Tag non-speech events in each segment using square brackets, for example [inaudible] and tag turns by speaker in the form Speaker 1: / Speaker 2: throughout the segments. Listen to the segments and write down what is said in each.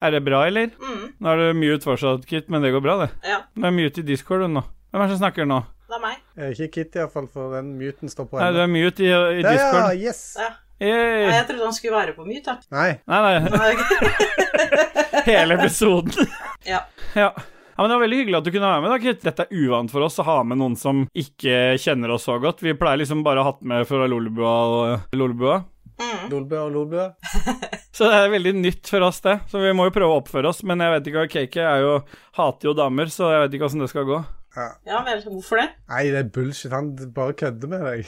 Speaker 1: Er det bra, eller?
Speaker 2: Mm,
Speaker 1: Nå er det mute fortsatt, Kit, men det går bra, det.
Speaker 2: ja.
Speaker 1: Det er mute i Discord nå. Hvem er det som snakker nå?
Speaker 2: Det er meg.
Speaker 3: Eh, Ikke Kit, iallfall, for den muten står på
Speaker 1: Nei, du
Speaker 3: ennå.
Speaker 1: er mute i, i
Speaker 3: Ja, ja,
Speaker 1: Discord.
Speaker 3: yes.
Speaker 2: Ja. Ja,
Speaker 1: Yay.
Speaker 2: jeg trodde han skulle være på mute. da.
Speaker 3: Nei.
Speaker 1: Nei,
Speaker 2: [laughs]
Speaker 1: nei,
Speaker 2: Nei, ok.
Speaker 1: hele episoden.
Speaker 2: [laughs] Ja.
Speaker 1: ja. Ja, men Det var veldig hyggelig at du kunne være med. da, Kit. Dette er uvant for oss å ha med noen som ikke kjenner oss så godt. Vi pleier liksom bare å ha hatt med fra Lolebua og Lolebua.
Speaker 2: Mm.
Speaker 3: Lolbø og Lolbø.
Speaker 1: Så det er veldig nytt for oss, det. Så vi må jo prøve å oppføre oss. Men jeg vet ikke, Kake er jo, hater jo damer, så jeg vet ikke åssen det skal gå.
Speaker 3: Ja.
Speaker 2: ja vel, hvorfor det?
Speaker 3: Nei, det er bullshit. Han bare kødder med deg.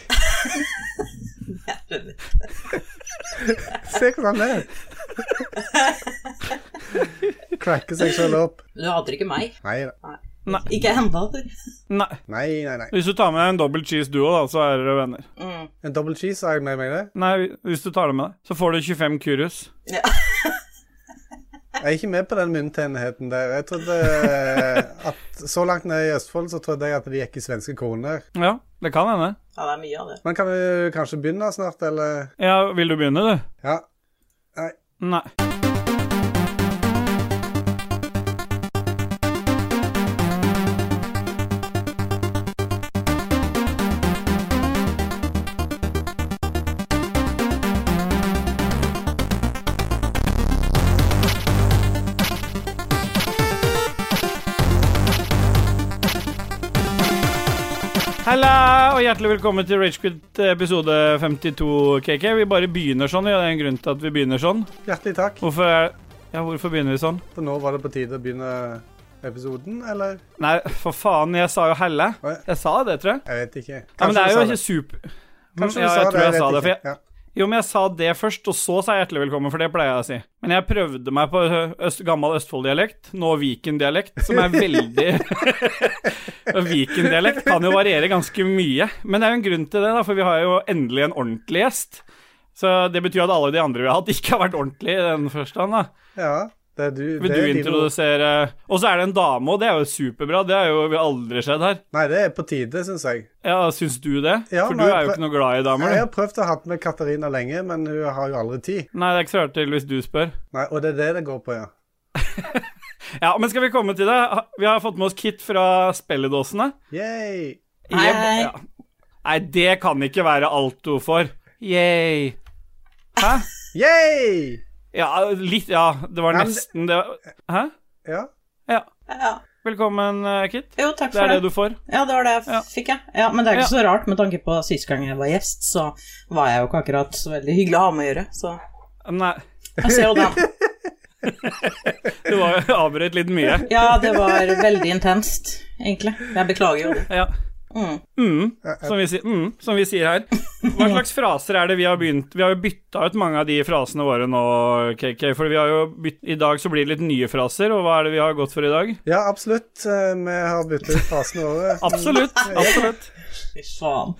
Speaker 3: [laughs]
Speaker 2: Jeg skjønner.
Speaker 3: Se hvordan han [laughs] er. Cracker seg sjøl opp.
Speaker 2: Men Du hater ikke meg.
Speaker 3: Nei da.
Speaker 1: Nei.
Speaker 2: Ikke ennå.
Speaker 1: Nei.
Speaker 3: Nei, nei, nei.
Speaker 1: Hvis du tar med en double cheese duo, da, så er dere venner.
Speaker 2: Mm.
Speaker 3: En double cheese, har jeg med meg det?
Speaker 1: Nei, hvis du tar det med deg, så får du 25 kurus.
Speaker 3: Jeg er ikke med på den munntennheten der. Jeg trodde eh, at Så langt ned i Østfold så trodde jeg at det gikk i svenske kroner.
Speaker 1: Ja, det kan hende.
Speaker 2: Ja, det er mye av det.
Speaker 3: Men kan vi kanskje begynne snart, eller?
Speaker 1: Ja, vil du begynne, du?
Speaker 3: Ja.
Speaker 1: Nei. Halla, og hjertelig velkommen til Ragequit eh, episode 52, KK. Vi bare begynner sånn, ja, det er en grunn til at vi begynner sånn.
Speaker 3: Hjertelig takk.
Speaker 1: Hvorfor er Ja, hvorfor begynner vi sånn?
Speaker 3: For nå var det på tide å begynne episoden, eller?
Speaker 1: Nei, for faen, jeg sa jo helle.
Speaker 3: Hva?
Speaker 1: Jeg sa det, tror jeg.
Speaker 3: Jeg vet ikke.
Speaker 1: Ja, men det er jo
Speaker 3: du
Speaker 1: ikke
Speaker 3: sa
Speaker 1: super... Mm,
Speaker 3: Kanskje du
Speaker 1: ja,
Speaker 3: sa
Speaker 1: jeg
Speaker 3: det.
Speaker 1: tror jeg,
Speaker 3: vet
Speaker 1: sa det. For
Speaker 3: ikke.
Speaker 1: jeg, jo, men jeg sa det først, og så sa jeg hjertelig velkommen, for det pleier jeg å si. Men jeg prøvde meg på øst, gammel Østfold-dialekt, nå Viken-dialekt, som er veldig [laughs] Og Viken-dialekt kan jo variere ganske mye. Men det er jo en grunn til det, da, for vi har jo endelig en ordentlig gjest. Så det betyr at alle de andre vi har hatt, ikke har vært ordentlige i den forstand, da.
Speaker 3: Ja. ja. Det er du,
Speaker 1: Vil
Speaker 3: det er
Speaker 1: du
Speaker 3: dine ord.
Speaker 1: introdusere Og så er det en dame, og det er jo superbra. Det har jo aldri skjedd her.
Speaker 3: Nei, det er på tide, syns jeg.
Speaker 1: Ja, Syns du det?
Speaker 3: Ja,
Speaker 1: For du
Speaker 3: men jeg
Speaker 1: er jo
Speaker 3: prø-
Speaker 1: ikke noe glad i damer.
Speaker 3: Jeg
Speaker 1: du.
Speaker 3: har prøvd å ha med Katarina lenge, men hun har jo aldri tid.
Speaker 1: Nei, det er ikke så rart til hvis du spør.
Speaker 3: Nei, Og det er det det går på, ja.
Speaker 1: Ja, Men skal vi komme til det? Ha- Vi har fått med oss Kit fra Spelledåsene.
Speaker 3: Yay.
Speaker 2: Hei.
Speaker 1: Jeg- ja. Nei, det kan ikke være alt hun får. Yay. Hæ?
Speaker 3: Yay!
Speaker 1: Ja, litt Ja, det var
Speaker 3: Ja, men det-
Speaker 1: nesten det var- Hæ?
Speaker 3: Ja.
Speaker 1: Ja.
Speaker 2: Ja.
Speaker 1: Velkommen, eh, Kit.
Speaker 2: Jo, takk
Speaker 1: Det er
Speaker 2: for
Speaker 1: det
Speaker 2: det.
Speaker 1: du får.
Speaker 2: Ja, det var det jeg f-
Speaker 1: Ja.
Speaker 2: fikk, jeg. Ja, men det er jo ikke
Speaker 1: Ja.
Speaker 2: så rart, med tanke på sist gang jeg var gjest, så var jeg jo ikke akkurat så veldig hyggelig å ha med å gjøre, så
Speaker 1: Nei,
Speaker 2: jeg ser
Speaker 1: [laughs]
Speaker 2: jo den.
Speaker 1: du var jo avbrøt litt mye.
Speaker 2: Ja, det var veldig intenst, egentlig. Jeg beklager jo det.
Speaker 1: Ja.
Speaker 2: Mm.
Speaker 1: Mm, som, vi, sier- mm, som vi sier her. Hva slags fraser er det vi har begynt Vi har jo bytta ut mange av de frasene våre nå, KK. For vi har jo bytt, i dag så blir det litt nye fraser, og hva er det vi har gått for i dag?
Speaker 3: ja, absolutt. Eh, Vi har byttet ut
Speaker 1: [laughs]
Speaker 3: fasene våre.
Speaker 1: Absolutt. absolutt
Speaker 2: Fy faen.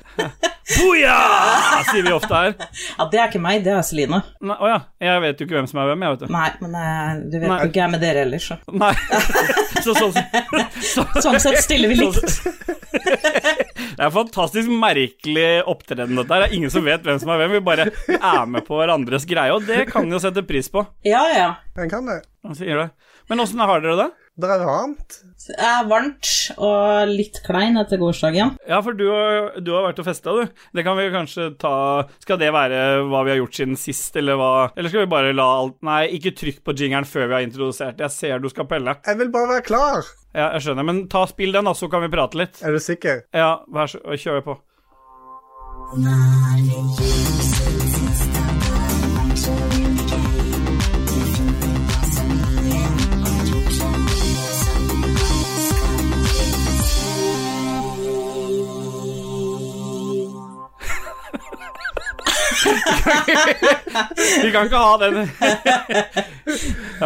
Speaker 1: Booyah! sier vi ofte her.
Speaker 2: Ja, det er ikke meg, det er Celine.
Speaker 1: Nei, Å ja. Jeg vet jo ikke hvem som er hvem, jeg, vet du.
Speaker 2: Nei, men eh, du vet
Speaker 1: Nei.
Speaker 2: jo ikke jeg med dere ellers, så.
Speaker 1: Nei. [laughs] Så, sånn- så,
Speaker 2: Sånn sett stiller vi likt.
Speaker 1: [laughs] Det er fantastisk merkelig opptreden, dette her. Det er ingen som vet hvem som er hvem. Vi bare er med på hverandres greie, og det kan vi jo sette pris på.
Speaker 2: Ja, ja.
Speaker 3: En kan det.
Speaker 1: Han sier det. Men åssen har dere det?
Speaker 3: Det er varmt.
Speaker 2: Det er varmt og litt klein etter gårsdagen. [laughs]
Speaker 1: Ja, for du, har- du har vært og festa, du. Det kan vi jo kanskje ta Skal det være hva vi har gjort siden sist, eller hva Eller skal vi bare la alt Nei, ikke trykk på jingeren før vi har introdusert. Jeg ser du skal pelle.
Speaker 3: Jeg vil bare være klar.
Speaker 1: Ja, jeg skjønner, men ta spill den, da, så kan vi prate litt.
Speaker 3: Er du sikker?
Speaker 1: Ja, vær så Kjør på. Vi kan ikke ha den. [laughs]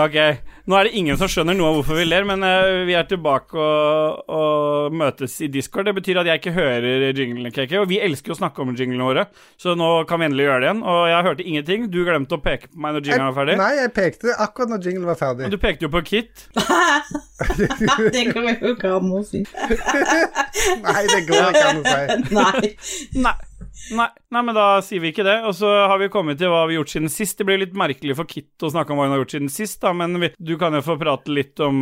Speaker 1: ok. Nå er det ingen som skjønner noe av hvorfor vi ler, men eh, vi er tilbake og, og møtes i Discord. Det betyr at jeg ikke hører jinglene, KK, og vi elsker jo å snakke om jinglene våre, så nå kan vi endelig gjøre det igjen. Og jeg hørte ingenting. Du glemte å peke på meg når jinglen var ferdig.
Speaker 3: Eh, Nei, jeg pekte akkurat når jinglen var ferdig.
Speaker 1: Du pekte jo på Kit.
Speaker 2: Det kan vi jo ikke ha noe å si.
Speaker 1: [laughs]
Speaker 3: Nei, det går ikke an å
Speaker 2: [laughs]
Speaker 3: si.
Speaker 2: Nei.
Speaker 1: Nei. Nei, nei, men da sier vi ikke det. Og så har vi kommet til hva vi har gjort siden sist. Det blir litt merkelig for Kit å snakke om hva hun har gjort siden sist, da, men vi, du kan jo få prate litt om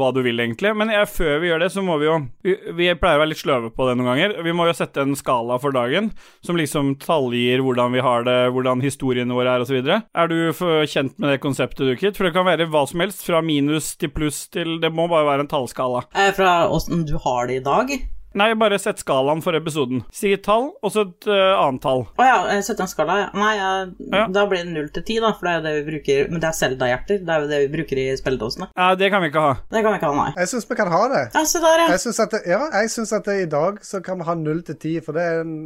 Speaker 1: hva du vil, egentlig. Men jeg, før vi gjør det, så må vi jo vi, vi pleier å være litt sløve på det noen ganger. Vi må jo sette en skala for dagen som liksom tallgir hvordan vi har det, hvordan historiene våre er, osv. Er du for kjent med det konseptet, du, Kit? For det kan være hva som helst, fra minus til pluss til Det må bare være en tallskala.
Speaker 2: Eh, Fra åssen du har det i dag.
Speaker 1: Nei, bare sett skalaen for episoden. Si et tall, og så et eh, annet tall.
Speaker 2: Å ja, eh, 17 skala. ja. Nei, eh,
Speaker 1: Ja.
Speaker 2: da blir det 0 til 10, da, for det er jo det vi bruker Men det er Selda-hjerter. Det er jo det vi bruker i spilledåsene.
Speaker 1: Nei, det kan vi ikke ha.
Speaker 2: Det kan vi ikke ha, nei.
Speaker 3: Jeg syns vi kan ha det.
Speaker 2: Ja, se der, ja.
Speaker 3: Jeg syns at, det, ja, jeg synes at det, i dag så kan vi ha 0 til 10, for det er en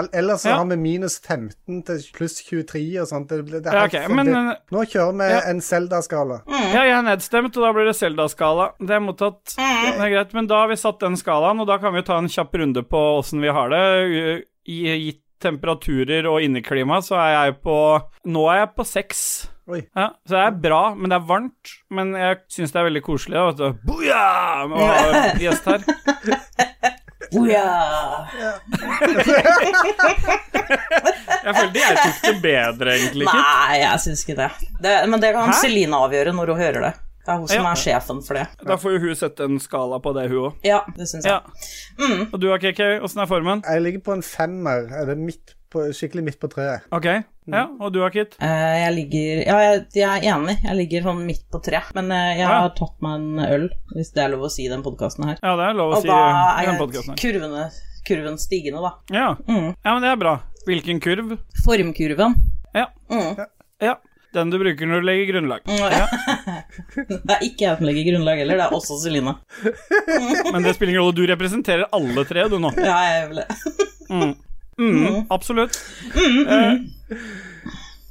Speaker 3: el- Ellers så
Speaker 1: Ja.
Speaker 3: har vi minus 15 til pluss 23 og sånt. Det, blir- det er
Speaker 1: Ja,
Speaker 3: helt
Speaker 1: ok,
Speaker 3: for-
Speaker 1: men- eh,
Speaker 3: det, nå kjører vi
Speaker 1: Ja. Mm.
Speaker 3: en Zelda-skala.
Speaker 1: Ja, jeg er nedstemt, og da blir det Selda-skala. Det er mottatt. Det er greit, men da har vi satt den skalaen, og da kan vi ta en kjapp runde på åssen vi har det. I gitt temperaturer og inneklima, så er jeg på Nå er jeg på seks.
Speaker 3: Oi. [laughs]
Speaker 1: Ja, så det er bra, men det er varmt. Men jeg syns det er veldig koselig. da, vet du. Booyah! Med å ha gjest her.
Speaker 2: Oh, ja.
Speaker 1: Jeg følte jeg tok det bedre, egentlig. Kit.
Speaker 2: Nei, jeg syns ikke det. det. Men det kan
Speaker 1: Hæ?
Speaker 2: Celine avgjøre når hun hører det. Det er hun som
Speaker 1: Ja.
Speaker 2: er sjefen for det.
Speaker 1: Da får jo hun sette en skala på det, hun òg.
Speaker 2: Ja, det syns jeg.
Speaker 1: Ja. Og du, KK, åssen er formen?
Speaker 3: Jeg ligger på en femmer. Er det midt på, skikkelig midt på treet?
Speaker 1: Ok. Ja, og du, Kit?
Speaker 2: Eh, Jeg ligger Ja, jeg, jeg er enig. Jeg ligger sånn midt på tre. Men eh, jeg
Speaker 1: Ja.
Speaker 2: har tatt meg en øl, hvis det er lov å si i den podkasten her.
Speaker 1: Ja, det er lov å
Speaker 2: Og
Speaker 1: si
Speaker 2: da
Speaker 1: i
Speaker 2: er
Speaker 1: den
Speaker 2: jeg Mm.
Speaker 1: podkasten her.
Speaker 2: kurvene, kurven stigende, da.
Speaker 1: Ja. ja, men det er bra. Hvilken kurv?
Speaker 2: Formkurven.
Speaker 1: Ja.
Speaker 2: Mm.
Speaker 1: ja. Den du bruker når du legger grunnlag.
Speaker 2: [laughs] Det er ikke jeg som legger grunnlag heller, det er også Celine. Mm.
Speaker 1: Men det spiller ingen rolle, du representerer alle tre, du nå.
Speaker 2: Ja, jeg vil...
Speaker 1: Mm, absolutt.
Speaker 2: Mm,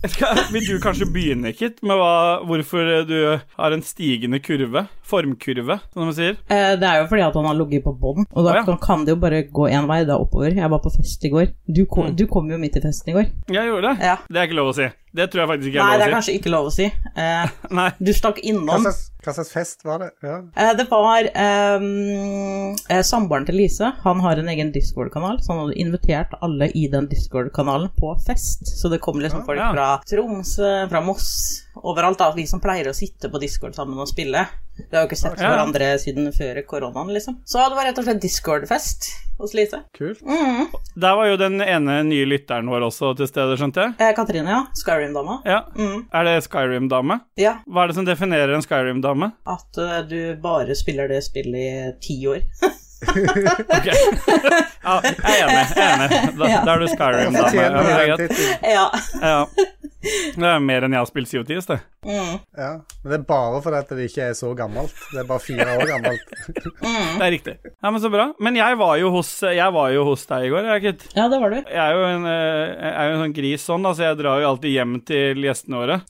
Speaker 1: Eh, skal- vil du kanskje begynne, Kit, med hva, hvorfor du har en stigende kurve? Formkurve, som de sier.
Speaker 2: Eh, Det er jo fordi at han har ligget på bånn, og da
Speaker 1: Å, ja.
Speaker 2: kan- kan det jo bare gå én vei, det er oppover. Jeg var på fest i går. Du kom, du kom jo midt i festen i går.
Speaker 1: Jeg gjorde det.
Speaker 2: Ja.
Speaker 1: Det er Mm. ikke lov å si. Det tror jeg faktisk ikke er
Speaker 2: Nei, det
Speaker 1: lov å
Speaker 2: er
Speaker 1: si.
Speaker 2: kanskje ikke lov å si. Eh,
Speaker 1: [laughs] Nei.
Speaker 2: Du stakk
Speaker 1: Sånn.
Speaker 3: Hva
Speaker 2: innom.
Speaker 3: slags, hva slags fest var det? Ja.
Speaker 2: Eh, Det var ehm, eh, samboeren til Lise. Han har en egen Discord-kanal, så han hadde invitert alle i den Discord-kanalen på fest. Så det kom liksom folk
Speaker 1: ja.
Speaker 2: fra Tromsø, fra Moss, overalt. da, Vi som pleier å sitte på Discord sammen og spille. Vi har jo ikke sett
Speaker 1: Ja.
Speaker 2: hverandre siden før koronaen, liksom. Så det var rett og slett Discord-fest hos Lise.
Speaker 3: Kult.
Speaker 2: Mm.
Speaker 1: Der var jo den ene nye lytteren vår også til stede, skjønte jeg.
Speaker 2: Eh, Katrine, ja. Skyrim-dama.
Speaker 1: Ja.
Speaker 2: Mm.
Speaker 1: Er det Skyrim-dame?
Speaker 2: Ja,
Speaker 1: Hva er det som definerer en Skyrim-dame?
Speaker 2: at eh, du bare spiller det spillet i ti år. [laughs]
Speaker 1: [laughs] Ok. ja, jeg er enig. Jeg er enig. Da,
Speaker 2: Ja.
Speaker 1: da er du
Speaker 3: Jeg
Speaker 1: Skyrim-dame. Ja,
Speaker 3: fortjener
Speaker 1: men det er
Speaker 3: den
Speaker 1: greit.
Speaker 3: tittelen.
Speaker 2: ja.
Speaker 1: ja. Det er mer enn jeg har spilt CO10, det.
Speaker 2: Mm.
Speaker 3: Ja. Men det er bare fordi at det ikke er så gammelt. Det er bare fire år gammelt.
Speaker 1: Det er riktig. Ja, Men så bra. Men jeg var jo hos, jeg var jo hos deg i går, jeg, Kit.
Speaker 2: ja, det var du.
Speaker 1: Jeg er jo en, eh, jeg er jo en sånn gris sånn, altså jeg drar jo alltid hjem til gjestene våre.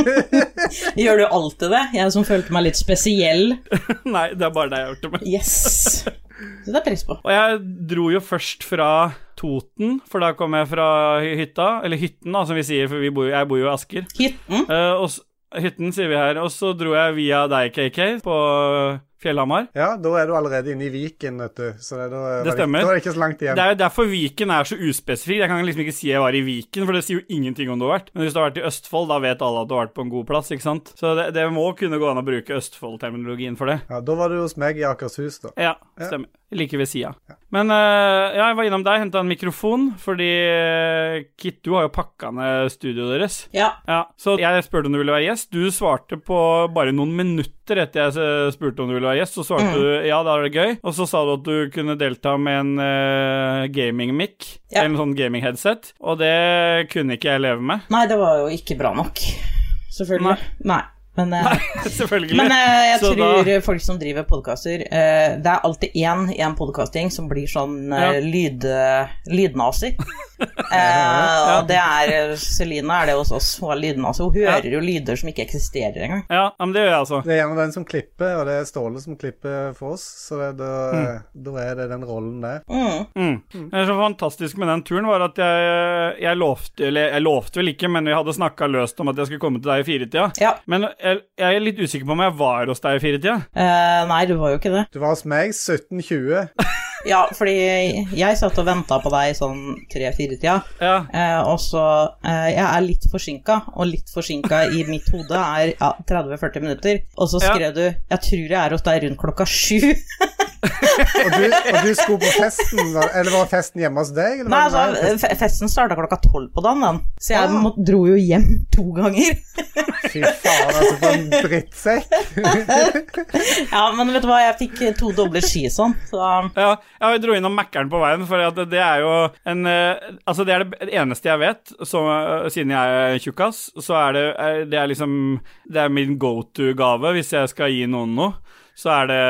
Speaker 1: [laughs]
Speaker 2: Gjør du alltid det? Jeg som følte meg litt spesiell.
Speaker 1: Nei, det er bare det jeg har gjort det med.
Speaker 2: Yes! Det setter jeg pris på.
Speaker 1: Og jeg dro jo først fra Toten, for da kom jeg fra hytta, eller hytten da, som vi sier, for vi bor, jo- jeg bor jo i Asker.
Speaker 2: Hytten.
Speaker 1: Eh, og s- hytten, sier vi her. Og så dro jeg via deg, KK, på Fjellhamar.
Speaker 3: Ja, da er du allerede inne i Viken, vet du. Så det, da, er
Speaker 1: Det stemmer.
Speaker 3: Da er det ikke så langt
Speaker 1: Det
Speaker 3: igjen.
Speaker 1: er jo derfor Viken er så uspesifikk. Jeg kan liksom ikke si jeg var i Viken, for det sier jo ingenting om du har vært. Men hvis du har vært i Østfold, da vet alle at du har vært på en god plass, ikke sant? Så det, det må kunne gå an å bruke Østfold-terminologien for det.
Speaker 3: Ja, da var du hos meg i Akershus, da.
Speaker 1: Ja, stemmer. Like ved sida. Men eh, ja, jeg var innom deg, henta en mikrofon, fordi eh, Kit, du har jo pakka ned studioet deres.
Speaker 2: Ja.
Speaker 1: Ja, så jeg spurte om du ville være gjest. Du svarte på bare noen minutter etter jeg eh, spurte om du ville være gjest, så svarte
Speaker 2: Mm.
Speaker 1: du ja, da er det gøy. Og så sa du at du kunne delta med en eh, gaming-mic,
Speaker 2: Ja.
Speaker 1: eller en sånn gaming-headset, og det kunne ikke jeg leve med. [laughs]
Speaker 2: Nei, det var jo ikke bra nok. Selvfølgelig. Nei. Men, eh,
Speaker 1: Selvfølgelig.
Speaker 2: men eh, jeg
Speaker 1: Så da-
Speaker 2: tror folk som driver podkaster eh, Det er alltid én i en podkasting som blir sånn eh,
Speaker 1: Ja.
Speaker 2: lyd, lydnazi.
Speaker 1: [laughs]
Speaker 2: Eh, og det er Celine er det hos oss. Hun er lydnazi. Hun hører jo lyder som ikke eksisterer engang.
Speaker 1: Ja, ja, men det gjør jeg altså.
Speaker 3: Det er gjerne den som klipper, og det er Ståle som klipper for oss, så det, da, da er det den rollen der.
Speaker 2: Mm.
Speaker 1: Mm. Det som var fantastisk med den turen, var at jeg, jeg lovte Eller jeg lovte vel ikke, men vi hadde snakka løst om at jeg skulle komme til deg i firetida.
Speaker 2: Ja.
Speaker 1: Men jeg, jeg er litt usikker på om jeg var hos deg i firetida.
Speaker 2: Eh, nei, du var jo ikke det.
Speaker 3: Du var hos meg 17.20.
Speaker 2: Ja, fordi jeg satt og venta på deg i sånn tre-fire-tida,
Speaker 1: Ja.
Speaker 2: eh, og så eh, Jeg er litt forsinka, og litt forsinka i mitt hode er ja, 30-40 minutter. Og så
Speaker 1: Ja.
Speaker 2: skrev du 'Jeg tror jeg er hos deg rundt klokka [laughs] sju'.
Speaker 3: Og du, og du skulle på festen, var- eller var festen hjemme hos deg? Eller
Speaker 2: Nei,
Speaker 3: var det-
Speaker 2: altså, fe- festen starta klokka tolv på dagen, den. Så jeg
Speaker 3: Ah.
Speaker 2: må, dro jo hjem [laughs] to ganger.
Speaker 3: Fy faen, altså, for en drittsekk.
Speaker 2: Ja, men vet du hva, jeg fikk eh, to doble ski sånn, så
Speaker 1: Ja, ja, jeg dro innom Mækkern på veien, for at det er jo en eh, Altså, det er det eneste jeg vet, så, eh, siden jeg er tjukkas, så er det er, Det er liksom Det er min go to-gave hvis jeg skal gi noen noe. Så er det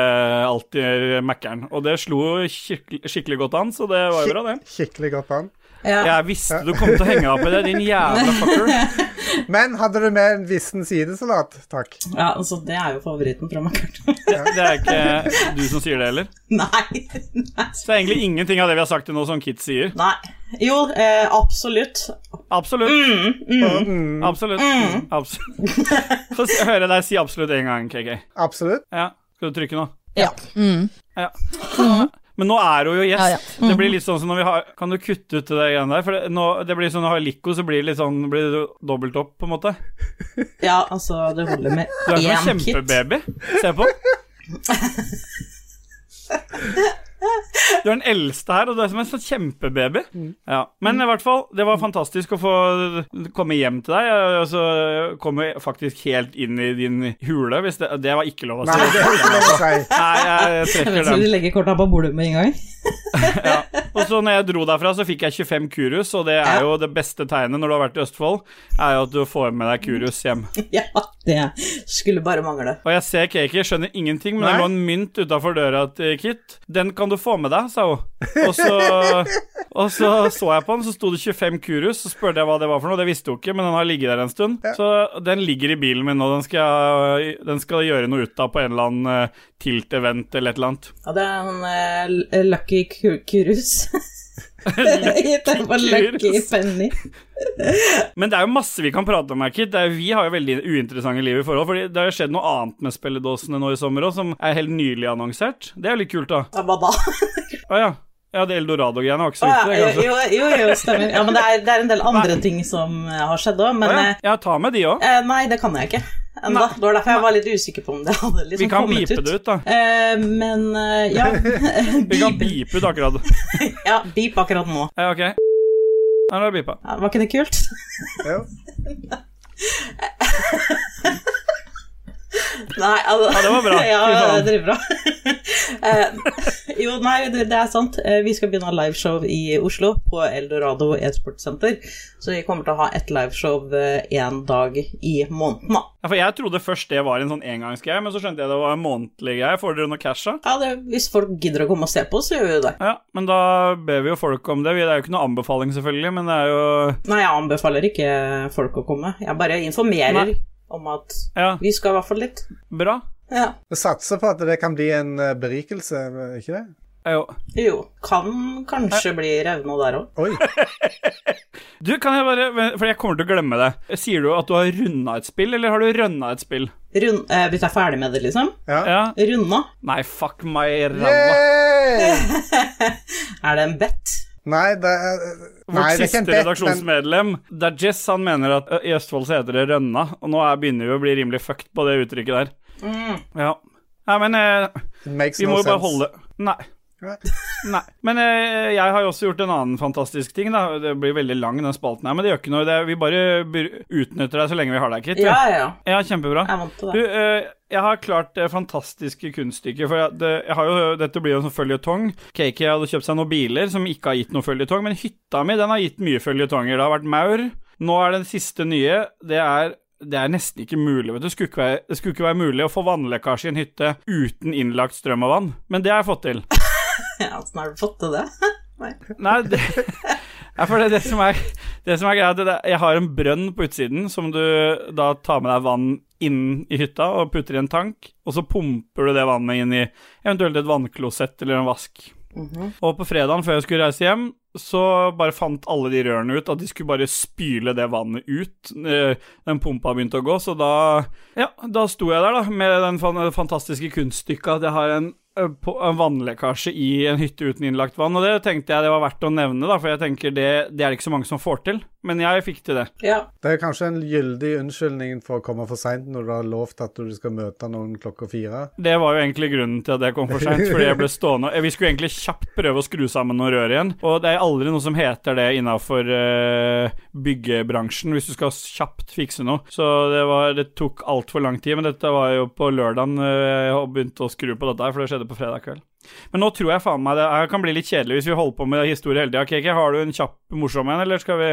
Speaker 1: alltid Mækkern. Og det slo skikkelig, skikkelig godt an, så det var jo bra, det.
Speaker 3: Skikkelig godt an.
Speaker 2: ja.
Speaker 1: Jeg visste du kom til å henge deg opp i det, din
Speaker 3: [laughs]
Speaker 1: jævla fucker.
Speaker 3: Men hadde du med en vissen sidesalat? Takk.
Speaker 2: ja, altså, det er jo favoritten fra Mackert.
Speaker 1: Det, det er ikke du som sier det heller.
Speaker 2: [laughs] Nei. Nei.
Speaker 1: Så det er egentlig ingenting av det vi har sagt til nå som Kit sier.
Speaker 2: Nei. Jo, eh, absolutt.
Speaker 1: Absolutt.
Speaker 2: Mm, mm.
Speaker 3: Mm,
Speaker 1: Absolutt. Absolutt. [laughs] Få se- høre deg si absolutt en gang, KK.
Speaker 3: absolutt.
Speaker 1: Ja, skal du trykke nå?
Speaker 2: Ja.
Speaker 4: Mm.
Speaker 1: Ja. Men nå er hun jo gjest.
Speaker 4: Ja, ja.
Speaker 1: Det blir litt sånn som når vi har Kan du kutte ut det der greiene der? For det, nå, det blir sånn når du har Lico, så blir det litt sånn Blir det dobbelt opp, på en måte.
Speaker 2: ja, altså, det holder med
Speaker 1: Du er som en
Speaker 2: én kit.
Speaker 1: kjempebaby. Se på den. Du er den eldste her, og du er som en sånn kjempebaby. Ja. Men i hvert fall, det var fantastisk å få komme hjem til deg. Og så kom jeg faktisk helt inn i din hule, hvis det Det var ikke lov å
Speaker 3: Nei, [laughs]
Speaker 1: si.
Speaker 3: det er ikke lov å si.
Speaker 1: Nei, jeg
Speaker 2: [laughs] Jeg
Speaker 1: trekker
Speaker 2: vet ikke om
Speaker 1: den.
Speaker 2: de legger korta på bordet med en gang.
Speaker 1: Ja. Og så når jeg dro derfra, så fikk jeg 25 kurus, og det er
Speaker 2: Ja.
Speaker 1: jo det beste tegnet når du har vært i Østfold, er jo at du får med deg kurus hjem.
Speaker 2: [laughs] Ja, det skulle bare mangle.
Speaker 1: Og jeg ser Kiki, skjønner ingenting, men det
Speaker 3: Nei.
Speaker 1: lå en mynt utafor døra til Kit. Den kan du få med deg, sa hun. Og så, og så så jeg på den, så sto det 25 kurus, så spurte jeg hva det var for noe. Det visste hun ikke, men den har ligget der en stund. Så den ligger i bilen min nå, den skal, jeg- den skal jeg gjøre noe ut av på en eller annen eh, tilt-event eller et eller annet. [laughs]
Speaker 2: Ja, det er en eh, l- lucky ku- kurus. [laughs] Jeg tenker på lucky
Speaker 1: kurus.
Speaker 2: penny.
Speaker 1: Men det er jo masse vi kan prate om her, Kit. Det er, vi har jo veldig uinteressante liv i forhold. Fordi det har jo skjedd noe annet med spilledåsene nå i sommer òg, som er helt nylig annonsert. Det er jo litt kult, da.
Speaker 2: Ja, Hva da?
Speaker 1: Å ja. Ja, det Eldorado-greiene var ikke så
Speaker 2: Å,
Speaker 1: viktig, det,
Speaker 2: ja,
Speaker 1: kanskje.
Speaker 2: jo, jo, jo, stemmer. Ja, men det er, det er en del andre ting som eh, har skjedd òg, men
Speaker 1: Å ja.
Speaker 2: eh,
Speaker 1: ja, ta med de òg.
Speaker 2: eh, Nei, det kan jeg ikke ennå.
Speaker 1: Nei.
Speaker 2: Det var derfor jeg var litt usikker på om det hadde liksom
Speaker 1: Vi kan
Speaker 2: kommet
Speaker 1: bipe
Speaker 2: ut.
Speaker 1: det ut, da.
Speaker 2: Eh, men eh,
Speaker 1: [laughs]
Speaker 2: ja [laughs]
Speaker 1: Vi kan
Speaker 2: Beep.
Speaker 1: bipe ut akkurat.
Speaker 2: Ja, beep akkurat nå.
Speaker 1: Ja, ok. Her er det bipa.
Speaker 2: Ja, var ikke det kult?
Speaker 3: Jo.
Speaker 2: Nei, altså
Speaker 1: Ja, det var
Speaker 2: [laughs]
Speaker 1: bra.
Speaker 2: ja,
Speaker 1: Fy faen.
Speaker 2: det er bra. [laughs] Eh, jo, nei, det, det er sant. Eh, Vi skal begynne å ha liveshow i Oslo, på Eldorado e-sportsenter. Så vi kommer til å ha ett liveshow én dag i måneden, da.
Speaker 1: Ja, for jeg trodde først det var en sånn engangsgreie, men så skjønte jeg det var en månedlig greie. Får dere noe cash, da?
Speaker 2: Ja, det, Hvis folk gidder å komme og se på, så gjør vi jo det.
Speaker 1: Ja, men da ber vi jo folk om det. Vi- Det er jo ikke noe anbefaling, selvfølgelig, men det er jo
Speaker 2: Nei, jeg anbefaler ikke folk å komme. Jeg bare informerer om at
Speaker 1: Ja,
Speaker 2: vi skal i hvert fall litt.
Speaker 1: bra.
Speaker 2: Ja.
Speaker 3: Vi satser på at det kan bli en eh, berikelse, eh, ikke det?
Speaker 1: Ja, Jo.
Speaker 2: Jo, kan kanskje bli revna der òg.
Speaker 3: Oi.
Speaker 1: Du, kan jeg bare For jeg kommer til å glemme det. Sier du at du har runda et spill, eller har du rønna et spill?
Speaker 2: Rund, eh, hvis jeg er ferdig med det, liksom.
Speaker 3: Ja.
Speaker 1: Ja.
Speaker 2: Runda. [laughs]
Speaker 1: Nei, fuck meg, ræva.
Speaker 3: Yay!
Speaker 2: Er det en bet?
Speaker 3: Nei, det er eh, Nei,
Speaker 1: Vårt
Speaker 3: det er ikke en
Speaker 1: siste
Speaker 3: bet, men
Speaker 1: redaksjonsmedlem, det er Jess, han mener at ø, i Østfold så heter det rønna, og nå er, begynner vi å bli rimelig fucked på det uttrykket der. Ja. Nei, men eh,
Speaker 3: it makes
Speaker 1: vi må
Speaker 3: no
Speaker 1: jo bare
Speaker 3: sense.
Speaker 1: holde Nei.
Speaker 3: Ja.
Speaker 1: Nei. Men eh, jeg har jo også gjort en annen fantastisk ting, da. Det blir veldig lang, den spalten her, men det gjør ikke noe. Det, er- vi bare br- utnytter deg så lenge vi har deg, Kit.
Speaker 2: Ja, ja, ja.
Speaker 1: ja kjempebra.
Speaker 2: Jeg er vant til
Speaker 1: Du,
Speaker 2: det.
Speaker 1: eh, jeg har klart det fantastiske kunststykket, for jeg, det, jeg har jo, dette blir jo en sånn føljetong. KK hadde kjøpt seg noen biler som ikke har gitt noen føljetong, men hytta mi den har gitt mye føljetonger. Det har vært maur. Nå er den siste nye. Det er, det er nesten ikke mulig, vet du. Skulle ikke være, det skulle ikke være mulig å få vannlekkasje i en hytte uten innlagt strøm og vann, men det har jeg fått til.
Speaker 2: Ja, Åssen har du fått til det? Nei.
Speaker 1: Nei, det, Nei, for det, er det som er, det som er greia, det er, jeg har en brønn på utsiden som du da tar med deg vann inn i hytta og putter i en tank, og så pumper du det vannet inn i eventuelt et vannklosett eller en vask. Og på fredagen før jeg skulle reise hjem, så bare fant alle de rørene ut at de skulle bare spyle det vannet ut. Eh, Den pumpa begynte å gå, så da Ja, da sto jeg der, da, med den fan- fantastiske kunststykket at jeg har en eh, på en vannlekkasje i en hytte uten innlagt vann, og det tenkte jeg det var verdt å nevne, da, for jeg tenker det, det er det ikke så mange som får til, men jeg fikk til det.
Speaker 2: Ja.
Speaker 3: Det er kanskje en gyldig unnskyldning for å komme for seint når du har lovt at du skal møte noen klokka fire.
Speaker 1: Det var jo egentlig grunnen til at jeg kom for seint, fordi jeg ble stående og- Vi skulle egentlig kjapt prøve å skru sammen noen rør igjen, og det er aldri noe som heter det innafor eh, byggebransjen hvis du skal kjapt fikse noe. Så det, var, det tok altfor lang tid, men dette var jo på lørdagen eh, jeg begynte å skru på dette her, for det skjedde på fredag kveld. Men nå tror jeg faen meg det her kan bli litt kjedelig hvis vi holder på med historie hele tida. KK, har du en kjapp morsom en, eller skal vi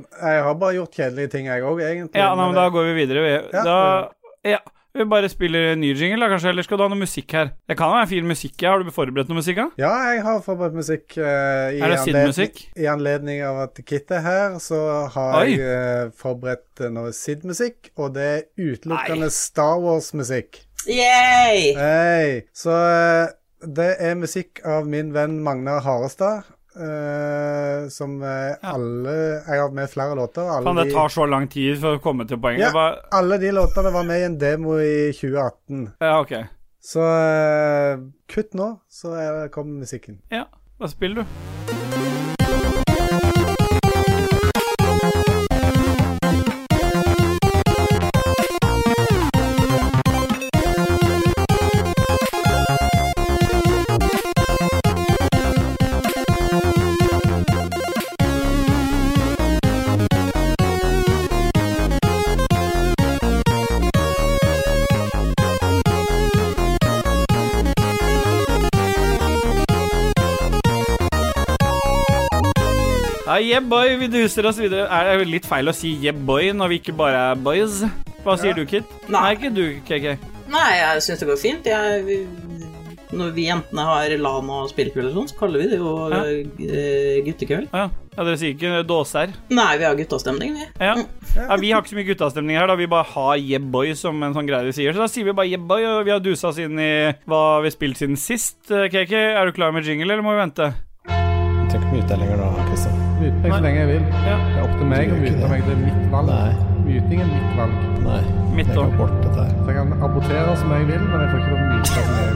Speaker 3: Jeg har bare gjort kjedelige ting, jeg òg, egentlig.
Speaker 1: Ja, nei, men da
Speaker 3: det-
Speaker 1: går vi videre. Vi,
Speaker 3: Ja.
Speaker 1: Da, ja, vi bare spiller en ny jingle, da, kanskje, eller skal du ha noe musikk her? Det kan være fin musikk. Ja. Har du forberedt noe musikk? da?
Speaker 3: ja, jeg har forberedt musikk. eh, i
Speaker 1: Er det
Speaker 3: anledning-
Speaker 1: Sid-musikk?
Speaker 3: I anledning av at Kit er her, så har
Speaker 1: Oi.
Speaker 3: jeg eh, forberedt eh, noe Sid-musikk, og det er
Speaker 1: Nei.
Speaker 3: utelukkende Star Wars-musikk.
Speaker 2: Yay!
Speaker 3: Hei! Så eh, det er musikk av min venn Magnar Harestad. eh, som eh, alle Jeg har med flere låter. Alle
Speaker 1: Faen, det
Speaker 3: de-
Speaker 1: tar så lang tid for å komme til poenget.
Speaker 3: Ja.
Speaker 1: Ja, bare,
Speaker 3: Alle de låtene var med i en demo i 2018.
Speaker 1: ja ok.
Speaker 3: Så eh, kutt nå, så er- kommer musikken.
Speaker 1: Ja, da spiller du. Ja, yeah boy, vi duser oss videre. Er det litt feil å si yeah boy når vi ikke bare er boys? Hva sier du, Kit?
Speaker 2: Nei.
Speaker 1: Nei, ikke du, KK.
Speaker 2: Nei, jeg syns det går fint. Jeg, vi, når vi jentene har LAN og spillkveld og sånn, så kaller vi det jo
Speaker 1: Ja.
Speaker 2: eh, guttekveld.
Speaker 1: Å ja. ja, dere sier ikke dåser?
Speaker 2: Nei, vi har guttastemning, vi.
Speaker 1: Ja. ja. Vi har ikke så mye guttastemning her, da. Vi bare har yeah boy som en sånn greie vi sier. Så da sier vi bare yeah boy, og vi har dusa oss inn i hva vi har spilt siden sist. Eh, KK, er du klar med jingle, eller må vi vente?
Speaker 4: Du trenger ikke mute deg lenger da, Kristian.
Speaker 3: Mute meg så lenge jeg vil.
Speaker 1: Ja.
Speaker 3: Det er opp til meg å
Speaker 4: Du gjør ikke
Speaker 3: mute
Speaker 4: det.
Speaker 3: meg. Det er mitt valg.
Speaker 4: Nei.
Speaker 3: Muting er mitt valg.
Speaker 4: Nei,
Speaker 1: Mitt
Speaker 4: det
Speaker 1: også.
Speaker 4: går bort dette her.
Speaker 3: Så jeg kan abortere som jeg vil, men jeg får ikke lov til å mute som jeg vil.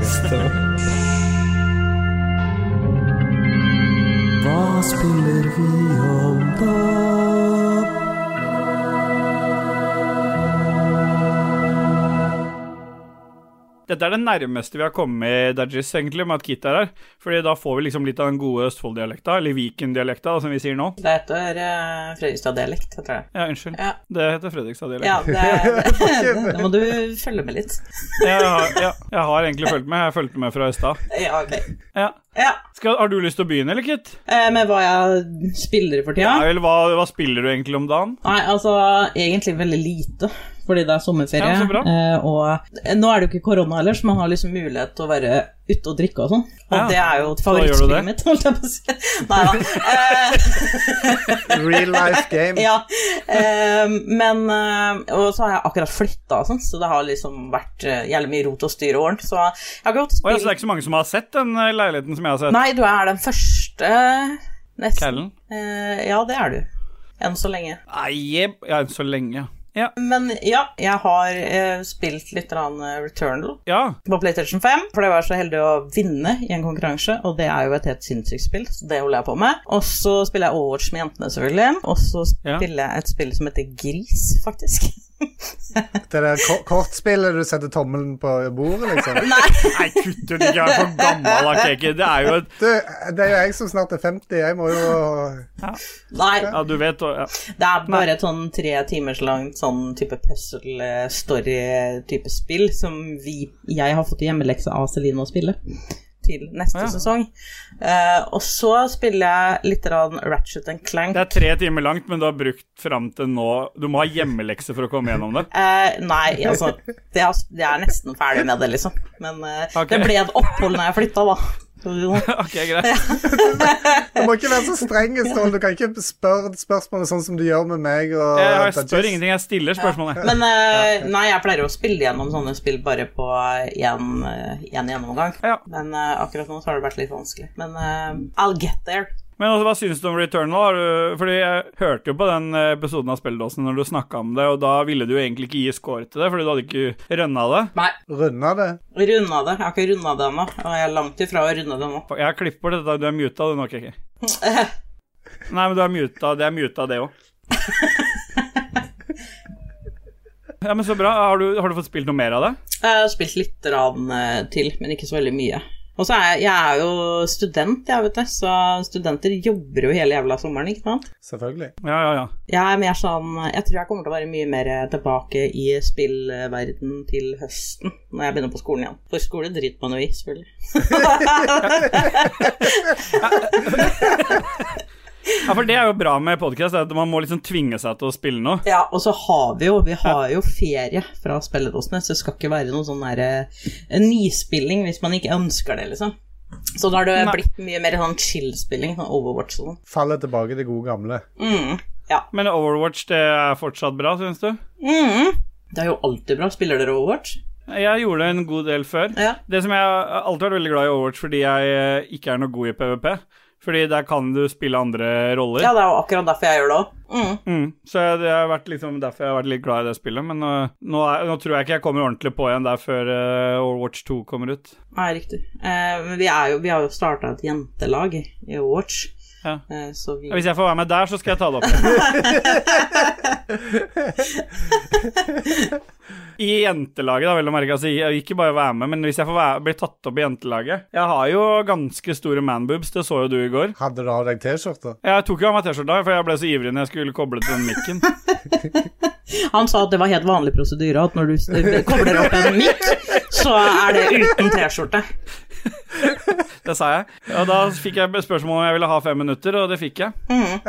Speaker 5: Hva spiller vi om da?
Speaker 1: Dette er det nærmeste vi har kommet Dajis, egentlig, med at Kit er her. Fordi da får vi liksom litt av den gode Østfold-dialekta, eller Viken-dialekta, da, som vi sier nå.
Speaker 2: Det heter uh, Fredrikstad-dialekt, heter det.
Speaker 1: Ja, unnskyld.
Speaker 2: Ja.
Speaker 1: Det heter Fredrikstad-dialekt. [laughs]
Speaker 2: Ja, det, det, det må du følge med litt.
Speaker 1: jeg, har, ja, jeg har egentlig fulgt med. Jeg fulgte med fra i stad.
Speaker 2: Ja, ok.
Speaker 1: Ja.
Speaker 2: Ja.
Speaker 1: Skal- Har du lyst til å begynne, eller, Kit?
Speaker 2: Eh, med hva jeg spiller for tida?
Speaker 1: Ja. vel, hva, hva spiller du egentlig om dagen?
Speaker 2: Nei, altså egentlig veldig lite, fordi det er sommerferie.
Speaker 1: Ja, så bra.
Speaker 2: eh, og nå er det jo ikke korona heller, så man har liksom mulighet til å være ute og drikke og sånn. Og
Speaker 1: Ja.
Speaker 2: det er jo
Speaker 1: gjør du det?
Speaker 2: favorittspillet mitt, [laughs] holdt jeg på å si. Nei da.
Speaker 3: [laughs]
Speaker 2: Eh,
Speaker 3: Real life game.
Speaker 2: Ja. eh, men eh, Og så har jeg akkurat flytta og sånn, så det har liksom vært eh, jævlig mye rot og styr og ordent, så jeg har godt
Speaker 1: Å, ja, så det
Speaker 2: spilt
Speaker 1: er ikke så mange som har sett den eh, leiligheten som jeg har sett?
Speaker 2: Nei, du er den første nesten
Speaker 1: Callen?
Speaker 2: eh, Ja, det er du. Enn så lenge.
Speaker 1: Nei, jeb- ja, enn så lenge. Ja.
Speaker 2: Men ja, jeg har eh, spilt litt grann, eh, Returnal.
Speaker 1: ja.
Speaker 2: på PlayStation 5, for det var så heldig å vinne i en konkurranse, og det er jo et helt sinnssykt spill, så det holder jeg på med. Og så spiller jeg Overwatch med jentene, selvfølgelig, og så
Speaker 1: Ja.
Speaker 2: spiller jeg et spill som heter Gris, faktisk. [laughs]
Speaker 3: Det der ko- kortspillet du setter tommelen på bordet, liksom.
Speaker 1: Nei, kutt ut, ikke vær så gammel, da, Kiki. Det er jo et
Speaker 3: Du, det er jo jeg som snart er 50. Jeg må jo
Speaker 2: Nei,
Speaker 1: Ja, du vet og- ja.
Speaker 2: det er bare et sånn tre timers langt sånn type puzzle-story-type spill som vi, jeg har fått i hjemmelekse av Celine å spille til neste
Speaker 1: Ja.
Speaker 2: sesong. Eh, og så spiller jeg litt grann Ratchet and Clank.
Speaker 1: Det er tre timer langt, men du har brukt fram til nå Du må ha hjemmelekse for å komme gjennom det.
Speaker 2: Eh, nei, altså det er, det er nesten ferdig med det, liksom. Men eh,
Speaker 1: Ok.
Speaker 2: det ble et opphold når jeg flytta, da. Så-
Speaker 1: [laughs] Ok, greit.
Speaker 3: Du må ikke være så streng, Ståle. Du kan ikke spørre spørsmålet sånn som du gjør med meg. Og
Speaker 1: Jeg, jeg spør
Speaker 3: Dajis.
Speaker 1: ingenting, jeg stiller spørsmålet.
Speaker 2: Men eh, nei, jeg pleier å spille gjennom sånne spill bare på én gjennomgang.
Speaker 1: Ja.
Speaker 2: Men eh, akkurat nå så har det vært litt vanskelig. Men eh, I'll get there.
Speaker 1: Men også, hva syns du om Returnal? Har du, fordi jeg hørte jo på den eh, episoden av Spelledåsen når du snakka om det, og da ville du jo egentlig ikke gi score til det, fordi du hadde ikke rønna det.
Speaker 2: Nei,
Speaker 3: Runda det.
Speaker 2: runda det. Jeg har ikke runda det ennå, og jeg er langt ifra å runde det nå.
Speaker 1: Jeg klipper dette, du er muta, du nå, Kiki. Nei, men du er muta, det er muta, det òg. Ja, men så bra. Har du, har du fått spilt noe mer av det?
Speaker 2: Jeg har spilt litt rann, eh, til, men ikke så veldig mye. Og så er jeg, jeg er jo student, jeg, vet du, så studenter jobber jo hele jævla sommeren, ikke sant?
Speaker 3: Selvfølgelig.
Speaker 1: Ja, ja, ja.
Speaker 2: Jeg er mer sånn Jeg tror jeg kommer til å være mye mer tilbake i spillverden til høsten, når jeg begynner på skolen igjen. For skole driter man jo i, selvfølgelig.
Speaker 1: Ja, for det er jo bra med podkast, at man må liksom tvinge seg til å spille noe.
Speaker 2: Ja, og så har vi jo Vi har jo ferie fra spilledåsene, så det skal ikke være noe sånn derre nyspilling hvis man ikke ønsker det, liksom. Så da har det
Speaker 1: Nei.
Speaker 2: blitt mye mer sånn chill-spilling, sånn Overwatch og sånn.
Speaker 3: Faller tilbake til gode gamle.
Speaker 2: Mm, ja.
Speaker 1: Men Overwatch, det er fortsatt bra, syns du?
Speaker 2: Mm. Det er jo alltid bra. Spiller dere Overwatch?
Speaker 1: Jeg gjorde det en god del før.
Speaker 2: Ja.
Speaker 1: Det som jeg har alltid vært veldig glad i Overwatch fordi jeg eh, ikke er noe god i PVP. Fordi der kan du spille andre roller.
Speaker 2: Ja, det er jo akkurat derfor jeg gjør det òg. Mm.
Speaker 1: Mm. Så jeg- det har vært liksom derfor jeg har vært litt glad i det spillet. Men eh, nå, er, nå tror jeg ikke jeg kommer ordentlig på igjen der før eh, Overwatch 2 kommer ut.
Speaker 2: Nei, riktig. Eh, men vi, er jo, vi har jo starta et jentelag i Overwatch,
Speaker 1: Ja.
Speaker 2: eh, så vi
Speaker 1: Ja, Hvis jeg får være med der, så skal jeg ta det opp. I jentelaget, da, vel å merke. Altså, jeg- ikke bare være med, men hvis jeg får være, bli tatt opp i jentelaget Jeg har jo ganske store manboobs, det så jo du i går.
Speaker 3: Hadde du av deg T-skjorta?
Speaker 1: Jeg tok jo av meg T-skjorta, for jeg ble så ivrig når jeg skulle koble til den mikken.
Speaker 2: Han sa at det var helt vanlig prosedyre at når du eh, kobler opp en mikk, så er det uten T-skjorte.
Speaker 1: Det sa jeg. Og da fikk jeg spørsmål om jeg ville ha fem minutter, og det fikk jeg.
Speaker 2: Mm.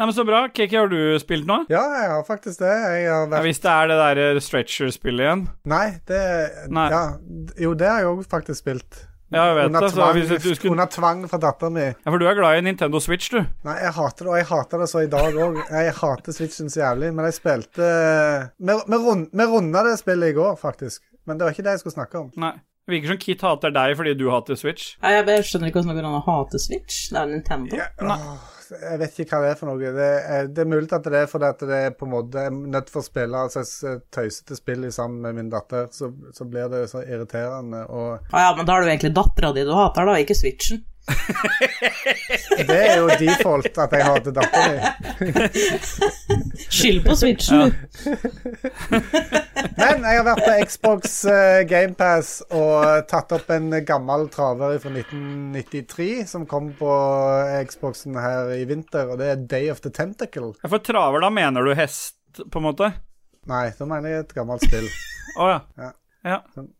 Speaker 1: Nei, men Så bra. Kiki, har du spilt nå?
Speaker 3: Ja, jeg har faktisk det. Jeg har
Speaker 1: Ja,
Speaker 3: vært
Speaker 1: hvis det er det derre stretcher-spillet igjen.
Speaker 3: Nei, det
Speaker 1: Nei.
Speaker 3: Ja. Jo, det har jeg òg faktisk spilt.
Speaker 1: Ja, jeg vet
Speaker 3: Under
Speaker 1: det. Så
Speaker 3: tvang,
Speaker 1: hvis du skulle...
Speaker 3: under tvang fra dattera mi.
Speaker 1: Ja, for du er glad i Nintendo Switch, du.
Speaker 3: Nei, jeg hater det, og jeg hater det så i dag òg. Jeg hater Switchen så jævlig, men jeg spilte eh, Vi vi rund, vi runda det spillet i går, faktisk. Men det var ikke det jeg skulle snakke om.
Speaker 1: Nei. Det virker som Kit hater deg fordi du hater Switch.
Speaker 2: Nei, Jeg bare skjønner ikke hvordan det går an å hate Switch. Det er Nintendo.
Speaker 3: Åh, jeg vet ikke hva det er for noe. Det er, det er mulig at det er fordi at det er på en måte jeg er nødt for å spille altså, jeg s- tøysete spill i sammen med min datter, så, så blir det så irriterende. Og
Speaker 2: Å ja, men da er det jo egentlig dattera di du hater, da, ikke Switchen.
Speaker 3: det er jo default at jeg hater dattera mi.
Speaker 2: Skyld på Switchen, du.
Speaker 3: Men jeg har vært på Xbox eh, Game GamePass og tatt opp en gammel traver fra 1993 som kom på Xboxen her i vinter, og det er Day of the Tentacle.
Speaker 1: Ja, For traver, da mener du hest, på en måte?
Speaker 3: Nei, da mener jeg et gammelt spill.
Speaker 1: Å ja.
Speaker 3: Ja.
Speaker 1: Ja,
Speaker 3: Den-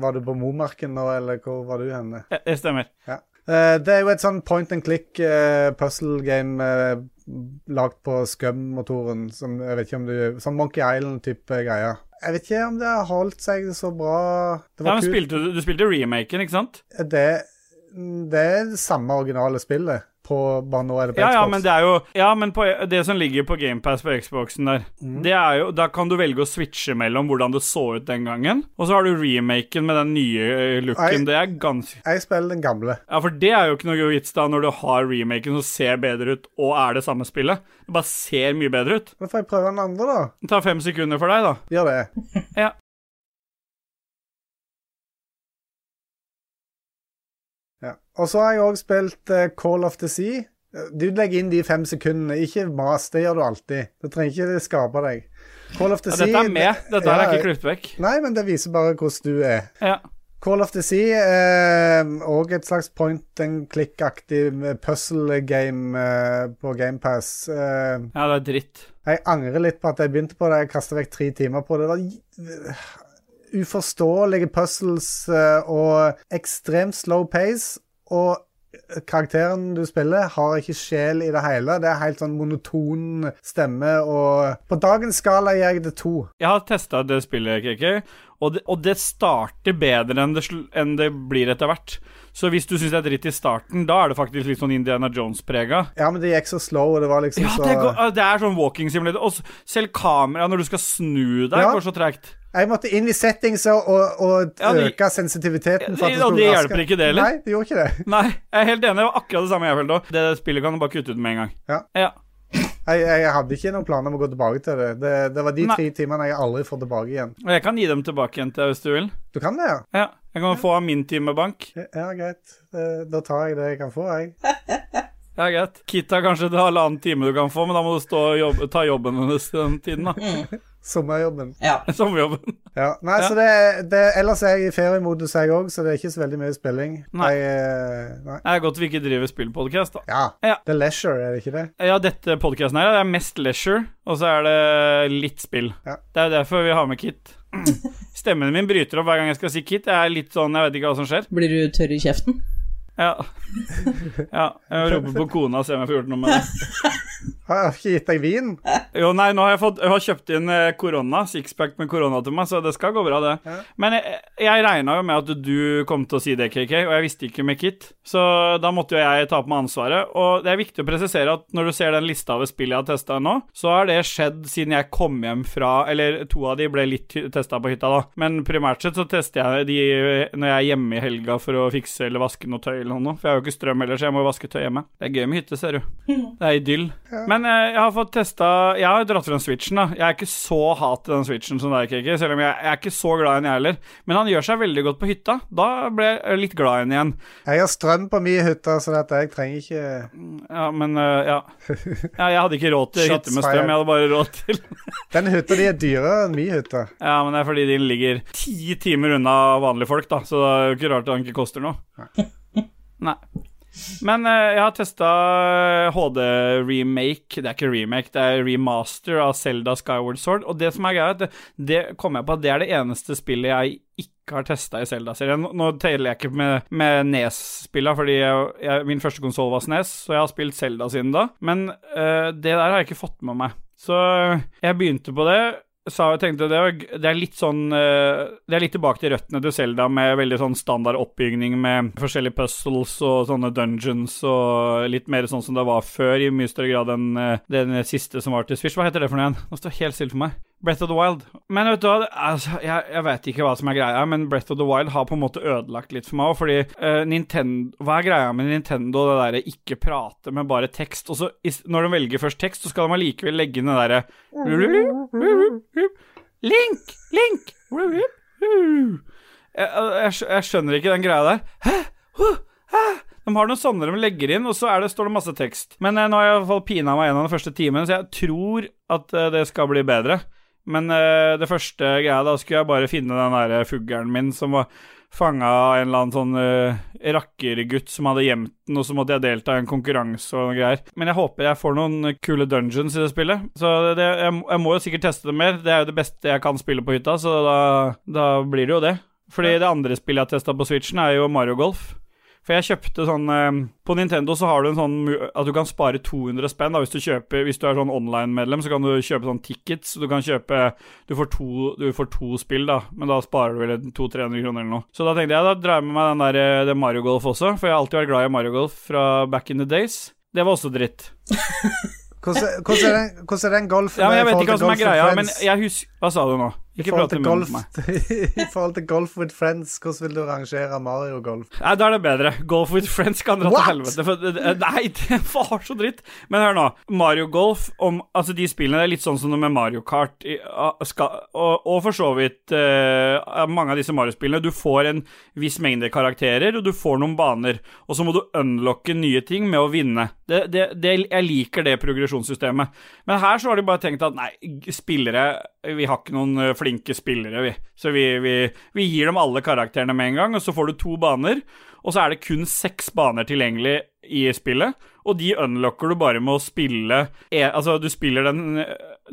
Speaker 3: Var du på Momarken nå, eller hvor var du henne?
Speaker 1: ja, det stemmer.
Speaker 3: Ja. Eh, Det er jo et sånn point and click eh, puzzle game eh, lagd på Scum-motoren, som jeg vet ikke om du Sånn Monkey Island-type greier. Jeg vet ikke om det har holdt seg så bra. Det
Speaker 1: Ja,
Speaker 3: var
Speaker 1: men
Speaker 3: kult.
Speaker 1: spilte du, du spilte remaken, ikke sant?
Speaker 3: det, det er det samme originale spillet, på, bare nå er det på
Speaker 1: Ja, ja,
Speaker 3: Xbox.
Speaker 1: men det er jo Ja, men på, det som ligger på GamePass på Xboxen der,
Speaker 3: Mm.
Speaker 1: det er jo Da kan du velge å switche mellom hvordan det så ut den gangen, og så har du remaken med den nye eh,
Speaker 3: Nei.
Speaker 1: looken. Det er ganske
Speaker 3: Jeg spiller den gamle.
Speaker 1: Ja, for det er jo ikke noe god vits da, når du har remaken som ser bedre ut, og er det samme spillet. Det bare ser mye bedre ut.
Speaker 3: Da får jeg prøve den andre, da.
Speaker 1: Det tar fem sekunder for deg, da.
Speaker 3: Gjør det.
Speaker 1: [laughs] Ja.
Speaker 3: Ja. Og så har jeg òg spilt eh, Call of the Sea. Du legger inn de fem sekundene, ikke mas. Det gjør du alltid. Du trenger ikke skape deg. Call of the
Speaker 1: Ja,
Speaker 3: Sea
Speaker 1: dette er med. Dette her
Speaker 3: Ja,
Speaker 1: er ikke klippet vekk.
Speaker 3: Nei, men det viser bare hvordan du er.
Speaker 1: Ja.
Speaker 3: Call of the Sea eh, og et slags point and click-aktig eh, puzzle game eh, på GamePass.
Speaker 1: ja,
Speaker 3: Eh,
Speaker 1: det er dritt.
Speaker 3: jeg angrer litt på at jeg begynte på det. Jeg kasta vekk tre timer på det. Det var j- uforståelige puzzles eh, og ekstremt slow pace. Og karakteren du spiller, har ikke sjel i det hele. Det er helt sånn monoton stemme og På dagens skala gir jeg det to.
Speaker 1: Jeg har testa det spillet, KK, og det, og det starter bedre enn det, sl- enn det blir etter hvert. Så hvis du syns det er dritt i starten, da er det faktisk litt sånn Indiana Ah, Jones-prega.
Speaker 3: Ja, men det gikk så slow, og det var liksom
Speaker 1: Ja,
Speaker 3: så
Speaker 1: det, går, det er sånn walking simulator. Og s- selv kameraet når du skal snu deg,
Speaker 3: Ja.
Speaker 1: går så tregt.
Speaker 3: Jeg måtte inn i settings og, og, og
Speaker 1: Ja, det-
Speaker 3: øke sensitiviteten. for at det
Speaker 1: Ja, det
Speaker 3: skulle
Speaker 1: hjelper
Speaker 3: raske.
Speaker 1: ikke det, eller?
Speaker 3: Nei, det gjorde ikke det.
Speaker 1: Nei, jeg er helt enig. Det var akkurat det samme jeg følte òg. Det spillet kan du bare kutte ut med en gang.
Speaker 3: Ja.
Speaker 1: ja.
Speaker 3: Jeg, jeg hadde ikke noen planer om å gå tilbake til det. Det, det var de
Speaker 1: Nei.
Speaker 3: tre timene jeg aldri får tilbake igjen.
Speaker 1: Og jeg kan gi dem tilbake igjen til deg hvis du vil.
Speaker 3: Du kan det, ja?
Speaker 1: Ja. Jeg kan få av min timebank.
Speaker 3: Ja, greit. Eh, Da tar jeg det jeg kan få, jeg.
Speaker 1: Ja, greit. Kita kanskje det halvannen time du kan få, men da må du stå og jobbe, ta jobben hennes i den tiden, da.
Speaker 3: Mm. Sommerjobben.
Speaker 2: Ja.
Speaker 1: [laughs] Sommerjobben.
Speaker 3: Ja. Nei,
Speaker 1: Ja.
Speaker 3: så det, det Ellers er jeg i feriemodus, jeg òg, så det er ikke så veldig mye spilling.
Speaker 1: Nei.
Speaker 3: Jeg, eh, nei.
Speaker 1: Det er godt vi ikke driver spillpodkast, da.
Speaker 3: Ja.
Speaker 1: Ja.
Speaker 3: Det er leisure, er det ikke det?
Speaker 1: Ja, dette podkasten her det er mest leisure, og så er det litt spill.
Speaker 3: Ja.
Speaker 1: Det er jo derfor vi har med Kit. Stemmen min bryter opp hver gang jeg skal si Kit. Jeg er litt sånn, jeg vet ikke hva som skjer.
Speaker 2: Blir du tørr i kjeften?
Speaker 1: Ja. ja jeg roper på kona og ser om jeg får gjort noe med det.
Speaker 3: Har jeg ikke gitt deg vin?
Speaker 1: [laughs] Jo, nei, nå har jeg, fått, jeg har kjøpt inn eh, korona, sixpack med korona til meg, så det skal gå bra, det.
Speaker 3: Ja.
Speaker 1: Men jeg, jeg regna jo med at du kom til å si det, KK, og jeg visste ikke med Kit, så da måtte jo jeg ta på meg ansvaret. Og det er viktig å presisere at når du ser den lista over spill jeg har testa nå, så har det skjedd siden jeg kom hjem fra Eller to av de ble litt testa på hytta, da, men primært sett så tester jeg de eh, når jeg er hjemme i helga for å fikse eller vaske noe tøy eller noe, for jeg har jo ikke strøm ellers, så jeg må jo vaske tøy hjemme. Det er gøy med hytte, ser du. Det er idyll. Men eh, jeg har fått testa Jeg har dratt frem Switchen, da. Jeg er ikke så hat i den Switchen som deg, Kiki, selv om jeg, jeg er ikke så glad i den, jeg heller. Men han gjør seg veldig godt på hytta. Da ble jeg litt glad i den igjen.
Speaker 3: Jeg har strøm på min hytte, så dette, jeg trenger ikke
Speaker 1: Ja, men eh, ja. ja. Jeg hadde ikke råd til
Speaker 3: Shots
Speaker 1: hytte med strøm,
Speaker 3: fired.
Speaker 1: jeg hadde bare råd til
Speaker 3: Den hytta di er dyrere enn min hytte.
Speaker 1: Ja, men det er fordi din ligger ti timer unna vanlige folk, da, så det er jo ikke rart den ikke koster noe. Nei. Men eh, jeg har testa HD-remake. Det er ikke remake, det er remaster av Zelda Skyward Sword. Og det som er greia, er at det, det kommer jeg på at det er det eneste spillet jeg ikke har testa i Zelda-serien. Nå- Nå teller jeg ikke med, med Nes-spilla, fordi jeg, jeg, min første konsoll var SNES, så jeg har spilt Zelda siden da. Men eh, det der har jeg ikke fått med meg. Så eh, jeg begynte på det sa, tenkte det, var g- det er litt sånn eh, Det er litt tilbake til røttene til Selda, med veldig sånn standard oppbygning med forskjellige puzzles og sånne dungeons og litt mer sånn som det var før, i mye større grad enn eh, den siste som var til Switch. Hva heter det for noe igjen? Nå står det helt stille for meg. Breath of the Wild. Men vet du hva, det- altså, jeg, jeg vet ikke hva som er greia, men Breath of the Wild har på en måte ødelagt litt for meg òg, fordi eh, Nintendo Hva er greia med Nintendo, det derre ikke prate, men bare tekst? Og så, is- når de velger først tekst, så skal de allikevel legge inn det derre Link! Link! Jeg, jeg, skj- jeg skjønner ikke den greia der. Hæ? Huh? Hæ? De har noen sånne de legger inn, og så er det, står det masse tekst. Men eh, nå har jeg i hvert fall pina meg gjennom den første timen, så jeg tror at eh, det skal bli bedre. Men eh, det første greia, da skulle jeg bare finne den derre fuglen min som var fanga av en eller annen sånn eh, rakkergutt som hadde gjemt den, og så måtte jeg delta i en konkurranse og noen greier. Men jeg håper jeg får noen kule dungeons i det spillet. Så det, jeg, må- jeg må jo sikkert teste det mer. Det er jo det beste jeg kan spille på hytta, så da, da blir det jo det. Fordi det andre spillet jeg har testa på Switchen, er jo Mario Golf. For jeg kjøpte sånn eh, På Nintendo så har du en sånn mu- at du kan spare 200 spenn da, hvis du kjøper Hvis du er sånn online-medlem, så kan du kjøpe sånn tickets. Du kan kjøpe Du får to, du får to spill, da, men da sparer du vel en 200-300 kroner eller noe. Så da tenkte jeg da drar jeg med meg den der, eh, det Mario Golf også, for jeg har alltid vært glad i Mario Golf fra back in the days. Det var også dritt.
Speaker 3: Hvordan, hvordan, er, den, hvordan er den golfen
Speaker 1: Ja, men Jeg
Speaker 3: i
Speaker 1: vet
Speaker 3: forhold
Speaker 1: ikke hva som er
Speaker 3: til golf with
Speaker 1: greia, men
Speaker 3: friends?
Speaker 1: jeg husker Hva sa du nå?
Speaker 3: I
Speaker 1: Ikke
Speaker 3: forhold,
Speaker 1: prat i
Speaker 3: til
Speaker 1: munnen på
Speaker 3: golf, [laughs]
Speaker 1: meg.
Speaker 3: I forhold til golf with friends, hvordan vil du rangere Mario
Speaker 1: [laughs]
Speaker 3: Golf?
Speaker 1: Nei, da er det bedre. Golf with friends kan dra til
Speaker 3: What?
Speaker 1: helvete. For, det- det- nei, [laughs] det var så dritt. Men hør nå. Mario Golf, om, altså de spillene det er litt sånn som det med Mario Kart i- ah, skal, og, og for så vidt eh, mange av disse Mario-spillene. Du får en viss mengde karakterer, og du får noen baner. Og så må du unlocke nye ting med å vinne. Det, det, det, jeg liker det progresjonssystemet. Men her så har de bare tenkt at nei, g- spillere Vi har ikke noen eh, flinke spillere, vi. Så vi, vi, vi gir dem alle karakterene med en gang, og så får du to baner. Og så er det kun seks baner tilgjengelig i spillet, og de unlocker du bare med å spille e- Altså, du spiller den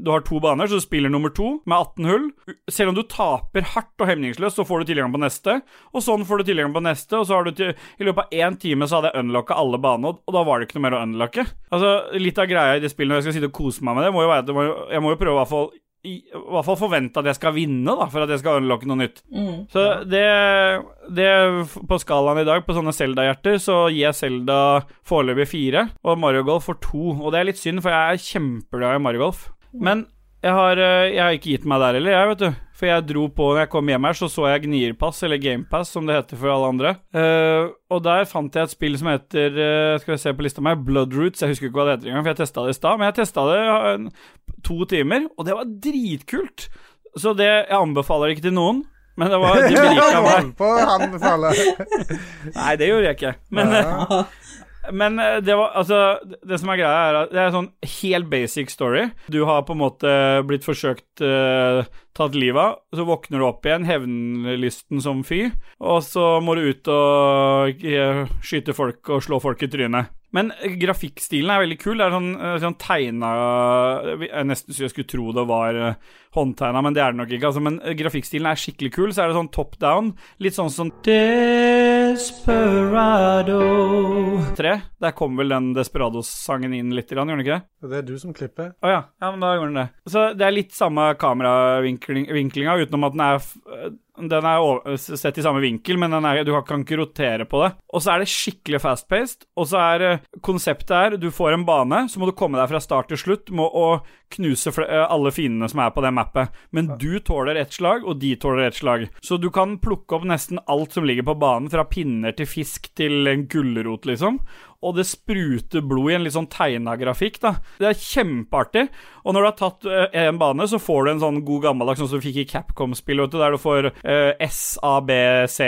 Speaker 1: Du har to baner, så du spiller nummer to med 18 hull. Selv om du taper hardt og hemningsløst, så får du tilgang på neste, og sånn får du tilgang på neste, og så har du til I løpet av én time så hadde jeg unlocka alle banene, og da var det ikke noe mer å unlocke. Altså, litt av greia i det spillet når jeg skal sitte og kose meg med det, må jo være at det må, jo- jeg må jo prøve i hvert fall i i hvert fall forvente at jeg skal vinne, da, for at jeg skal unlocke noe nytt. Så det, det På skalaen i dag, på sånne Selda-hjerter, så gir jeg Selda foreløpig fire, og Mario Golf får to. Og det er litt synd, for jeg er kjempeglad i Mario Golf. Men jeg har, eh, jeg har ikke gitt meg der heller, jeg, vet du. For for jeg dro på når jeg kom hjem her, så så jeg Gnirpass, eller Gamepass som det heter for alle andre. Eh, og der fant jeg et spill som heter eh, Skal vi se på lista mi Bloodroots. Jeg husker ikke hva det heter engang, for jeg testa det i stad. Men jeg testa det eh, en- to timer, og det var dritkult. Så det Jeg anbefaler det ikke til noen, men det var de berika meg.
Speaker 3: På anbefaler.
Speaker 1: Nei, det gjorde jeg ikke. Men,
Speaker 2: Ja.
Speaker 1: men eh, det var Altså, det som er greia, er at det er en sånn helt basic story. Du har på en måte blitt forsøkt eh, tatt livet av, så våkner du opp igjen, hevnlysten som fy, og så må du ut og eh, skyte folk og slå folk i trynet. Men eh, grafikkstilen er veldig kul. Det er sånn, eh, sånn tegna eh, Jeg nesten så jeg skulle tro det var eh, håndtegna, men det er det nok ikke. Altså, men eh, grafikkstilen er skikkelig kul. Så er det sånn top down. Litt sånn som Desperado 3. Der kom vel den Desperados-sangen inn litt, gjorde den ikke det?
Speaker 3: Det er du som klipper.
Speaker 1: Å ja. ja, men da gjorde den det. Så det er litt samme kameravinklinga, utenom at den er f- eh, den er over, eh, sett i samme vinkel, men den er, du kan ikke rotere på det. Og så er det skikkelig fast-paced, og så er eh, konseptet er du får en bane, så må du komme deg fra start til slutt med å knuse fl- eh, alle fiendene som er på det mappet. Men du tåler ett slag, og de tåler ett slag. Så du kan plukke opp nesten alt som ligger på banen, fra pinner til fisk til en gulrot, liksom og det spruter blod i en litt sånn tegna grafikk, da. Det er kjempeartig. Og når du har tatt eh, en bane, så får du en sånn god gammeldags sånn som du fikk i Capcom-spill, vet du, der du får eh, S, A, B, C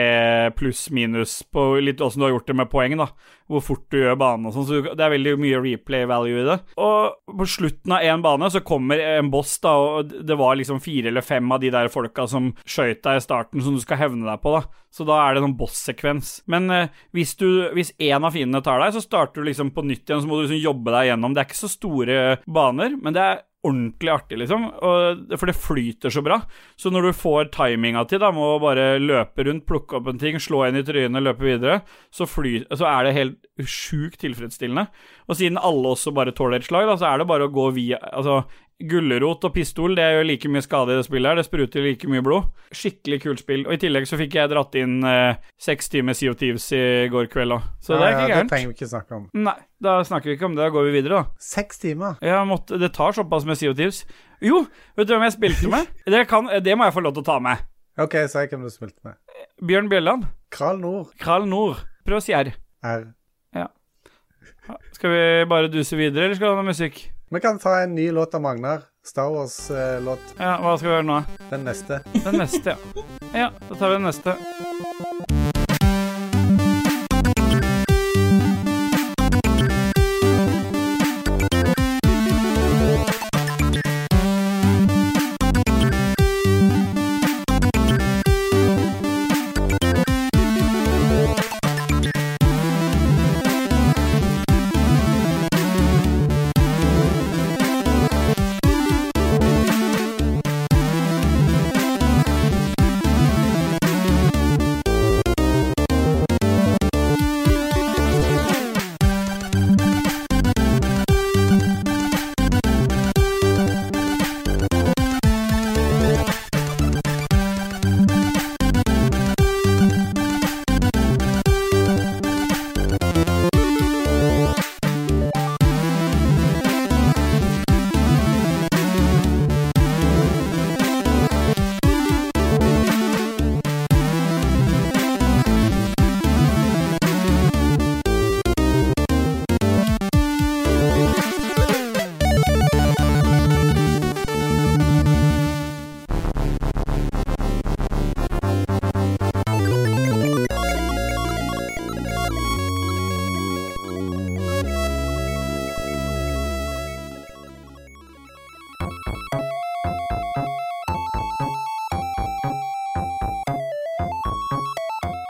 Speaker 1: pluss minus på litt åssen du har gjort det med poeng, da. Hvor fort du gjør banen og sånn, så du- det er veldig mye replay value i det. Og på slutten av én bane så kommer en boss, da, og det var liksom fire eller fem av de der folka som skøyt deg i starten, som du skal hevne deg på, da. Så da er det noen boss-sekvens. Men eh, hvis, du, hvis en av fiendene tar deg, så starter du liksom på nytt igjen, så må du liksom jobbe deg gjennom. Det er ikke så store baner, men det er ordentlig artig, liksom. Og, for det flyter så bra. Så når du får timinga til, da, med å bare løpe rundt, plukke opp en ting, slå en i trynet, løpe videre, så, fly, så er det helt sjukt tilfredsstillende. Og siden alle også bare tåler et slag, da, så er det bare å gå via Altså, gulrot og pistol, det gjør like mye skade i det spillet her. Det spruter like mye blod. Skikkelig kult spill. Og i tillegg så fikk jeg dratt inn eh, seks timer Sea of Thieves i går kveld òg, så det er
Speaker 3: Ja,
Speaker 1: ikke
Speaker 3: ja, det
Speaker 1: gærent.
Speaker 3: trenger vi ikke snakke om.
Speaker 1: Nei, da snakker vi ikke om det. Da går vi videre, da.
Speaker 3: Seks timer.
Speaker 1: Jeg måtte, det tar såpass med CO2s. Jo, vet du hvem jeg spilte
Speaker 3: [laughs]
Speaker 1: med? Det, kan, det må jeg få lov til å ta med.
Speaker 3: OK, si hvem du spilte med.
Speaker 1: Bjørn Bjelland.
Speaker 3: Kral Nord
Speaker 1: Kral Nord. Prøv å si R.
Speaker 3: R.
Speaker 1: Skal vi bare duse videre, eller skal vi ha noe musikk?
Speaker 3: Vi kan ta en ny låt av Magnar. Star Wars-låt.
Speaker 1: Ja, Hva skal vi gjøre nå?
Speaker 3: Den neste.
Speaker 1: Den neste, ja. Ja, da tar vi den neste.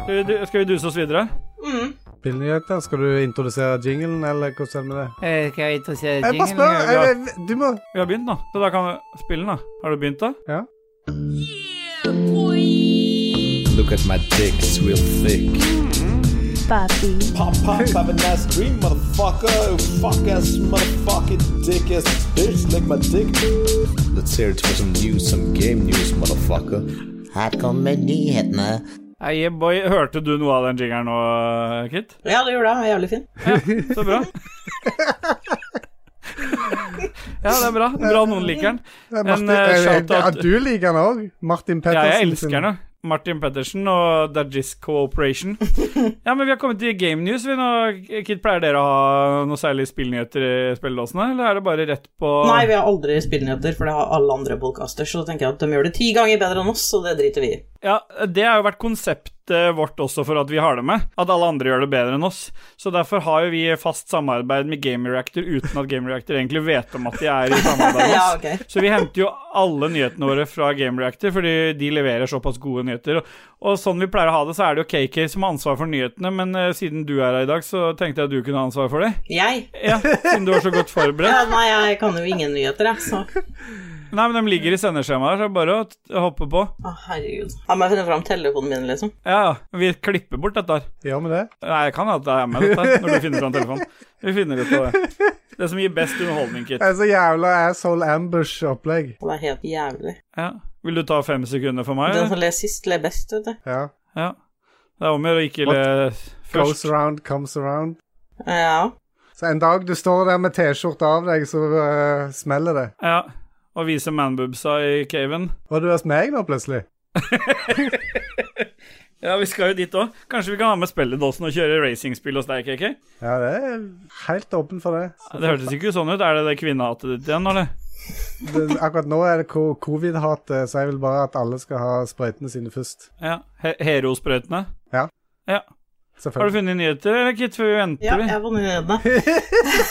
Speaker 1: Skal vi, du- skal vi duse oss videre?
Speaker 2: Mm.
Speaker 3: Spillnyheter. Skal du introdusere jinglen, eller hvordan er det med det?
Speaker 1: Eh, Skal vi introdusere
Speaker 3: Jeg bare spør. Jeg, jeg, du må
Speaker 1: Vi har begynt nå, så da kan vi spille den, da. Har du begynt, da?
Speaker 6: Look at my dick, it's real thick.
Speaker 7: Papi,
Speaker 6: Pop pop, have a nice dream, motherfucker. Fuck ass, motherfucking dick ass bitch, lick my dick. Let's hear it for some news, some game news, motherfucker.
Speaker 8: Her kommer nyhetene.
Speaker 1: Hey, boy. Hørte du noe av den jingeren nå, Kit?
Speaker 2: Ja, det gjorde jeg. Jævlig fin.
Speaker 1: Så bra. Ja, det er bra. Bra noen liker den.
Speaker 3: Det er
Speaker 1: En,
Speaker 3: Martin,
Speaker 1: eh,
Speaker 3: eh,
Speaker 1: shout-out.
Speaker 3: ja, du liker den òg. Martin
Speaker 1: Ja,
Speaker 3: Pettersen.
Speaker 1: jeg elsker
Speaker 3: sin.
Speaker 1: den. jo. Martin Pettersen og Dajis Cooperation. Ja, men vi har kommet til Game News. Vi nå, Kit, pleier dere å ha noe særlig spillnyheter i spilledåsene, eller er det bare rett på
Speaker 2: Nei, vi har aldri spillnyheter, for det har alle andre podcaster, så da tenker jeg at de gjør det ti ganger bedre enn oss, så det driter vi i.
Speaker 1: Ja, det har jo vært konseptet vårt også for at vi har det med, at alle andre gjør det bedre enn oss. Så derfor har jo vi fast samarbeid med Game Reactor uten at Game Reactor egentlig vet om at de er i samarbeid med
Speaker 2: [laughs] Ja,
Speaker 1: oss.
Speaker 2: ok.
Speaker 1: Så vi henter jo alle nyhetene våre fra Game Reactor, fordi de leverer såpass gode nyheter. Og, og sånn vi pleier å ha det, så er det jo KK som har ansvar for nyhetene, men eh, siden du er her i dag, så tenkte jeg at du kunne ha ansvar for det.
Speaker 2: Jeg?
Speaker 1: Ja, siden du var så godt
Speaker 2: Ja,
Speaker 1: forberedt.
Speaker 2: nei, jeg kan jo ingen nyheter, jeg, så
Speaker 1: Nei, men de ligger i sendeskjemaet her, så det er bare å t- hoppe på.
Speaker 2: Å, herregud. Jeg må jeg finne fram telefonen min, liksom.
Speaker 1: Ja, ja. Vi klipper bort dette her.
Speaker 3: Gjør vi det?
Speaker 1: Nei, jeg kan at det er med dette når du finner fram telefonen. Vi finner ut av det. Det som gir best underholdning, Kit.
Speaker 3: Det er så jævla asshole ambush-opplegg.
Speaker 2: Det er helt jævlig.
Speaker 1: Ja. Vil du ta fem sekunder for meg?
Speaker 2: Den
Speaker 1: eller?
Speaker 2: som ler sist, ler best, vet du.
Speaker 3: Ja.
Speaker 1: Ja. Det er om å gjøre å ikke le
Speaker 3: Goes
Speaker 1: først.
Speaker 3: around, comes around.
Speaker 2: Ja.
Speaker 3: Så en dag du står der med T-skjorta av deg, så eh, smeller det.
Speaker 1: Ja. Og vise manboobsa i caven.
Speaker 3: Var du hos meg nå, plutselig?
Speaker 1: Ja, vi skal jo dit òg. Kanskje vi kan ha med spilledåsen og kjøre racingspill hos deg, KK?
Speaker 3: Ja, det er helt åpen for det.
Speaker 1: Det hørtes ikke sånn ut. Er det det kvinnehatet ditt igjen, eller?
Speaker 3: det akkurat nå er det ko- covid-hatet, så jeg vil bare at alle skal ha sprøytene sine først.
Speaker 1: Ja. He Herosprøytene?
Speaker 3: Ja.
Speaker 1: ja. Har du
Speaker 3: Selvfølgelig.
Speaker 1: funnet nyheter, eller, Kit, før vi venter?
Speaker 2: Ja,
Speaker 1: vi?
Speaker 2: jeg har funnet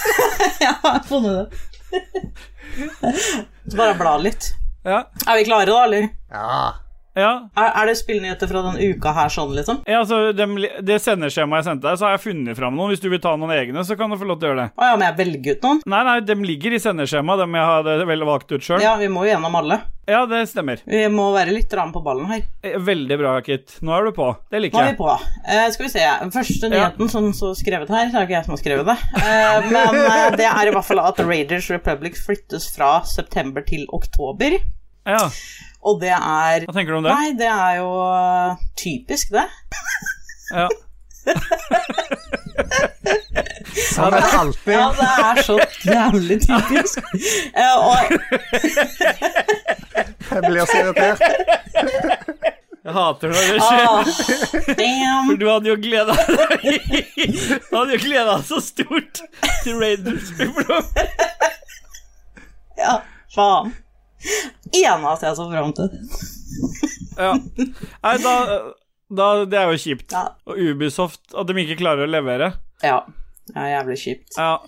Speaker 2: [laughs] det. jeg har funnet det. Så bare bla litt.
Speaker 1: Ja.
Speaker 2: Er vi klare, da, eller?
Speaker 3: Ja.
Speaker 1: ja.
Speaker 2: Er, er det spillnyheter fra den uka her sånn, liksom?
Speaker 1: Ja, altså, dem, Det sendeskjemaet jeg sendte deg, så har jeg funnet fram noen. Hvis du vil ta noen egne, så kan du få lov til å gjøre det.
Speaker 2: Å ja, må jeg velge ut noen?
Speaker 1: Nei, nei, dem ligger i sendeskjemaet, dem jeg hadde vel valgt ut sjøl. Ja.
Speaker 2: Ja, vi må jo gjennom alle.
Speaker 1: det stemmer.
Speaker 2: Vi må være litt ramme på ballen her.
Speaker 1: Eh, Veldig bra, Kit. Nå er du på. Det
Speaker 2: Nå
Speaker 1: liker
Speaker 2: er vi
Speaker 1: jeg.
Speaker 2: på. Eh, skal vi se. Første nyheten som så skrevet her, det er jo ikke jeg som har skrevet det, Eh, men eh, det er i hvert fall at Raiders Republic flyttes fra september til oktober.
Speaker 1: Ja,
Speaker 2: Og det er
Speaker 1: Hva tenker du om det?
Speaker 2: Nei, det er jo eh, typisk, det.
Speaker 1: Ja.
Speaker 3: Sånn er det alltid.
Speaker 2: Ja, det er [laughs] så jævlig [laughs] typisk. Eh, og
Speaker 3: Jeg blir så irritert.
Speaker 1: Jeg hater når det skjer.
Speaker 2: ah, damn.
Speaker 1: Du hadde jo gleda deg Du hadde jo gleda deg så stort til Raiders Republic.
Speaker 2: Ja, faen. Eneste jeg så fram til.
Speaker 1: Ja. Nei, da, da Det er jo kjipt.
Speaker 2: Ja.
Speaker 1: Og Ubisoft, at de ikke klarer å levere.
Speaker 2: Ja, det er jævlig kjipt.
Speaker 1: Ja.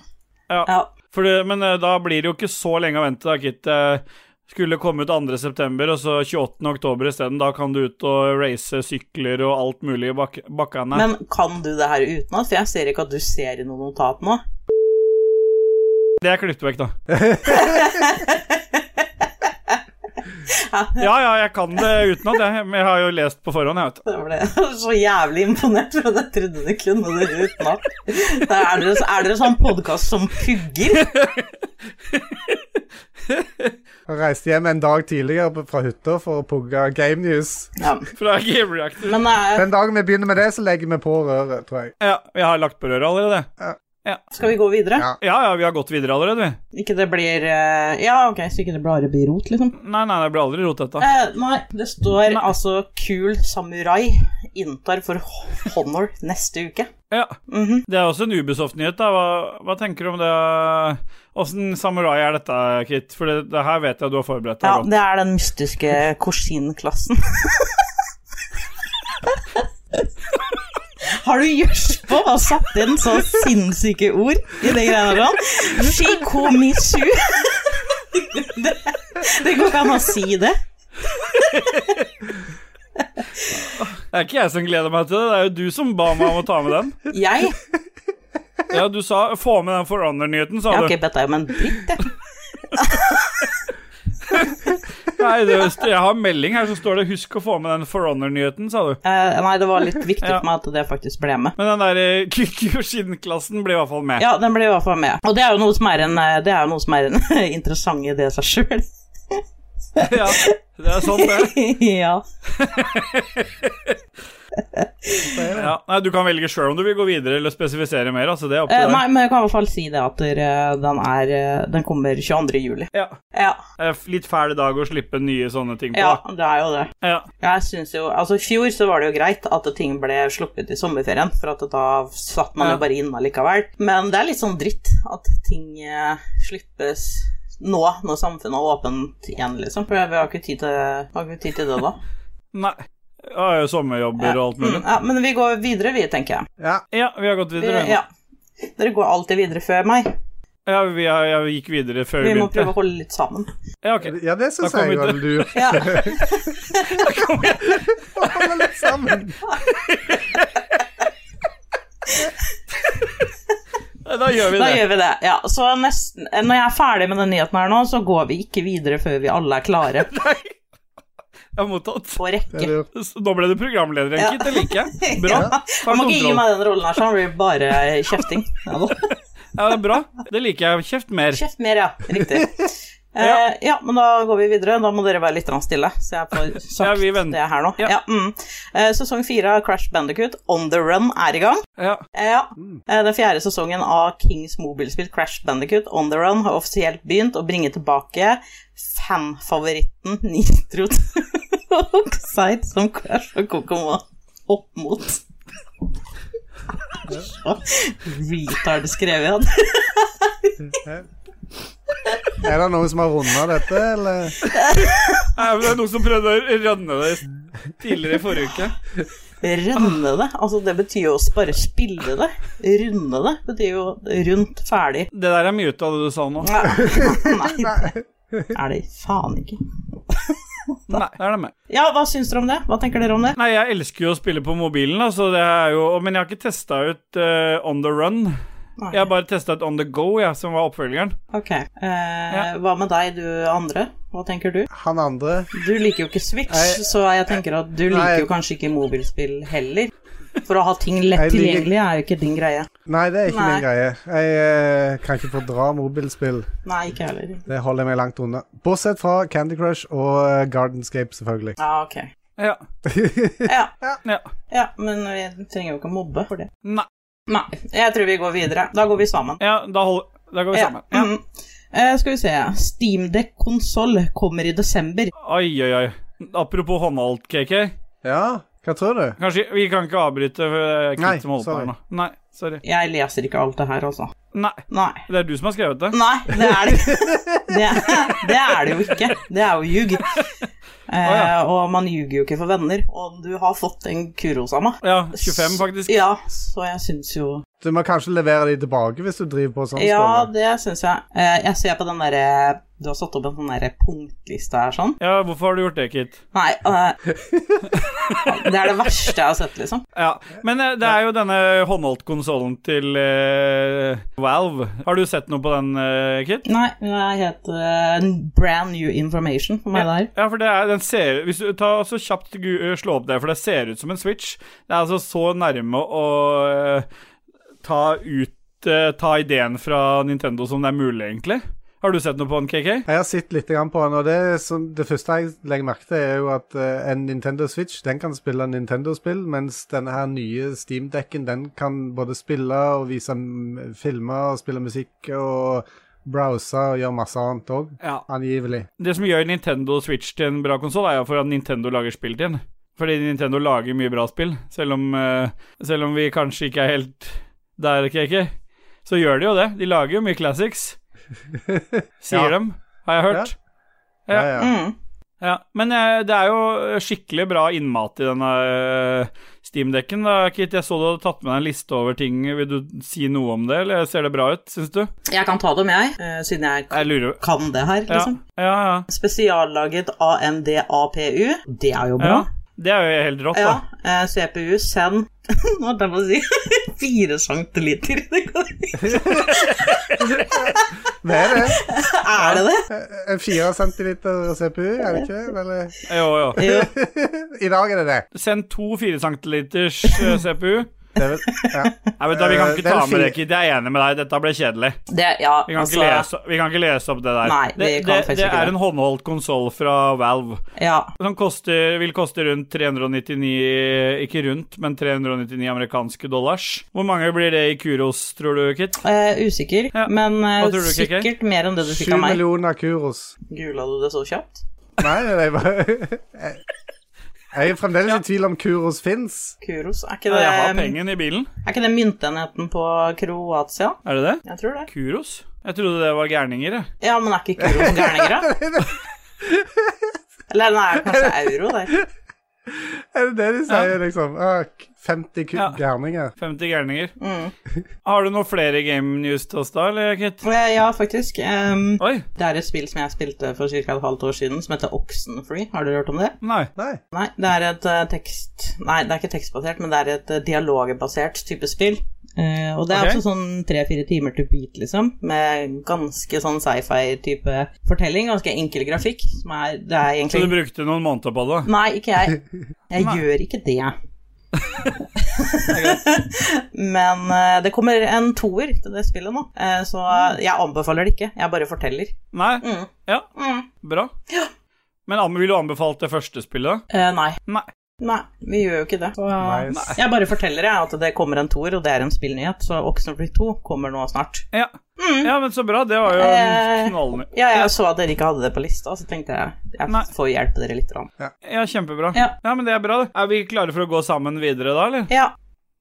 Speaker 2: Ja.
Speaker 1: For det, men eh, da blir det jo ikke så lenge å vente, da, Kit. Eh, Skulle komme ut 2. september, og så 28. oktober isteden. Da kan du ut og race sykler og alt mulig i bak bakkene.
Speaker 2: Men kan du det her utenat? For jeg ser ikke at du ser i noe notat nå.
Speaker 1: Det er klippet
Speaker 2: [laughs]
Speaker 1: vekk, da. ja, ja, jeg kan det utenat, jeg. Men jeg har jo lest på forhånd, jeg, vet du.
Speaker 2: [laughs] Jeg ble så jævlig imponert, for jeg trodde du kunne det utenat. Da Er dere, er dere sånn podkast som pugger?
Speaker 3: Jeg reiste hjem en dag tidligere på- fra hytta for å pugge Game News.
Speaker 2: Ja.
Speaker 1: Fra Game Reactor.
Speaker 2: Men eh,
Speaker 3: Den dagen vi begynner med det, så legger vi på røret, tror jeg.
Speaker 1: Ja, vi har lagt på røret allerede.
Speaker 2: skal vi gå videre?
Speaker 3: Ja.
Speaker 1: Ja, ja, vi har gått videre allerede, vi.
Speaker 2: Ikke det blir eh, Ja, ok, så ikke det bare blir rot, liksom.
Speaker 1: Nei, nei, det blir aldri rotete.
Speaker 2: Eh, nei, det står
Speaker 1: Nei.
Speaker 2: altså 'Kul samurai inntar for honor neste uke'.
Speaker 1: Ja.
Speaker 2: Mhm.
Speaker 1: Det er også en Ubisoft-nyhet. da. Hva, hva tenker du om det? Åssen samurai er dette, Kit? For det, det her vet jeg du har forberedt deg
Speaker 2: Ja,
Speaker 1: godt.
Speaker 2: det er den mystiske Korsin-klassen. Har du gjørspa og satt inn så sinnssyke ord i det greiene der? sånn? Shikomisu. Det, det går ikke an å si det.
Speaker 1: Det er ikke jeg som gleder meg til det, det er jo du som ba meg om å ta med den.
Speaker 2: Jeg,
Speaker 1: Ja, du sa 'få med den For Honor-nyheten', sa
Speaker 2: jeg har
Speaker 1: du.
Speaker 2: ikke bedt deg om en dritt, jeg.
Speaker 1: Nei, det, jeg har en melding her som står det 'husk å få med den For Honor-nyheten', sa du.
Speaker 2: Eh, nei, det var litt viktig
Speaker 1: Ja.
Speaker 2: for meg at det faktisk ble med.
Speaker 1: Men den der eh, Kyoshin-klassen blir i hvert fall med.
Speaker 2: [laughs] Ja, den ble i hvert fall med. Og det er jo noe som er en, eh, det er jo noe som er en [laughs] interessant idé i seg sjøl.
Speaker 1: [laughs]
Speaker 2: [laughs]
Speaker 1: Ja, Det er sånn, det.
Speaker 2: ja.
Speaker 3: Det er det.
Speaker 1: Ja. Nei, du kan velge sjøl om du vil gå videre eller spesifisere mer. Altså, det er opp
Speaker 2: Eh,
Speaker 1: til
Speaker 2: nei,
Speaker 1: deg.
Speaker 2: men jeg kan i hvert fall si det at eh, den, er, eh, den kommer 22. juli.
Speaker 1: Ja.
Speaker 2: Ja,
Speaker 1: Eh, Litt fæl dag å slippe nye sånne ting på.
Speaker 2: ja,
Speaker 1: da.
Speaker 2: det er jo det.
Speaker 1: Ja.
Speaker 2: Jeg synes jo, altså I fjor så var det jo greit at ting ble sluppet i sommerferien, for at da satt man
Speaker 1: Ja.
Speaker 2: jo bare inne likevel. Men det er litt sånn dritt at ting eh, slippes nå, når samfunnet er åpent igjen, liksom. For vi har ikke tid til, har ikke tid til det da.
Speaker 1: Nei. Jeg har jo sommerjobber og alt mulig.
Speaker 2: Mm, ja, men vi går videre, vi, tenker jeg.
Speaker 3: Ja.
Speaker 1: Ja, vi har gått
Speaker 2: Vi,
Speaker 1: videre.
Speaker 2: ja. Dere går alltid videre før meg.
Speaker 1: Ja, vi har, jeg gikk videre før vi
Speaker 2: Vi må prøve
Speaker 1: begynte.
Speaker 2: å holde litt sammen.
Speaker 1: Ja, ok.
Speaker 3: ja, det syns
Speaker 1: Da kom
Speaker 3: jeg
Speaker 1: vi
Speaker 3: var
Speaker 1: til-
Speaker 3: lurt.
Speaker 2: Ja.
Speaker 3: Å holde litt
Speaker 2: [laughs]
Speaker 3: sammen.
Speaker 1: Da gjør vi
Speaker 2: Da
Speaker 1: det.
Speaker 2: gjør vi det. Ja, så nesten, eh, når jeg er ferdig med den nyheten her nå, så går vi ikke videre før vi alle er klare
Speaker 1: Jeg har mottatt.
Speaker 2: på
Speaker 3: Det er
Speaker 2: rekke.
Speaker 3: lurt.
Speaker 1: Så Nå ble du programleder, Enkelt. Det liker jeg. [laughs] Bra.
Speaker 2: [laughs] Ja.
Speaker 1: Ta
Speaker 2: Man må ikke gi
Speaker 1: kontroll.
Speaker 2: meg den rollen her, så han blir bare kjefting. Ja, da.
Speaker 1: Ja, det er bra. Det liker jeg. Kjeft mer.
Speaker 2: Kjeft mer, ja. Riktig.
Speaker 1: [laughs]
Speaker 2: Eh, ja, men da går vi videre. Da må dere være litt grann stille, så jeg får
Speaker 1: Ja,
Speaker 2: sagt
Speaker 1: vi venter.
Speaker 2: det her nå.
Speaker 1: Ja.
Speaker 2: Ja, mm. eh, sesong fire av Crash Bandicoot, On the Run, er i gang.
Speaker 1: Ja.
Speaker 2: Eh, ja. Eh, den fjerde sesongen av Kings mobilspill Crash Bandicoot, On the Run, har offisielt begynt å bringe tilbake fanfavoritten Nitro Oxide, som Crash og Coco må opp mot. Så Retard skrevet igjen.
Speaker 3: Er det noen som har runda dette, eller?
Speaker 1: Nei, men Det er noen som prøvde å rønne det tidligere i forrige uke.
Speaker 2: Runde det. Altså, det betyr jo å bare spille det. Runde det betyr jo rundt, ferdig.
Speaker 1: Det der er mye ut av det du sa nå.
Speaker 2: Nei, er det faen ikke.
Speaker 1: Nei, det er det med.
Speaker 2: Ja, hva syns dere om det? Hva tenker dere om det?
Speaker 1: Nei, jeg elsker jo å spille på mobilen, da, så det er jo Men jeg har ikke testa ut eh, On the Run.
Speaker 2: Nei.
Speaker 1: Jeg har bare testa ut On the Go, jeg, som var oppfølgeren.
Speaker 2: Ok. Eh, Hva med deg, du andre? Hva tenker du?
Speaker 3: Han andre
Speaker 2: Du liker jo ikke Switch,
Speaker 3: Nei.
Speaker 2: så jeg tenker at du
Speaker 3: Nei.
Speaker 2: liker jo kanskje ikke mobilspill heller. For å ha ting lett
Speaker 3: Jeg liker-
Speaker 2: tilgjengelig er jo ikke din greie.
Speaker 3: Nei, det er ikke
Speaker 2: Nei.
Speaker 3: min greie. Jeg eh, kan ikke fordra mobilspill.
Speaker 2: Nei, ikke heller.
Speaker 3: Det holder jeg meg langt unna. Bortsett fra Candy Crush og eh, Gardenscape, selvfølgelig. [laughs]
Speaker 2: Ja, ok.
Speaker 1: Ja.
Speaker 2: Ja,
Speaker 1: ja.
Speaker 2: ja, men vi trenger jo ikke å mobbe for det.
Speaker 1: Nei.
Speaker 2: Nei, jeg tror vi går videre. Da går vi sammen.
Speaker 1: Ja, da, hold, da går vi sammen. Ja.
Speaker 2: Mm. Eh, skal vi se Steamdeck konsoll kommer i desember.
Speaker 1: Oi, oi, oi. Apropos håndholdt, KK.
Speaker 3: Ja, hva tror du?
Speaker 1: Kanskje Vi kan ikke avbryte eh,
Speaker 3: Nei,
Speaker 1: Knut som holder på her
Speaker 3: sorry.
Speaker 1: nå. Nei, sorry.
Speaker 2: Jeg leser ikke alt det her, altså.
Speaker 1: Nei.
Speaker 2: Nei.
Speaker 1: Det er du som har skrevet det.
Speaker 2: Nei, det er det ikke. Det, det er det jo ikke. Det er jo ljug. Eh,
Speaker 1: ja.
Speaker 2: og man ljuger jo ikke for venner. Og du har fått en Kurosama.
Speaker 1: Ja, 25, faktisk.
Speaker 2: Ja, så jeg syns jo
Speaker 3: Du må kanskje levere de tilbake hvis du driver på sånn.
Speaker 2: Ja,
Speaker 3: Ståle.
Speaker 2: det syns jeg. Eh, jeg ser på den derre Du har satt opp en sånn derre punktliste her, sånn.
Speaker 1: Ja, hvorfor har du gjort det, Kit?
Speaker 2: Nei, eh, det er det verste jeg har sett, liksom.
Speaker 1: Ja, Men eh, det er jo denne håndholdt-konsollen til eh, Valve. Har du sett noe på den, eh, Kit?
Speaker 2: Nei, men jeg heter eh, brand new information for meg der.
Speaker 1: Ja, for det er, den ser Hvis du tar så kjapt gu- eh, slå opp det, for det ser ut som en Switch. Det er altså så nærme å eh, ta ut eh, Ta ideen fra Nintendo som det er mulig, egentlig. Har du sett noe på den, KK?
Speaker 3: Jeg har sett litt grann på den, og det, som, det første jeg legger merke til, er jo at eh, en Nintendo Switch den kan spille Nintendo-spill, mens denne her nye Steam-dekken den kan både spille og vise mm, filmer og spille musikk og browse og gjøre masse annet òg,
Speaker 1: Ja.
Speaker 3: angivelig.
Speaker 1: Det som gjør Nintendo Switch til en bra konsoll, er jo for at Nintendo lager spill til den. Fordi Nintendo lager mye bra spill, selv om, eh, selv om vi kanskje ikke er helt der, KK. Så gjør de jo det. De lager jo mye classics, sier
Speaker 3: Ja.
Speaker 1: dem, har jeg hørt. Ja.
Speaker 3: Ja, ja.
Speaker 2: Mm.
Speaker 1: Ja. Men eh, det er jo skikkelig bra innmat i denne uh, Steam-dekken, da, Kit. Jeg så du hadde tatt med deg en liste over ting. Vil du si noe om det, eller ser det bra ut, syns du?
Speaker 2: Jeg kan ta dem, jeg, eh, siden jeg
Speaker 1: Jeg lurer
Speaker 2: kan det her,
Speaker 1: Ja,
Speaker 2: liksom.
Speaker 1: ja. ja.
Speaker 2: Spesiallaget AMD-APU. Det er jo
Speaker 1: ja.
Speaker 2: bra.
Speaker 1: Det er jo helt rått,
Speaker 2: Ja.
Speaker 1: da.
Speaker 2: eh, CPU, send [laughs] Hva er det jeg må si? [laughs] Fire centiliter. [laughs] Det går ikke.
Speaker 3: Det er det.
Speaker 2: er det det?
Speaker 3: En fire centiliter CPU, er det ikke? Eller,
Speaker 1: Jo, jo.
Speaker 2: Jo.
Speaker 3: I dag er det det.
Speaker 1: eh,
Speaker 2: [laughs]
Speaker 1: Send to 4 cm CPU
Speaker 3: Det er vel- ja.
Speaker 1: Nei, vet du, hva, vi kan
Speaker 3: Eh,
Speaker 1: ikke
Speaker 3: det er
Speaker 1: ta
Speaker 3: en
Speaker 1: med det,
Speaker 3: fi-
Speaker 1: Kid. Jeg er enig med deg. Dette ble kjedelig.
Speaker 2: Det, ja,
Speaker 1: Vi kan,
Speaker 2: altså,
Speaker 1: ikke, lese, vi kan ikke lese opp det der.
Speaker 2: Nei, vi
Speaker 1: det,
Speaker 2: kan
Speaker 1: det,
Speaker 2: faktisk
Speaker 1: det
Speaker 2: ikke
Speaker 1: er
Speaker 2: det.
Speaker 1: en håndholdt konsoll fra Valve.
Speaker 2: ja.
Speaker 1: Den koster, vil koste rundt 399 eh, Ikke rundt, men 399 amerikanske dollars. Hvor mange blir det i Kuros, tror du, Kit?
Speaker 2: Eh, usikker,
Speaker 1: Ja.
Speaker 2: men eh,
Speaker 1: Hva tror du, KK?
Speaker 2: [laughs] sikkert mer enn det du fikk
Speaker 3: Sju
Speaker 2: av meg.
Speaker 3: millioner kuros.
Speaker 2: Gula du det så kjapt?
Speaker 3: Nei, nei, nei bare [laughs] Jeg- Jeg er fremdeles i tvil om kuros [laughs] fins.
Speaker 2: Kuros, er ikke
Speaker 1: Nei,
Speaker 2: det,
Speaker 1: jeg har pengen i bilen.
Speaker 2: er ikke det myntenheten på Kroatia?
Speaker 1: Er det det?
Speaker 2: Jeg tror det.
Speaker 1: Kuros? Jeg trodde det var gærninger, jeg.
Speaker 2: Ja, men er
Speaker 1: [laughs]
Speaker 2: ikke Kuros gærninger, da? Eller nei, er det kanskje euro der?
Speaker 3: Er det det de sier, liksom? Ah, k- 50 ku
Speaker 1: Ja.
Speaker 3: gærninger.
Speaker 1: 50 gærninger.
Speaker 2: Mm.
Speaker 1: Har du noen flere game news til oss da, eller, Kit?
Speaker 2: Eh, Ja, faktisk. ehm,
Speaker 1: Oi.
Speaker 2: det er et spill som jeg spilte for ca. et halvt år siden, som heter Oxenfree. Har dere hørt om det?
Speaker 1: Nei.
Speaker 3: Nei.
Speaker 2: Nei, det er et eh, tekst... Nei, det er ikke tekstbasert, men det er et eh, dialogbasert type spill. Eh, og det er
Speaker 1: Ok.
Speaker 2: også sånn tre-fire timer til beat, liksom, med ganske sånn sci-fi-type fortelling. Ganske enkel grafikk, som er Det er
Speaker 1: Så du
Speaker 2: egentlig
Speaker 1: brukte noen måneder på det?
Speaker 2: Nei, ikke
Speaker 1: [laughs]
Speaker 2: jeg. Jeg
Speaker 1: Nei.
Speaker 2: gjør ikke
Speaker 1: [laughs]
Speaker 2: det. [laughs] men eh, det kommer en toer til det spillet nå, eh, så jeg anbefaler det ikke. Jeg bare forteller.
Speaker 1: Nei?
Speaker 2: Mm.
Speaker 1: Ja,
Speaker 2: Mm.
Speaker 1: bra. Men Anne, ville du anbefalt det første spillet?
Speaker 2: Eh, nei.
Speaker 1: Nei.
Speaker 2: Nei, vi gjør jo ikke det. Så,
Speaker 3: Nice.
Speaker 2: Jeg bare forteller jeg, at det kommer en toer, og det er en spillnyhet, så Oxenfree 2 kommer nå snart.
Speaker 1: Ja. ja, men så bra. Det var jo en
Speaker 2: Mm. Eh,
Speaker 1: knallny...
Speaker 2: Ja, jeg så at dere ikke hadde det på lista, så tenkte jeg
Speaker 1: Nei.
Speaker 2: jeg får hjelpe dere litt. grann.
Speaker 1: Ja, kjempebra.
Speaker 2: Ja.
Speaker 1: Ja, men det er bra. det. Er vi klare for å gå sammen videre da, eller?
Speaker 2: Ja,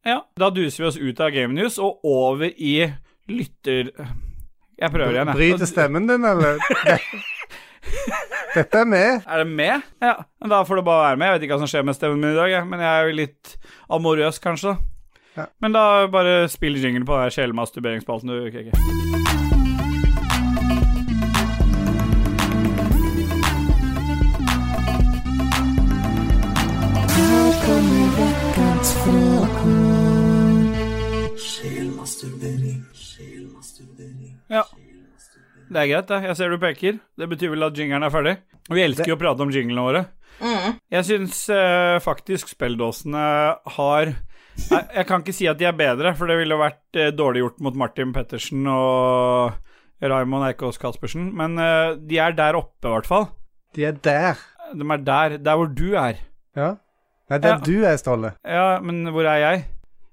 Speaker 1: Ja. Da duser vi oss ut av Game News og over i lytter... Jeg prøver igjen, jeg.
Speaker 3: Bryter stemmen din, eller? Dette er med.
Speaker 1: Er det med? Ja. men Da får det bare være med. Jeg vet ikke hva som skjer med stemmen min i dag, jeg. men jeg er jo litt amorøs, kanskje.
Speaker 3: Ja.
Speaker 1: Men da bare spill jingle på den her sjelmasturberingsspalten du KK.
Speaker 5: Her kommer veckans fråga.
Speaker 1: Ja. Det er greit, det. Jeg ser du peker. Det betyr vel at jingeren er ferdig. Vi elsker jo å prate om jinglene våre. Jeg syns eh, faktisk spelldåsene har Nei, Jeg kan ikke si at de er bedre, for det ville vært eh, dårlig gjort mot Martin Pettersen og Raymond Eikås Caspersen, men eh, de er der oppe, i hvert fall.
Speaker 3: De er der.
Speaker 1: De er der, der hvor du er.
Speaker 3: Ja. Nei, der
Speaker 1: Ja.
Speaker 3: du er, Ståle.
Speaker 1: Ja, men hvor er jeg?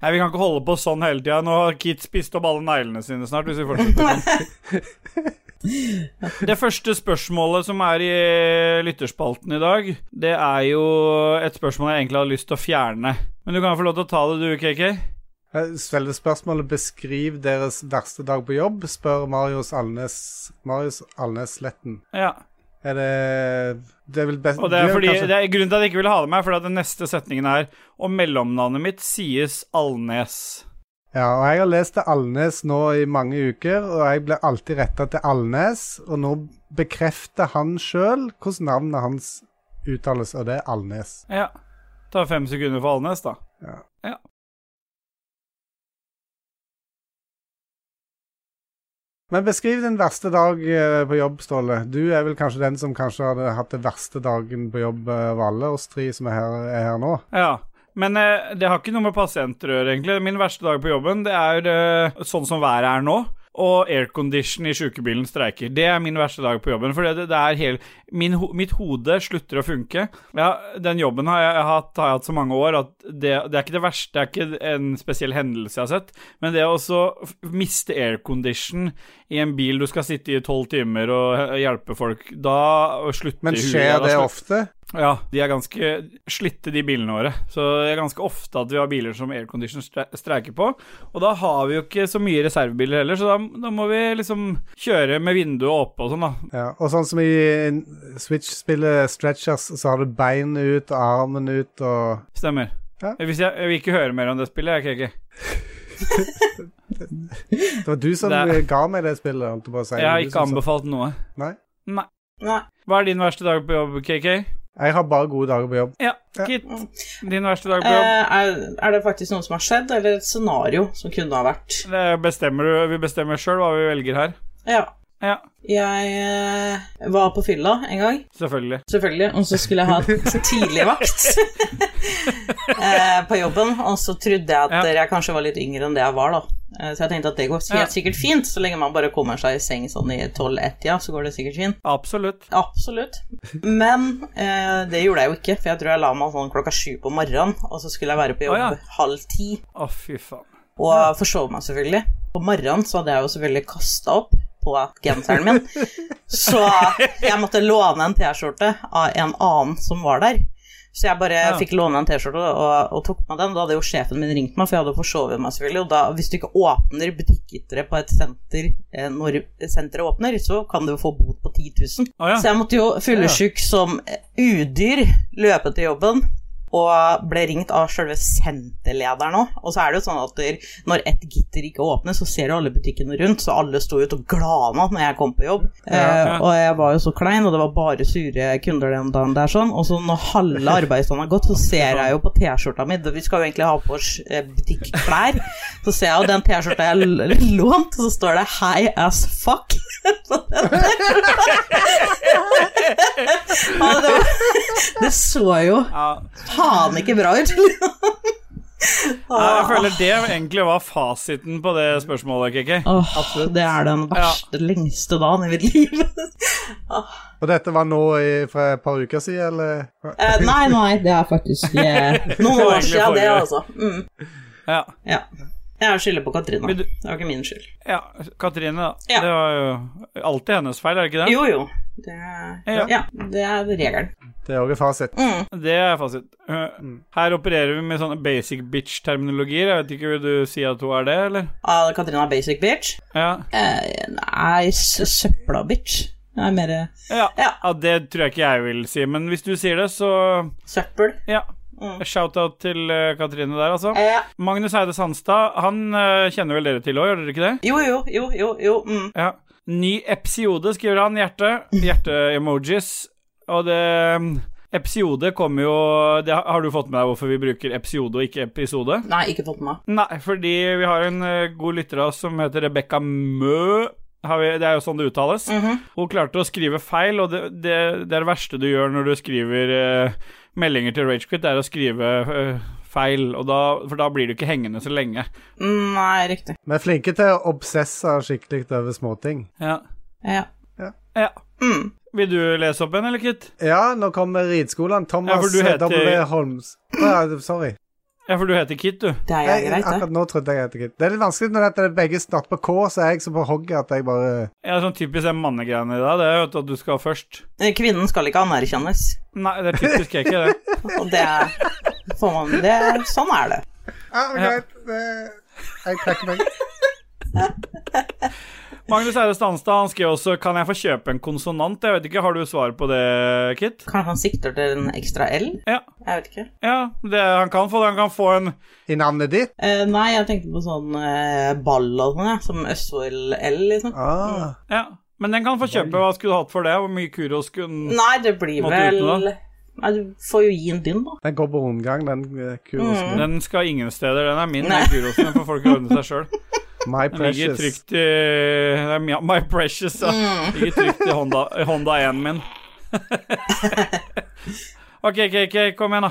Speaker 1: Nei, Vi kan ikke holde på sånn hele tida. Nå har Kit spist opp alle neglene sine snart. hvis vi
Speaker 3: [laughs]
Speaker 1: fortsetter sånn. Det første spørsmålet som er i lytterspalten i dag, det er jo et spørsmål jeg egentlig hadde lyst til å fjerne. Men du kan få lov til å ta det, du, KK.
Speaker 3: Eh, Selve spørsmålet 'Beskriv deres verste dag på jobb', spør Marius Alnes Marius Alnes Sletten.
Speaker 1: Ja.
Speaker 3: Er det Det er vel best
Speaker 1: Og det er,
Speaker 3: du
Speaker 1: fordi,
Speaker 3: kanskje-
Speaker 1: det er grunnen til at jeg ikke ville ha det med, er fordi at den neste setningen er Og mellomnavnet mitt sies Alnes.
Speaker 3: Ja, og jeg har lest til Alnes nå i mange uker, og jeg ble alltid retta til Alnes, og nå bekrefter han sjøl hvordan navnet hans uttales, og det er Alnes.
Speaker 1: Ja. Ta fem sekunder for Alnes, da.
Speaker 3: Men beskriv din verste dag eh, på jobb, Ståle. Du er vel kanskje den som kanskje hadde hatt den verste dagen på jobb eh, av alle oss tre som er her, er her nå.
Speaker 1: Ja, men eh, det har ikke noe med pasienter å gjøre, egentlig. Min verste dag på jobben, det er eh, sånn som været er nå. Og aircondition i sjukebilen streiker. Det er min verste dag på jobben. For det, det er hel, min, ho- mitt hode slutter å funke. Ja, den jobben har jeg hatt, har jeg hatt så mange år at det, det er ikke det verste. Det er ikke en spesiell hendelse jeg har sett. Men det å så f- miste aircondition i en bil du skal sitte i i tolv timer og eh, hjelpe folk, da slutter
Speaker 3: Men
Speaker 1: huet.
Speaker 3: skjer
Speaker 1: Da
Speaker 3: det
Speaker 1: slutter-
Speaker 3: ofte?
Speaker 1: ja, de er ganske slitte, de bilene våre. Så det er ganske ofte at vi har biler som aircondition stre- streiker på. Og da har vi jo ikke så mye reservebiler heller, så da, da må vi liksom kjøre med vinduet oppe og sånn, da.
Speaker 3: Ja, og sånn som i en- Switch-spillet Stretchers, så har du bein ut og armen ut og
Speaker 1: Stemmer. Eh,
Speaker 3: Ja.
Speaker 1: Hvis jeg, jeg vil ikke høre mer om det spillet, jeg, KK.
Speaker 3: Det var du som
Speaker 1: Det-
Speaker 3: eh, ga meg det spillet, holdt jeg på å si.
Speaker 1: Jeg har
Speaker 3: Du
Speaker 1: ikke
Speaker 3: som sa-
Speaker 1: anbefalt noe.
Speaker 3: Nei.
Speaker 2: nei.
Speaker 1: Hva er din verste dag på jobb, KK?
Speaker 3: Jeg har bare gode dager på jobb.
Speaker 1: Ja,
Speaker 3: Ja.
Speaker 1: Kit. Din verste dag på jobb.
Speaker 2: Eh, er, er det faktisk noe som har skjedd, eller et scenario som kunne ha vært?
Speaker 1: Det bestemmer du. Vi bestemmer sjøl hva vi velger her.
Speaker 2: Ja.
Speaker 1: Ja,
Speaker 2: Jeg eh, var på fylla en gang.
Speaker 1: selvfølgelig.
Speaker 2: Selvfølgelig. Og så skulle jeg ha
Speaker 1: [laughs]
Speaker 2: tidligvakt eh, på jobben. Og så trodde jeg at
Speaker 1: Ja.
Speaker 2: jeg kanskje var litt yngre enn det jeg var, da. Eh, Så jeg tenkte at det går
Speaker 1: Ja.
Speaker 2: helt sikkert fint, så lenge man bare kommer seg i seng sånn i 12-1-tida, så går det sikkert fint.
Speaker 1: Absolutt.
Speaker 2: Absolutt. Men eh, det gjorde jeg jo ikke, for jeg tror jeg la meg sånn klokka sju på morgenen, og så skulle jeg være på jobb
Speaker 1: Å, ja.
Speaker 2: halv ti,
Speaker 1: Å, fy faen.
Speaker 2: og forsov meg selvfølgelig. På morgenen så hadde jeg jo selvfølgelig kasta opp på genseren min, så jeg måtte låne en T-skjorte av en annen som var der. Så jeg bare
Speaker 1: Ja.
Speaker 2: fikk låne en T-skjorte og, og tok med den. Da hadde jo sjefen min ringt meg, for jeg hadde forsovet meg selvfølgelig. Og da, hvis du ikke åpner butikkgitteret på et senter eh, når senteret åpner, så kan du jo få bot på 10 000.
Speaker 1: Å ja.
Speaker 2: Så jeg måtte jo fyllesyk som udyr løpe til jobben. Og ble ringt av sjølve senterlederen òg. Og så er det jo sånn at der- når ett gitter ikke åpner, så ser du alle butikkene rundt, så alle sto ut og glana når jeg kom på jobb.
Speaker 1: Ja.
Speaker 2: Eh, og jeg var jo så klein, og det var bare sure kunder den dagen der sånn. Og så når halve arbeidsdagen har gått, så ser jeg jo på T-skjorta mi Vi skal jo egentlig ha på oss eh, butikklær. Så ser jeg jo den T-skjorta jeg l- lånte, så står det 'High as fuck'. [laughs] på den ja, det, var, det så jo
Speaker 1: ja.
Speaker 2: faen ikke bra
Speaker 1: [laughs]
Speaker 2: ut.
Speaker 1: Jeg føler det egentlig var fasiten på det spørsmålet, Kiki.
Speaker 2: Åh, det er den verste, lengste dagen i mitt liv. [laughs]
Speaker 3: Og dette var nå i, fra et par uker siden, eller?
Speaker 2: Eh, nei, nei, det er faktisk eh,
Speaker 1: [laughs] Det
Speaker 2: noen
Speaker 1: var
Speaker 2: år
Speaker 1: egentlig
Speaker 2: siden, det,
Speaker 1: forrige.
Speaker 2: altså. Mm,
Speaker 1: Ja.
Speaker 2: ja. Jeg skylder på Katrine.
Speaker 1: Men du-
Speaker 2: Det var ikke min skyld.
Speaker 1: ja. Katrine, da.
Speaker 2: Ja.
Speaker 1: Det var jo alltid hennes feil, er det ikke det?
Speaker 2: Jo, jo. Det,
Speaker 1: Ja.
Speaker 2: ja, det er regelen.
Speaker 3: Det er òg et fasit.
Speaker 2: Mm.
Speaker 1: Det er fasit. Uh, Her opererer vi med sånne basic bitch-terminologier. Jeg vet ikke, Vil du si at hun er det, eller?
Speaker 2: Ah, Katrine er basic bitch.
Speaker 1: Ja.
Speaker 2: Eh, nei, s- søpla bitch. Det er mer
Speaker 1: Ja.
Speaker 2: Ja.
Speaker 1: ja, det tror jeg ikke jeg vil si, men hvis du sier det, så
Speaker 2: søppel.
Speaker 1: ja.
Speaker 2: Mm.
Speaker 1: Shout-out til eh, Katrine der, altså.
Speaker 2: Eh,
Speaker 1: Magnus Eide Sandstad, han eh, kjenner vel dere til òg, gjør dere ikke det?
Speaker 2: jo, jo, jo, jo. jo mm.
Speaker 1: Ja. Ny episode, skriver han. Hjerte. Hjerte-emojis. Og det um, Episode kommer jo det, har- Har du fått med deg hvorfor vi bruker episode og ikke episode?
Speaker 2: Nei, ikke fått med meg.
Speaker 1: Nei, fordi vi har en eh, god lytter av oss som heter Rebekka Mø. Har vi, det er jo sånn det uttales. Hun klarte å skrive feil, og det, det, det er det verste du gjør når du skriver eh, meldinger til Ragequit, det er å skrive eh, feil, og da, for da blir du ikke hengende så lenge.
Speaker 2: Mm, Nei, riktig.
Speaker 3: Vi er flinke til å obsesse skikkelig over småting.
Speaker 1: Ja.
Speaker 2: Ja.
Speaker 1: ja.
Speaker 2: Mm.
Speaker 1: Vil du lese opp en, eller, Kit?
Speaker 3: Ja, nå kommer rideskolen.
Speaker 1: Ja, for
Speaker 3: Thomas eh,
Speaker 1: du heter-
Speaker 3: W. Holmes. Å, ja, sorry.
Speaker 1: Ja, for du heter Kit, du.
Speaker 2: Det er
Speaker 3: Jeg,
Speaker 2: jo greit, det.
Speaker 3: akkurat nå trodde jeg det. var greit. Det er litt vanskelig når det er begge starter på K, så er jeg så på hogget at jeg bare
Speaker 1: Ja, sånn typisk den mannegreiene i deg, det er jo at du skal først.
Speaker 2: Kvinnen skal ikke anerkjennes.
Speaker 1: Nei, det er typisk jeg ikke, det.
Speaker 2: Og det er får man, det, er- Sånn er det.
Speaker 3: Ja, men
Speaker 1: Ja.
Speaker 3: greit. det- Jeg trekker meg.
Speaker 1: Magnus Eide Stanstad, han skrev også 'Kan jeg få kjøpe en konsonant?' Jeg vet ikke, har du svar på det, Kit?
Speaker 2: Kanskje han sikter til en ekstra L?
Speaker 1: Ja.
Speaker 2: Jeg vet ikke.
Speaker 1: Ja, det, han kan få det. Han kan få en
Speaker 3: I navnet ditt?
Speaker 2: Eh, nei, jeg tenkte på sånn eh, ball og sånn, jeg, som Østfold-L, liksom.
Speaker 3: Ah.
Speaker 1: Ja. Men den kan få kjøpe. Hva skulle du hatt for det? Hvor mye Kuros kunne
Speaker 2: Nei, det blir
Speaker 1: Måtte
Speaker 2: vel
Speaker 1: du uten
Speaker 2: Nei, du får jo gi en dynn, da.
Speaker 3: Den går på rundgang, den eh,
Speaker 2: Mm.
Speaker 3: kurosen.
Speaker 1: Den skal ingen steder. Den er min,
Speaker 2: Nei.
Speaker 1: den Kurosen. Den får folk ordne seg sjøl.
Speaker 3: My
Speaker 1: Den ligger
Speaker 3: precious.
Speaker 1: trygt i det er mi- My Precious, ja.
Speaker 2: Mm.
Speaker 1: Ligger trygt i Honda, i Honda 1 min. [laughs] OK, KK, kom igjen, da.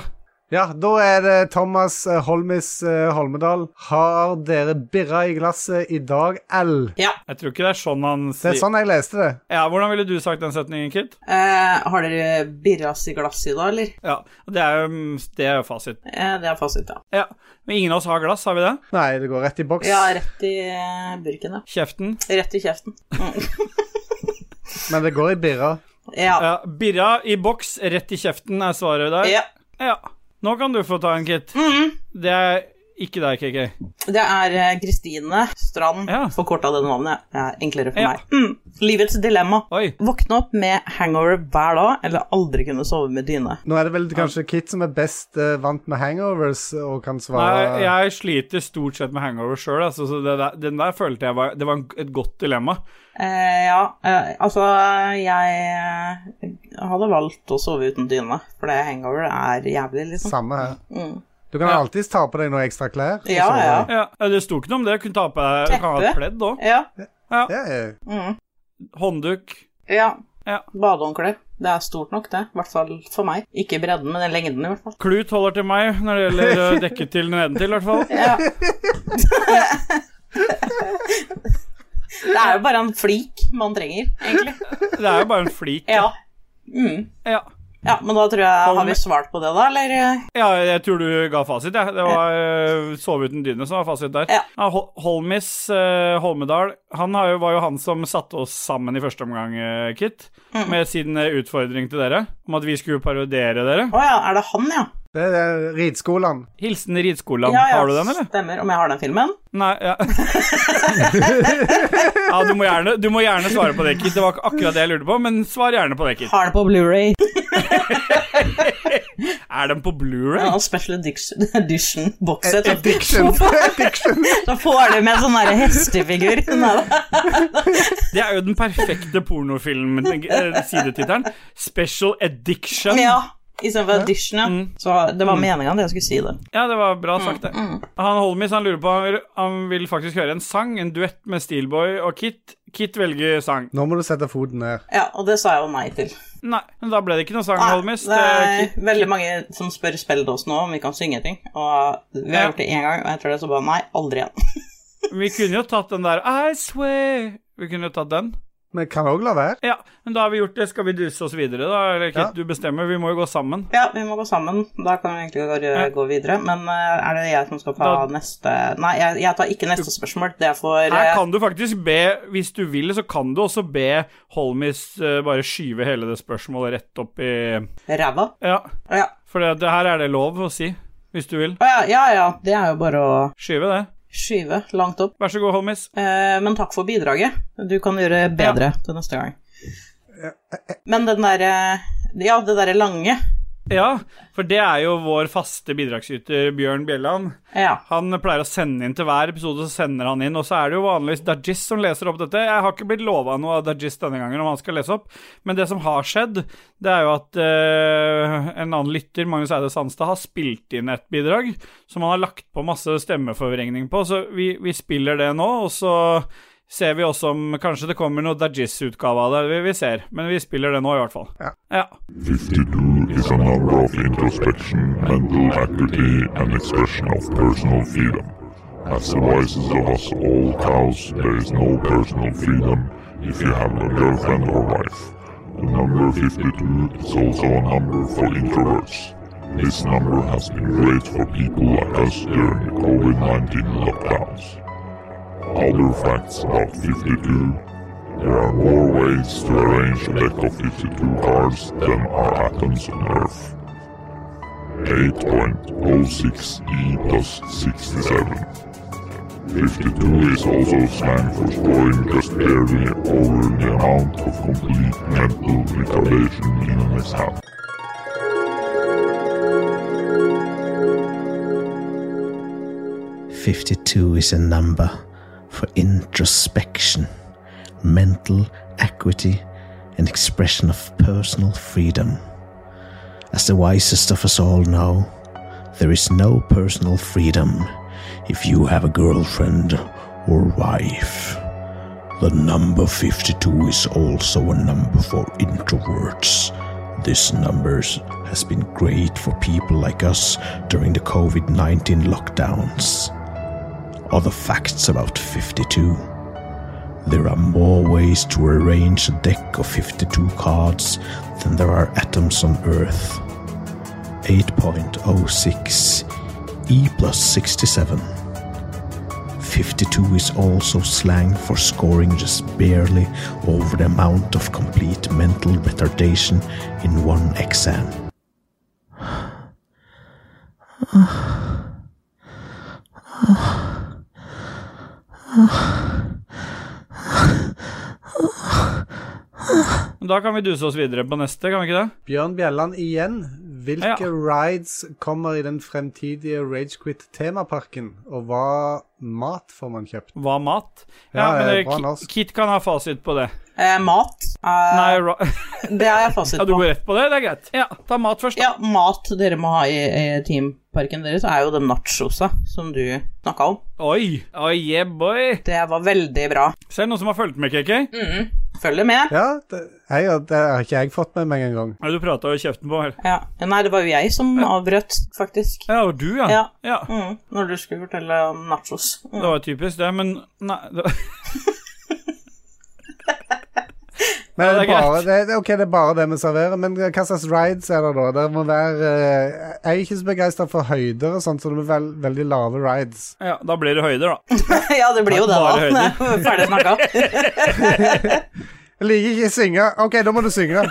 Speaker 3: Ja, da er det Thomas eh, Holmis eh, Holmedal. Har dere birra i glasset i dag, L?
Speaker 1: Jeg tror ikke det er sånn han
Speaker 3: Det
Speaker 1: sier
Speaker 3: er sånn jeg leste det.
Speaker 1: Ja, Hvordan ville du sagt den setningen, Kit?
Speaker 2: Eh, har dere birras i glasset i dag, eller?
Speaker 1: Ja, Det er jo, det er jo fasit.
Speaker 2: Eh, det er fasit, ja.
Speaker 1: Ja, men ingen av oss har glass, har vi det?
Speaker 3: Nei, det går rett i boks.
Speaker 2: Ja, rett i eh, burken, ja.
Speaker 1: Kjeften.
Speaker 2: Rett i kjeften. Mm.
Speaker 3: Men det går i birra.
Speaker 2: Ja.
Speaker 1: Ja, birra i boks, rett i kjeften er svaret der.
Speaker 2: ja. Mm-hmm.
Speaker 1: Ja. Nå kan du få ta en, Kit. Det er ikke deg, KK.
Speaker 2: Det er eh, Kristine Strand,
Speaker 1: Ja.
Speaker 2: forkorta det navnet. Det er enklere for
Speaker 1: Ja.
Speaker 2: meg. Mm. Livets dilemma.
Speaker 1: Oi.
Speaker 2: Våkne opp med hangover hver dag, eller aldri kunne sove med dyne.
Speaker 3: Nå er det vel kanskje Kit som er best eh, vant med hangovers og kan svare
Speaker 1: Nei, jeg sliter stort sett med hangover sjøl, altså, så det der, den der følte jeg var Det var en, et godt dilemma.
Speaker 2: Eh, ja, eh, altså Jeg eh, hadde valgt å sove uten dyne, for det hangover er jævlig, liksom.
Speaker 3: Samme her.
Speaker 2: Mm.
Speaker 3: Du kan
Speaker 1: Ja.
Speaker 3: alltids ta på deg noen ekstra klær. og
Speaker 2: Ja,
Speaker 3: sove.
Speaker 2: ja.
Speaker 1: eh, Ja, Det sto ikke noe om det. Du kunne ta på deg du kan ha et pledd òg.
Speaker 2: Ja.
Speaker 3: Det er jo
Speaker 2: Mm.
Speaker 1: Håndduk.
Speaker 2: Ja.
Speaker 1: Ja.
Speaker 2: Badehåndkle. Det er stort nok, det. I hvert fall for meg. Ikke bredden, men den lengden, i hvert fall.
Speaker 1: Klut holder til meg når det gjelder eh, dekket til nedentil, i hvert fall. [laughs]
Speaker 2: Ja. det er jo bare en flik man trenger, egentlig.
Speaker 1: Det er jo bare en flik.
Speaker 2: Ja. Mm.
Speaker 1: Ja.
Speaker 2: ja, men da tror jeg Har vi svart på det, da, eller?
Speaker 1: ja, jeg tror du ga fasit, jeg. Det var eh, sove uten dyne som var fasit der.
Speaker 2: Ja.
Speaker 1: Hol- Holmis eh, Holmedal, han har jo, var jo han som satte oss sammen i første omgang, eh, Kit,
Speaker 2: Mm.
Speaker 1: med sin eh, utfordring til dere om at vi skulle parodiere dere.
Speaker 2: Å ja, er det han, ja?
Speaker 3: Det er det ridskolen.
Speaker 1: Hilsen Ridskolan.
Speaker 2: ja, ja
Speaker 1: Har du den, eller?
Speaker 2: Stemmer. Om jeg har den filmen?
Speaker 1: Nei, ja. [laughs] ja du, må gjerne, du må gjerne svare på det, Kit. Det var ikke akkurat det jeg lurte på, men svar gjerne på det, Kit.
Speaker 2: Har den på Blu-ray.
Speaker 1: Er den på Blu-ray?
Speaker 2: Ja, special edition, edition boxet.
Speaker 3: Addiction. [laughs] Addiction.
Speaker 2: Så får du med sånn derre hestefigur. [laughs] Nei da.
Speaker 1: Det er jo den perfekte pornofilm-sidetittelen. Special Addiction.
Speaker 2: Ja. Istedenfor edition, ja.
Speaker 1: Mm.
Speaker 2: Så det var meninga at jeg skulle si det.
Speaker 1: Ja, det var bra sagt, det. Han Holmis han lurer på han vil, han vil faktisk høre en sang, en duett med Steelboy og Kit. Kit velger sang.
Speaker 3: Nå må du sette foten ned.
Speaker 2: Ja, og det sa jeg jo nei til.
Speaker 1: Nei, men da ble det ikke noe sang,
Speaker 2: Ah,
Speaker 1: eh,
Speaker 2: Nei,
Speaker 1: Holmis.
Speaker 2: det er
Speaker 1: Ah, Kit.
Speaker 2: veldig mange som spør spilledås nå om vi kan synge ting, og vi har
Speaker 1: Ja.
Speaker 2: gjort det én gang, og etter det så bare nei, aldri igjen. [laughs]
Speaker 1: Vi kunne jo tatt den der I swear. Vi kunne jo tatt den.
Speaker 3: Vi kan òg la være.
Speaker 1: Ja, men da har vi gjort det. Skal vi duse oss videre, da? Eller Kit,
Speaker 3: Ja.
Speaker 1: du bestemmer. Vi må jo gå sammen.
Speaker 2: Ja, vi må gå sammen, da kan vi egentlig bare
Speaker 1: Ja.
Speaker 2: gå videre, men eh, er det jeg som skal ta
Speaker 1: Da-
Speaker 2: neste Nei, jeg, jeg tar ikke neste spørsmål, det får
Speaker 1: Her
Speaker 2: eh,
Speaker 1: kan du faktisk be, hvis du vil, så kan du også be Holmis eh, bare skyve hele det spørsmålet rett opp i
Speaker 2: ræva.
Speaker 1: Ja,
Speaker 2: Å ja.
Speaker 1: for det, det her er det lov å si, hvis du vil.
Speaker 2: Å ja, ja ja, det er jo bare å
Speaker 1: Skyve det.
Speaker 2: skyve langt opp.
Speaker 1: Vær så god, Holmis.
Speaker 2: Eh, men takk for bidraget. Du kan gjøre bedre til neste gang. Men den derre Ja, det derre lange.
Speaker 1: Ja, for det er jo vår faste bidragsyter Bjørn Bjelland.
Speaker 2: Ja.
Speaker 1: Han pleier å sende inn til hver episode, så sender han inn, og så er det jo vanligvis Dajis som leser opp dette. Jeg har ikke blitt lova noe av Dajis denne gangen om han skal lese opp, men det som har skjedd, det er jo at eh, en annen lytter, Magnus Eide Sandstad, har spilt inn et bidrag som han har lagt på masse stemmeforvrengning på, så vi, vi spiller det nå, og så ser vi også om kanskje det kommer noe Dajis-utgave av det, vi, vi ser, men vi spiller det nå i hvert fall.
Speaker 3: Ja.
Speaker 1: ja.
Speaker 9: 52 is a number of introspection, mental acuity, and expression of personal freedom. As the voices of us all cows, there is no personal freedom if you have a girlfriend or wife. The number 52 is also a number for introverts. This number has been great for people like us during the COVID-19 lockdowns. Other facts about 52 there are more ways to arrange a deck of 52 cards than are atoms on Earth. 8.06e E plus 67. 52 is also slang for scoring just barely over the amount of complete mental retardation in an exam.
Speaker 8: Fifty-two is a number for introspection, mental acuity, and expression of personal freedom. As the wisest of us all know, there is no personal freedom if you have a girlfriend or wife. The number 52 is also a number for introverts. This number has been great for people like us during the COVID 19 lockdowns. Other facts about 52 there are more ways to arrange a deck of 52 cards than there are atoms on Earth. 8.06 E plus 67. 52 is also slang for scoring just barely over the amount of complete mental retardation in one exam.
Speaker 1: Da kan vi duse oss videre på neste, kan vi ikke det?
Speaker 3: Bjørn Bjelland igjen. Hvilke
Speaker 1: Ja.
Speaker 3: rides kommer i den fremtidige Ragequit-temaparken, og hva mat får man kjøpt?
Speaker 1: Hva mat? Ja,
Speaker 3: Ja,
Speaker 1: men
Speaker 3: ja,
Speaker 1: eh,
Speaker 3: bra
Speaker 1: Ki-
Speaker 3: norsk.
Speaker 1: Kit kan ha fasit på det.
Speaker 2: Eh, mat. Eh,
Speaker 1: Nei, ra
Speaker 2: Det har jeg
Speaker 1: [laughs]
Speaker 2: fasit
Speaker 1: ja, du
Speaker 2: på.
Speaker 1: går rett på det? Det er greit. Ja, ta mat først. da.
Speaker 2: Ja, mat dere må ha i, i teamparken deres, er jo den nachosa som du snakka om.
Speaker 1: Oi. Oi, yeah, boy. Mm.
Speaker 2: Det var veldig bra.
Speaker 1: Ser du noen som har fulgt med, KK?
Speaker 2: følger med.
Speaker 3: Ja, det, hei, ja, det har ikke jeg fått med meg engang.
Speaker 1: Ja, du prata jo i kjeften på meg.
Speaker 2: Ja. Nei, det var jo jeg som avbrøt, faktisk.
Speaker 1: Ja, og du, ja.
Speaker 2: Ja.
Speaker 1: ja.
Speaker 2: Mm, når du skulle fortelle om nachos.
Speaker 1: [laughs] Det var typisk, det, men nei det...
Speaker 3: Men
Speaker 1: Ja,
Speaker 3: er
Speaker 1: det
Speaker 3: det,
Speaker 1: er
Speaker 3: bare, det, det- ok, det er bare det vi serverer. Men hva slags rides er det da? Det må være eh, Jeg er ikke så begeistra for høyder og sånt, så det blir vel, veldig lave rides.
Speaker 1: [laughs] Ja, da blir det høyder, da.
Speaker 2: ja, det blir jo det,
Speaker 1: Bare
Speaker 2: da. [laughs] Ferdig
Speaker 1: [laughs]
Speaker 2: snakka.
Speaker 3: Jeg liker ikke å synge. OK, da må du synge.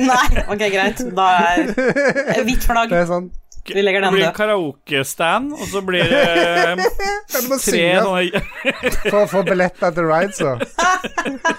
Speaker 2: Nei, ok, greit. Da er hvitt flagg.
Speaker 3: Det er sånn.
Speaker 2: Vi legger
Speaker 1: Det
Speaker 2: den
Speaker 1: blir
Speaker 2: død.
Speaker 1: karaokestand, og så blir det eh,
Speaker 3: Ja, Du må
Speaker 1: tre
Speaker 3: synge
Speaker 1: sånne [laughs]
Speaker 3: for å få billetter til rides. da.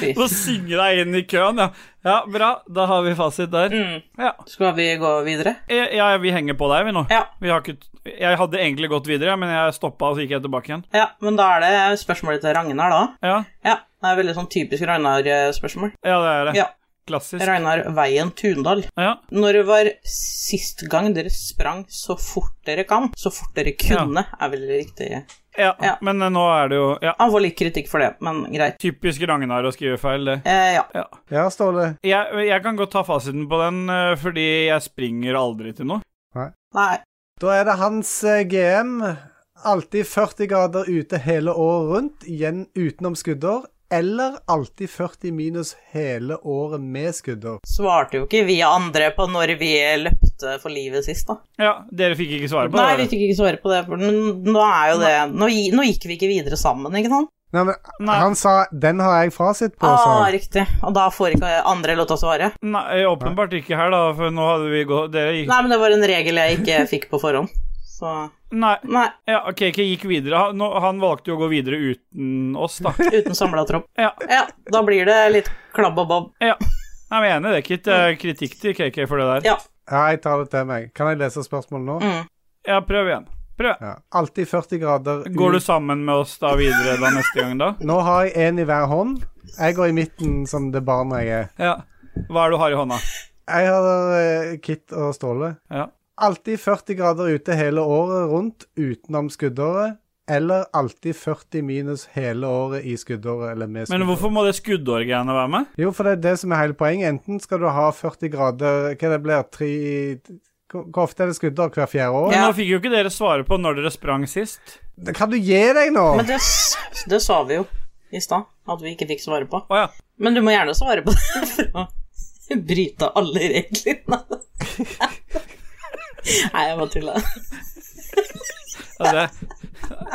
Speaker 2: Fy.
Speaker 1: Så synge deg inn i køen, ja. Ja, bra. Da har vi fasit der. Ja.
Speaker 2: Skal vi gå videre?
Speaker 1: Jeg, jeg, vi henger på deg, vi nå.
Speaker 2: Ja.
Speaker 1: Vi har ikke, jeg hadde egentlig gått videre, men jeg stoppa og så gikk jeg tilbake igjen.
Speaker 2: Ja, men da er det spørsmålet til Ragnar, da.
Speaker 1: Ja,
Speaker 2: Ja, det er veldig sånn typisk Ragnar-spørsmål.
Speaker 1: ja det er det.
Speaker 2: Ja.
Speaker 1: Klassisk.
Speaker 2: Ragnar Veien Tundal.
Speaker 1: Ja.
Speaker 2: Når var sist gang dere sprang så fort dere kan? Så fort dere kunne, er vel riktig.
Speaker 1: Ja.
Speaker 2: Ja.
Speaker 1: Men eh, nå er det jo ja,
Speaker 2: Han får litt kritikk for det, men greit.
Speaker 1: typisk Ragnar å skrive feil, det.
Speaker 2: Eh, ja.
Speaker 1: Ja.
Speaker 3: Ja, Ståle.
Speaker 1: Jeg, jeg kan godt ta fasiten på den, eh, fordi jeg springer aldri til noe.
Speaker 2: Nei.
Speaker 3: Da er det hans eh, GM. Alltid 40 grader ute hele året rundt, igjen utenom skuddår. Eller alltid 40 minus hele året med skuddår.
Speaker 2: Svarte jo ikke vi andre på når vi løpte for livet sist, da.
Speaker 1: Ja, dere fikk ikke svare på
Speaker 2: Nei, vi
Speaker 1: det?
Speaker 2: fikk ikke svare på det, for men nå er jo det Nå, gi- nå gikk vi ikke videre sammen, ikke sant?
Speaker 3: Nei, men
Speaker 1: Nei.
Speaker 3: han sa 'den har jeg fasit på', sa
Speaker 2: Ah,
Speaker 3: han.
Speaker 2: riktig. Og da får ikke andre lov til å svare.
Speaker 1: Nei, åpenbart ikke her, da, for nå hadde vi gått Dere gikk
Speaker 2: Nei, men det var en regel jeg ikke fikk på forhånd. Så
Speaker 1: Nei.
Speaker 2: Nei,
Speaker 1: Ja, OK, ikke gikk videre. Han, nå, han valgte jo å gå videre uten oss, da.
Speaker 2: uten samla tropp.
Speaker 1: Ja.
Speaker 2: Ja, da blir det litt klabb og bob.
Speaker 1: Ja. Nei, men jeg er enig, det er ikke et, eh, kritikk til KK for det der.
Speaker 2: Ja.
Speaker 3: Ja, jeg tar det til meg. Kan jeg lese spørsmålet nå?
Speaker 2: Mm.
Speaker 1: Ja, prøv igjen. Prøv.
Speaker 3: Ja. Alltid 40 grader ut.
Speaker 1: Går du sammen med oss da videre da neste gang, da?
Speaker 3: Nå har jeg én i hver hånd. Jeg går i midten som det barnet jeg er.
Speaker 1: Ja. Hva er det du har i hånda?
Speaker 3: Jeg har eh, Kit og Ståle.
Speaker 1: Ja.
Speaker 3: Alltid 40 grader ute hele året rundt utenom skuddåret, eller alltid 40 minus hele året i skuddåret eller
Speaker 1: Men
Speaker 3: med skuddåret.
Speaker 1: hvorfor må det skuddårgreiene være med?
Speaker 3: Jo, for det er det som er hele poenget. Enten skal du ha 40 grader Hva det blir tre Hvor hvor ofte er det skuddår? Hver fjerde år?
Speaker 1: Men
Speaker 2: Ja.
Speaker 1: nå fikk jo ikke dere svare på når dere sprang sist.
Speaker 3: Det Kan du gi deg nå?
Speaker 2: Men det, s- det sa vi jo i stad, at vi ikke fikk svare på.
Speaker 1: Å ja.
Speaker 2: Men du må gjerne svare på det [laughs] for å bryte alle reglene. [laughs] Nei, jeg bare tuller.
Speaker 1: ja, det.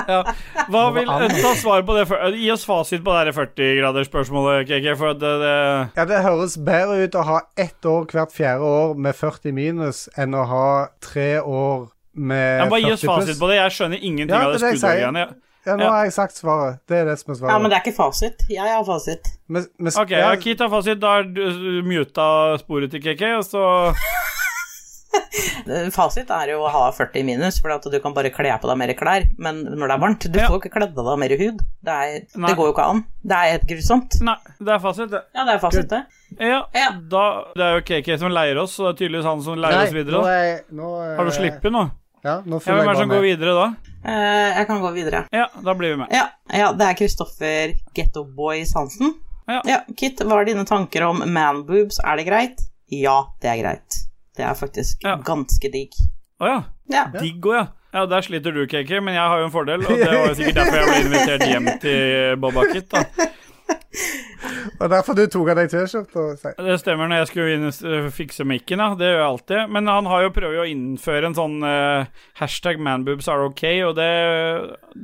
Speaker 1: Ja. Hva vil Ta svar på det før Gi oss fasit på det her 40-gradersspørsmålet, KK, for eh, det, det
Speaker 3: Ja, det høres bedre ut å ha ett år hvert fjerde år med 40 minus enn å ha tre år med
Speaker 1: ja, men
Speaker 3: 40
Speaker 1: Bare gi
Speaker 3: pluss.
Speaker 1: oss fasit på det. Jeg skjønner ingenting
Speaker 3: Ja,
Speaker 1: av det
Speaker 3: det er det jeg sier.
Speaker 1: skuddårgreiene.
Speaker 3: Ja, nå
Speaker 1: Ja.
Speaker 3: har jeg sagt svaret. Det er det som er svaret.
Speaker 2: Ja, men det er ikke fasit. Jeg har fasit.
Speaker 3: Men- men-
Speaker 1: OK,
Speaker 3: ja,
Speaker 1: ja, Kit har fasit. Da har du muta sporet til KK, og så
Speaker 2: Eh, Fasit er jo å ha 40 minus, for at du kan bare kle på deg mer klær. Men når det er varmt, du
Speaker 1: Ja.
Speaker 2: får ikke kledd av deg mer hud. Det, er,
Speaker 1: Nei.
Speaker 2: det går jo ikke an. Det er helt grusomt.
Speaker 1: Nei, det er fasit, det.
Speaker 2: Ja, det er fasit, det.
Speaker 1: Ja,
Speaker 2: Ja.
Speaker 1: Da, det er jo KK som leier oss, så det er tydeligvis han som leier
Speaker 3: Nei,
Speaker 1: oss videre.
Speaker 3: nå
Speaker 1: Da.
Speaker 3: er jeg- nå, eh,
Speaker 1: Har du sluppet nå?
Speaker 3: Ja, nå
Speaker 1: Ja,
Speaker 3: følger
Speaker 1: hvem er det
Speaker 3: jeg bare
Speaker 1: som går
Speaker 3: med.
Speaker 1: videre da?
Speaker 2: Eh, jeg kan gå videre.
Speaker 1: Ja, da blir vi med.
Speaker 2: Ja, ja det er Kristoffer Getto Boys Hansen.
Speaker 1: Ja.
Speaker 2: Kit, hva er dine tanker om manboobs? Er det greit? Ja, det er greit. Det er faktisk
Speaker 1: Ja.
Speaker 2: ganske digg.
Speaker 1: Å ja.
Speaker 2: Ja.
Speaker 1: Digg òg, ja. Ja, Der sliter du, KK, men jeg har jo en fordel, og det var jo sikkert derfor jeg ble invitert hjem
Speaker 2: [laughs]
Speaker 1: til Bob Hackett. da.
Speaker 3: Og derfor du tok av deg T-skjorta og sa
Speaker 1: Det stemmer når jeg skulle inn, øh, fikse mikken, ja. Det gjør jeg alltid. Men han har jo prøvd å innføre en sånn øh, hashtag manboobs are ok, og det,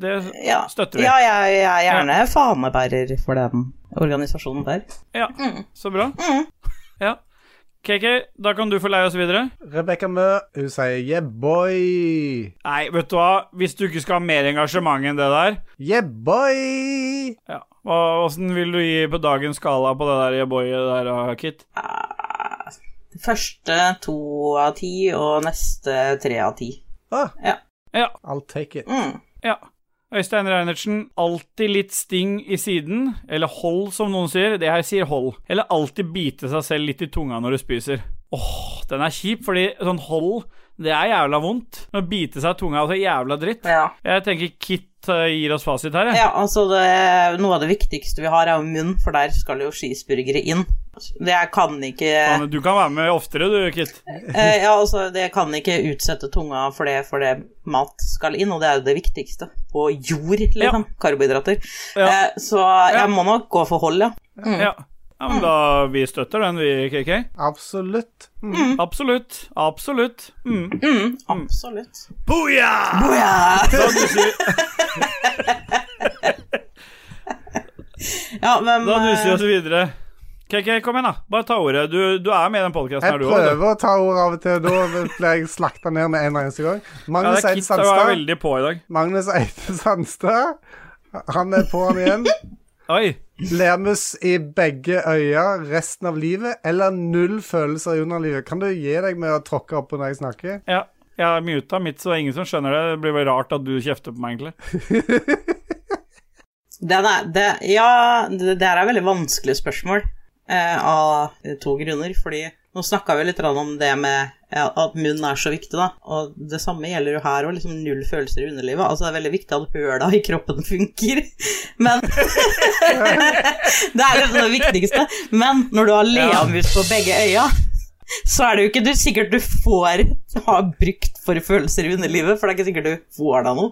Speaker 1: det
Speaker 2: Ja.
Speaker 1: støtter vi.
Speaker 2: ja, jeg jeg er gjerne fanebærer for den organisasjonen der.
Speaker 1: Ja,
Speaker 2: Mm.
Speaker 1: så bra. [laughs] Ja. KK, da kan du få leie oss videre.
Speaker 3: Rebekka Mø, hun sier yeah boy.
Speaker 1: Nei, vet du hva, hvis du ikke skal ha mer engasjement enn det der
Speaker 3: Yeah boy!
Speaker 1: Ja. Hva, hvordan vil du gi på dagens skala på det der boyet der, ah, Kit?
Speaker 2: Eh, Første to av ti, og neste tre av ti.
Speaker 3: Ah,
Speaker 1: Ja.
Speaker 3: I'll take it.
Speaker 2: Mm.
Speaker 1: ja. Øystein Reinertsen, alltid litt sting i siden, eller hold som noen sier, det her sier hold, eller alltid bite seg selv litt i tunga når du spiser. Åh, den er kjip, fordi sånn hold, Det er jævla vondt. Å bite seg i tunga er altså jævla dritt.
Speaker 2: Ja.
Speaker 1: Jeg tenker Kit eh, gir oss fasit her, jeg.
Speaker 2: Ja, altså det, Noe av det viktigste vi har, er jo munn, for der skal jo cheeseburgere inn. Det jeg kan ikke
Speaker 1: Faen, Du kan være med oftere, du, Kit.
Speaker 2: eh, Ja, altså, det kan ikke utsette tunga for det, for det mat skal inn, og det er jo det viktigste. På jord, liksom. Karbohydrater.
Speaker 1: Ja.
Speaker 2: Eh, så jeg må nok gå for hold, ja.
Speaker 1: Ja. ja, men da Vi støtter den, vi, KK.
Speaker 3: Absolutt. Mm.
Speaker 1: Mm. Absolutt. Absolutt. Mm.
Speaker 2: Mm, absolutt.
Speaker 1: Booyah!
Speaker 2: Boja!
Speaker 1: Da du sier,
Speaker 2: [laughs] Ja, men
Speaker 1: da du
Speaker 2: eh,
Speaker 1: sier oss videre. KK, kom igjen, da. Bare ta ordet. Du, du er med i den podkasten
Speaker 3: Jeg
Speaker 1: her, du også,
Speaker 3: prøver å ta ordet av og til, og da blir jeg slakta ned med en eneste gang.
Speaker 1: du. Ja,
Speaker 3: Magnus
Speaker 1: det er
Speaker 3: Eid
Speaker 1: Kit som er
Speaker 3: Sandstad.
Speaker 1: veldig på i dag.
Speaker 3: Magnus Eide Sandstad. Han er på han igjen.
Speaker 1: Oi.
Speaker 3: Lermus i begge øyne resten av livet, eller null følelser i underlivet. Kan du gi deg med å tråkke opp når jeg snakker? [laughs]
Speaker 1: Ja. Jeg har muta mitt, så det er ingen som skjønner det. Det blir vel rart at du kjefter på meg, egentlig.
Speaker 2: Den er, det, ja, det, det her er veldig vanskelig spørsmål eh, av to grunner. Fordi nå snakka vi litt grann om det med ja, at munnen er så viktig, da. Og det samme gjelder jo her òg. Liksom null følelser i underlivet. Altså, det er veldig viktig at høla i kroppen funker. [laughs] Men Det er liksom det viktigste. Men når du har leamus på begge øya så er det jo ikke du, sikkert du får ha brukt for følelser i underlivet, for det er ikke sikkert du får da noe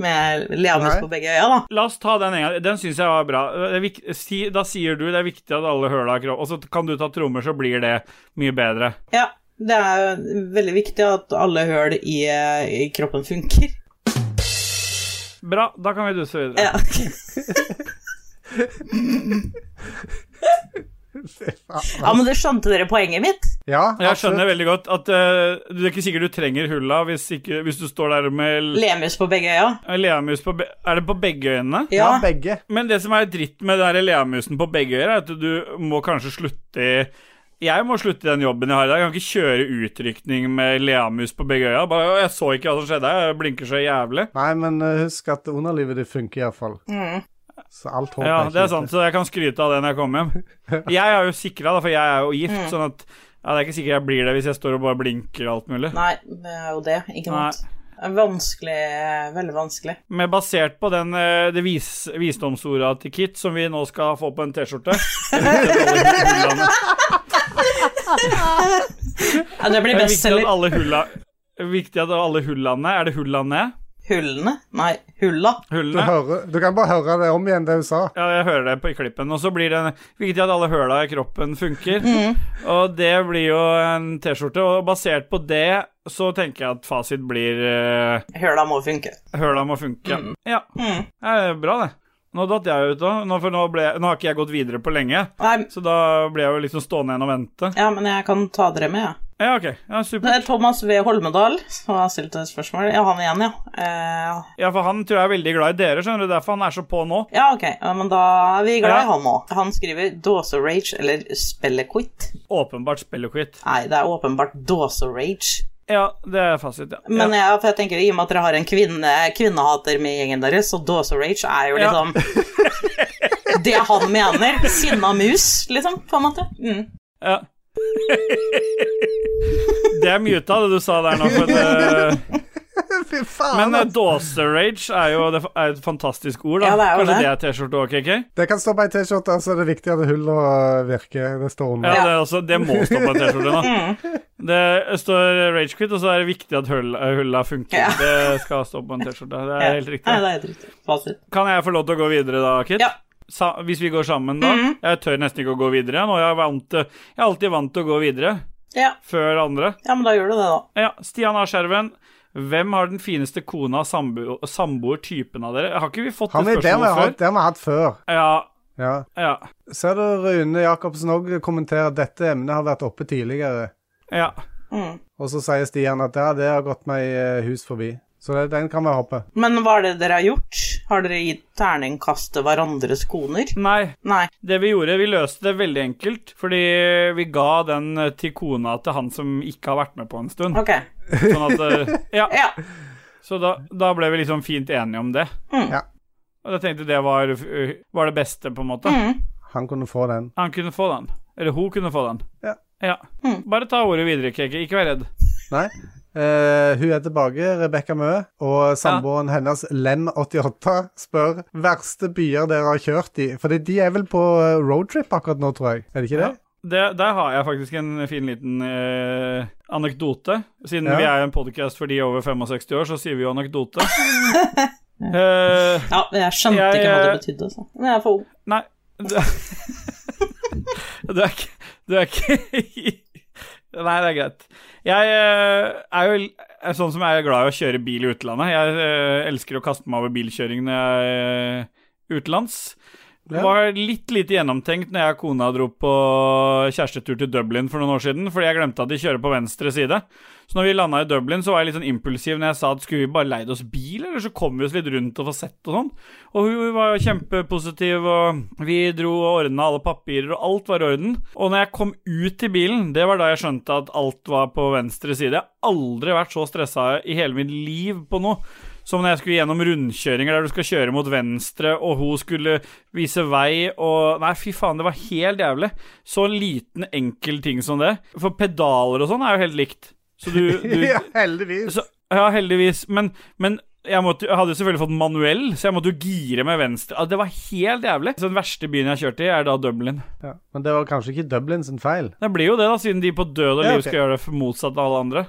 Speaker 2: med leamus
Speaker 3: Nei.
Speaker 2: på begge øya, da.
Speaker 1: La oss ta den en gang. Den syns jeg var bra. Det er vik- si, da sier du det er viktig at alle høla krå... Og så kan du ta trommer, så blir det mye bedre.
Speaker 2: Ja, det er jo veldig viktig at alle høl i, eh, i kroppen funker.
Speaker 1: Bra. Da kan vi duse videre.
Speaker 2: Ja. [laughs] ja, men du skjønte dere poenget mitt?
Speaker 3: Ja,
Speaker 1: Jeg skjønner
Speaker 3: absolutt.
Speaker 1: veldig godt at eh, det er ikke sikkert du trenger hulla hvis, ikke, hvis du står der med le
Speaker 2: Lemus på begge øya?
Speaker 1: leamus på be Er det på begge øynene?
Speaker 3: Ja,
Speaker 2: Ja.
Speaker 3: begge.
Speaker 1: Men det som er dritt med den der leamusen på begge øyer, er at du må kanskje slutte i Jeg må slutte i den jobben jeg har i dag. Jeg kan ikke kjøre utrykning med leamus på begge øya. Bare, «Å, jeg så ikke hva som skjedde her, jeg blinker så jævlig.
Speaker 3: Nei, men eh, husk at underlivet ditt funker iallfall. Så alt håp
Speaker 1: Ja,
Speaker 3: ikke
Speaker 1: det er sånn- sant,
Speaker 3: ute.
Speaker 1: så jeg kan skryte av det når jeg kommer hjem. Jeg er jo sikra, da, for jeg er jo gift, sånn at ja, det er ikke sikkert jeg blir det hvis jeg står og bare blinker og alt mulig.
Speaker 2: Nei, det er jo det. Ikke sant? Det er Vanskelig. eh, Veldig vanskelig.
Speaker 1: Men basert på den, eh, det vis, visdomsorda til Kit, som vi nå skal få på en T-skjorte Det
Speaker 2: Ja, det blir
Speaker 1: er viktig at
Speaker 2: bestselger.
Speaker 1: alle hulla Viktig at alle hullene Er det hulla ned?
Speaker 2: Hullene? Nei, hulla.
Speaker 3: Du,
Speaker 1: Hullene?
Speaker 3: hører, du kan bare høre det om igjen, det hun sa. [laughs]
Speaker 1: Ja, jeg hører det på i klippen. Og så blir det viktig at alle høla i kroppen funker.
Speaker 2: Mm.
Speaker 1: Og det blir jo en T-skjorte. Og basert på det så tenker jeg at fasit blir eh,
Speaker 2: Høla må funke.
Speaker 1: høla må funke. Ja.
Speaker 2: Mm.
Speaker 1: Det er bra, det. Nå datt jeg ut òg, nå, for nå, ble, nå har ikke jeg gått videre på lenge.
Speaker 2: Nei,
Speaker 1: Så da ble jeg jo liksom stående igjen og vente.
Speaker 2: ja, men jeg kan ta dere med, jeg. Ja.
Speaker 1: Ja, OK. Ja,
Speaker 2: Det
Speaker 1: Supert.
Speaker 2: er Thomas V. Holmedal som har stilt et spørsmål. Ja, han igjen, ja. Eh,
Speaker 1: Ja, for han tror jeg er veldig glad i dere, skjønner du. Derfor han er så på nå.
Speaker 2: Ja, ok, ja, men da er vi glad i
Speaker 1: Ja.
Speaker 2: han òg. Han skriver 'dåserage' eller 'spellequit'.
Speaker 1: Åpenbart spill og quit.
Speaker 2: Nei, det er åpenbart 'dåserage'.
Speaker 1: Ja, det er fasit, ja.
Speaker 2: Men
Speaker 1: ja.
Speaker 2: jeg, for jeg tenker, i og med at dere har en kvinne, kvinnehater med i gjengen deres, så 'dåserage' er jo
Speaker 1: Ja.
Speaker 2: liksom
Speaker 1: [laughs]
Speaker 2: Det han mener. Sinna mus, liksom, på en måte. Mm.
Speaker 1: Ja. Det er muta, det du sa der nå. For det,
Speaker 3: Fy faen!
Speaker 1: men eh,
Speaker 3: ass.
Speaker 1: dåserage er jo det er et fantastisk ord, da.
Speaker 2: Ja, det er jo
Speaker 1: Kanskje
Speaker 2: det.
Speaker 1: det er T-skjorte òg, KK?
Speaker 3: Det kan stå på ei T-skjorte, så det er viktig at hullet virker. Det står
Speaker 1: Ja,
Speaker 3: under.
Speaker 1: det, er også, det må stå på en T-skjorte nå.
Speaker 2: Mm.
Speaker 1: Det står rage quit, og så er det viktig at hull- eh, hulla funker.
Speaker 2: Ja.
Speaker 1: Det skal stå på en T-skjorte. Det er helt
Speaker 2: Nei,
Speaker 1: riktig.
Speaker 2: det er helt riktig. Fasit.
Speaker 1: Kan jeg få lov til å gå videre da, Kit?
Speaker 2: Ja. Mm.
Speaker 1: Sa, hvis vi går sammen, da? Jeg tør nesten ikke å gå videre. Nå er jeg, vant, til- jeg er alltid vant til å gå videre
Speaker 2: Ja.
Speaker 1: før andre.
Speaker 2: ja, men da gjør du det, da.
Speaker 1: Ja, Stian A. Skjerven. Hvem har den fineste kona og sambo- samboer typen av dere? Har ikke vi fått
Speaker 3: Har vi,
Speaker 1: det
Speaker 3: det har vi
Speaker 1: spørsmålet
Speaker 3: hatt-
Speaker 1: før?
Speaker 3: det har vi hatt før.
Speaker 1: Ja,
Speaker 3: Ja.
Speaker 1: ja,
Speaker 3: Ser du Rune Jacobsen òg kommenterer at dette emnet har vært oppe tidligere.
Speaker 1: ja.
Speaker 3: Og så sier Stian at ja, det har gått meg eh, hus forbi. Så det, den kan vi hoppe.
Speaker 2: Men hva er det dere har gjort? Har dere gitt terningkast til hverandres koner?
Speaker 1: Nei,
Speaker 2: Nei.
Speaker 1: det vi gjorde, vi løste det veldig enkelt. Fordi vi ga den til kona til han som ikke har vært med på en stund.
Speaker 2: Ok.
Speaker 1: Sånn at eh, Ja.
Speaker 2: Ja.
Speaker 1: Så da, da ble vi liksom fint enige om det.
Speaker 3: Ja.
Speaker 1: Og jeg tenkte det var, eh, var det beste, på en måte.
Speaker 2: Mm.
Speaker 3: Han kunne få den.
Speaker 1: Han kunne få den. Eller hun kunne få den.
Speaker 3: Ja.
Speaker 1: Bare ta ordet videre, Keke. Ikke vær redd.
Speaker 3: Nei? Eh, hun er tilbake, Rebekka Mø, og samboeren hennes, Lem88, spør verste byer dere har kjørt i. For de er vel på eh, roadtrip akkurat nå, tror jeg. Er det ikke det?
Speaker 1: Det, der har jeg faktisk en fin liten eh, anekdote. Siden
Speaker 3: Ja.
Speaker 1: vi er en podkast for de over 65 år, så sier vi jo anekdote. Eh,
Speaker 2: Ja, jeg skjønte
Speaker 1: Jeg,
Speaker 2: ikke hva det
Speaker 1: eh,
Speaker 2: betydde, altså. Men jeg er for ung.
Speaker 1: nei det, det er ikke Det er ikke Nei, det er greit. Jeg eh, er jo er sånn som jeg er glad i å kjøre bil i utlandet. Jeg eh, elsker å kaste meg over bilkjøring når jeg er eh, utenlands. Det
Speaker 3: Ja.
Speaker 1: var litt lite gjennomtenkt når jeg og kona dro på kjærestetur til Dublin for noen år siden, fordi jeg glemte at de kjører på venstre side. Så når vi landa i Dublin, så var jeg litt sånn impulsiv når jeg sa at skulle vi bare leid oss bil, eller så kom vi oss litt rundt og få sett og sånn. Og hun var jo kjempepositiv, og vi dro og ordna alle papirer, og alt var i orden. Og når jeg kom ut i bilen, det var da jeg skjønte at alt var på venstre side. Jeg har aldri vært så stressa i hele mitt liv på noe. Som når jeg skulle gjennom rundkjøringer der du skal kjøre mot venstre, og hun skulle vise vei og Nei, fy faen, det var helt jævlig. Så liten, enkel ting som det. For pedaler og sånn er jo helt likt. Så du, du
Speaker 3: [laughs] ja, heldigvis.
Speaker 1: så, Ja, heldigvis. Men, men jeg, måtte, jeg hadde jo selvfølgelig fått manuell, så jeg måtte jo gire med venstre. Ah, Det var helt jævlig. Så den verste byen jeg har kjørt i, er da Dublin.
Speaker 3: Ja. Men det var kanskje ikke Dublin sin feil.
Speaker 1: Det blir jo det, da, siden de på død og liv
Speaker 3: Ja, ok.
Speaker 1: skal gjøre det for motsatt av alle andre.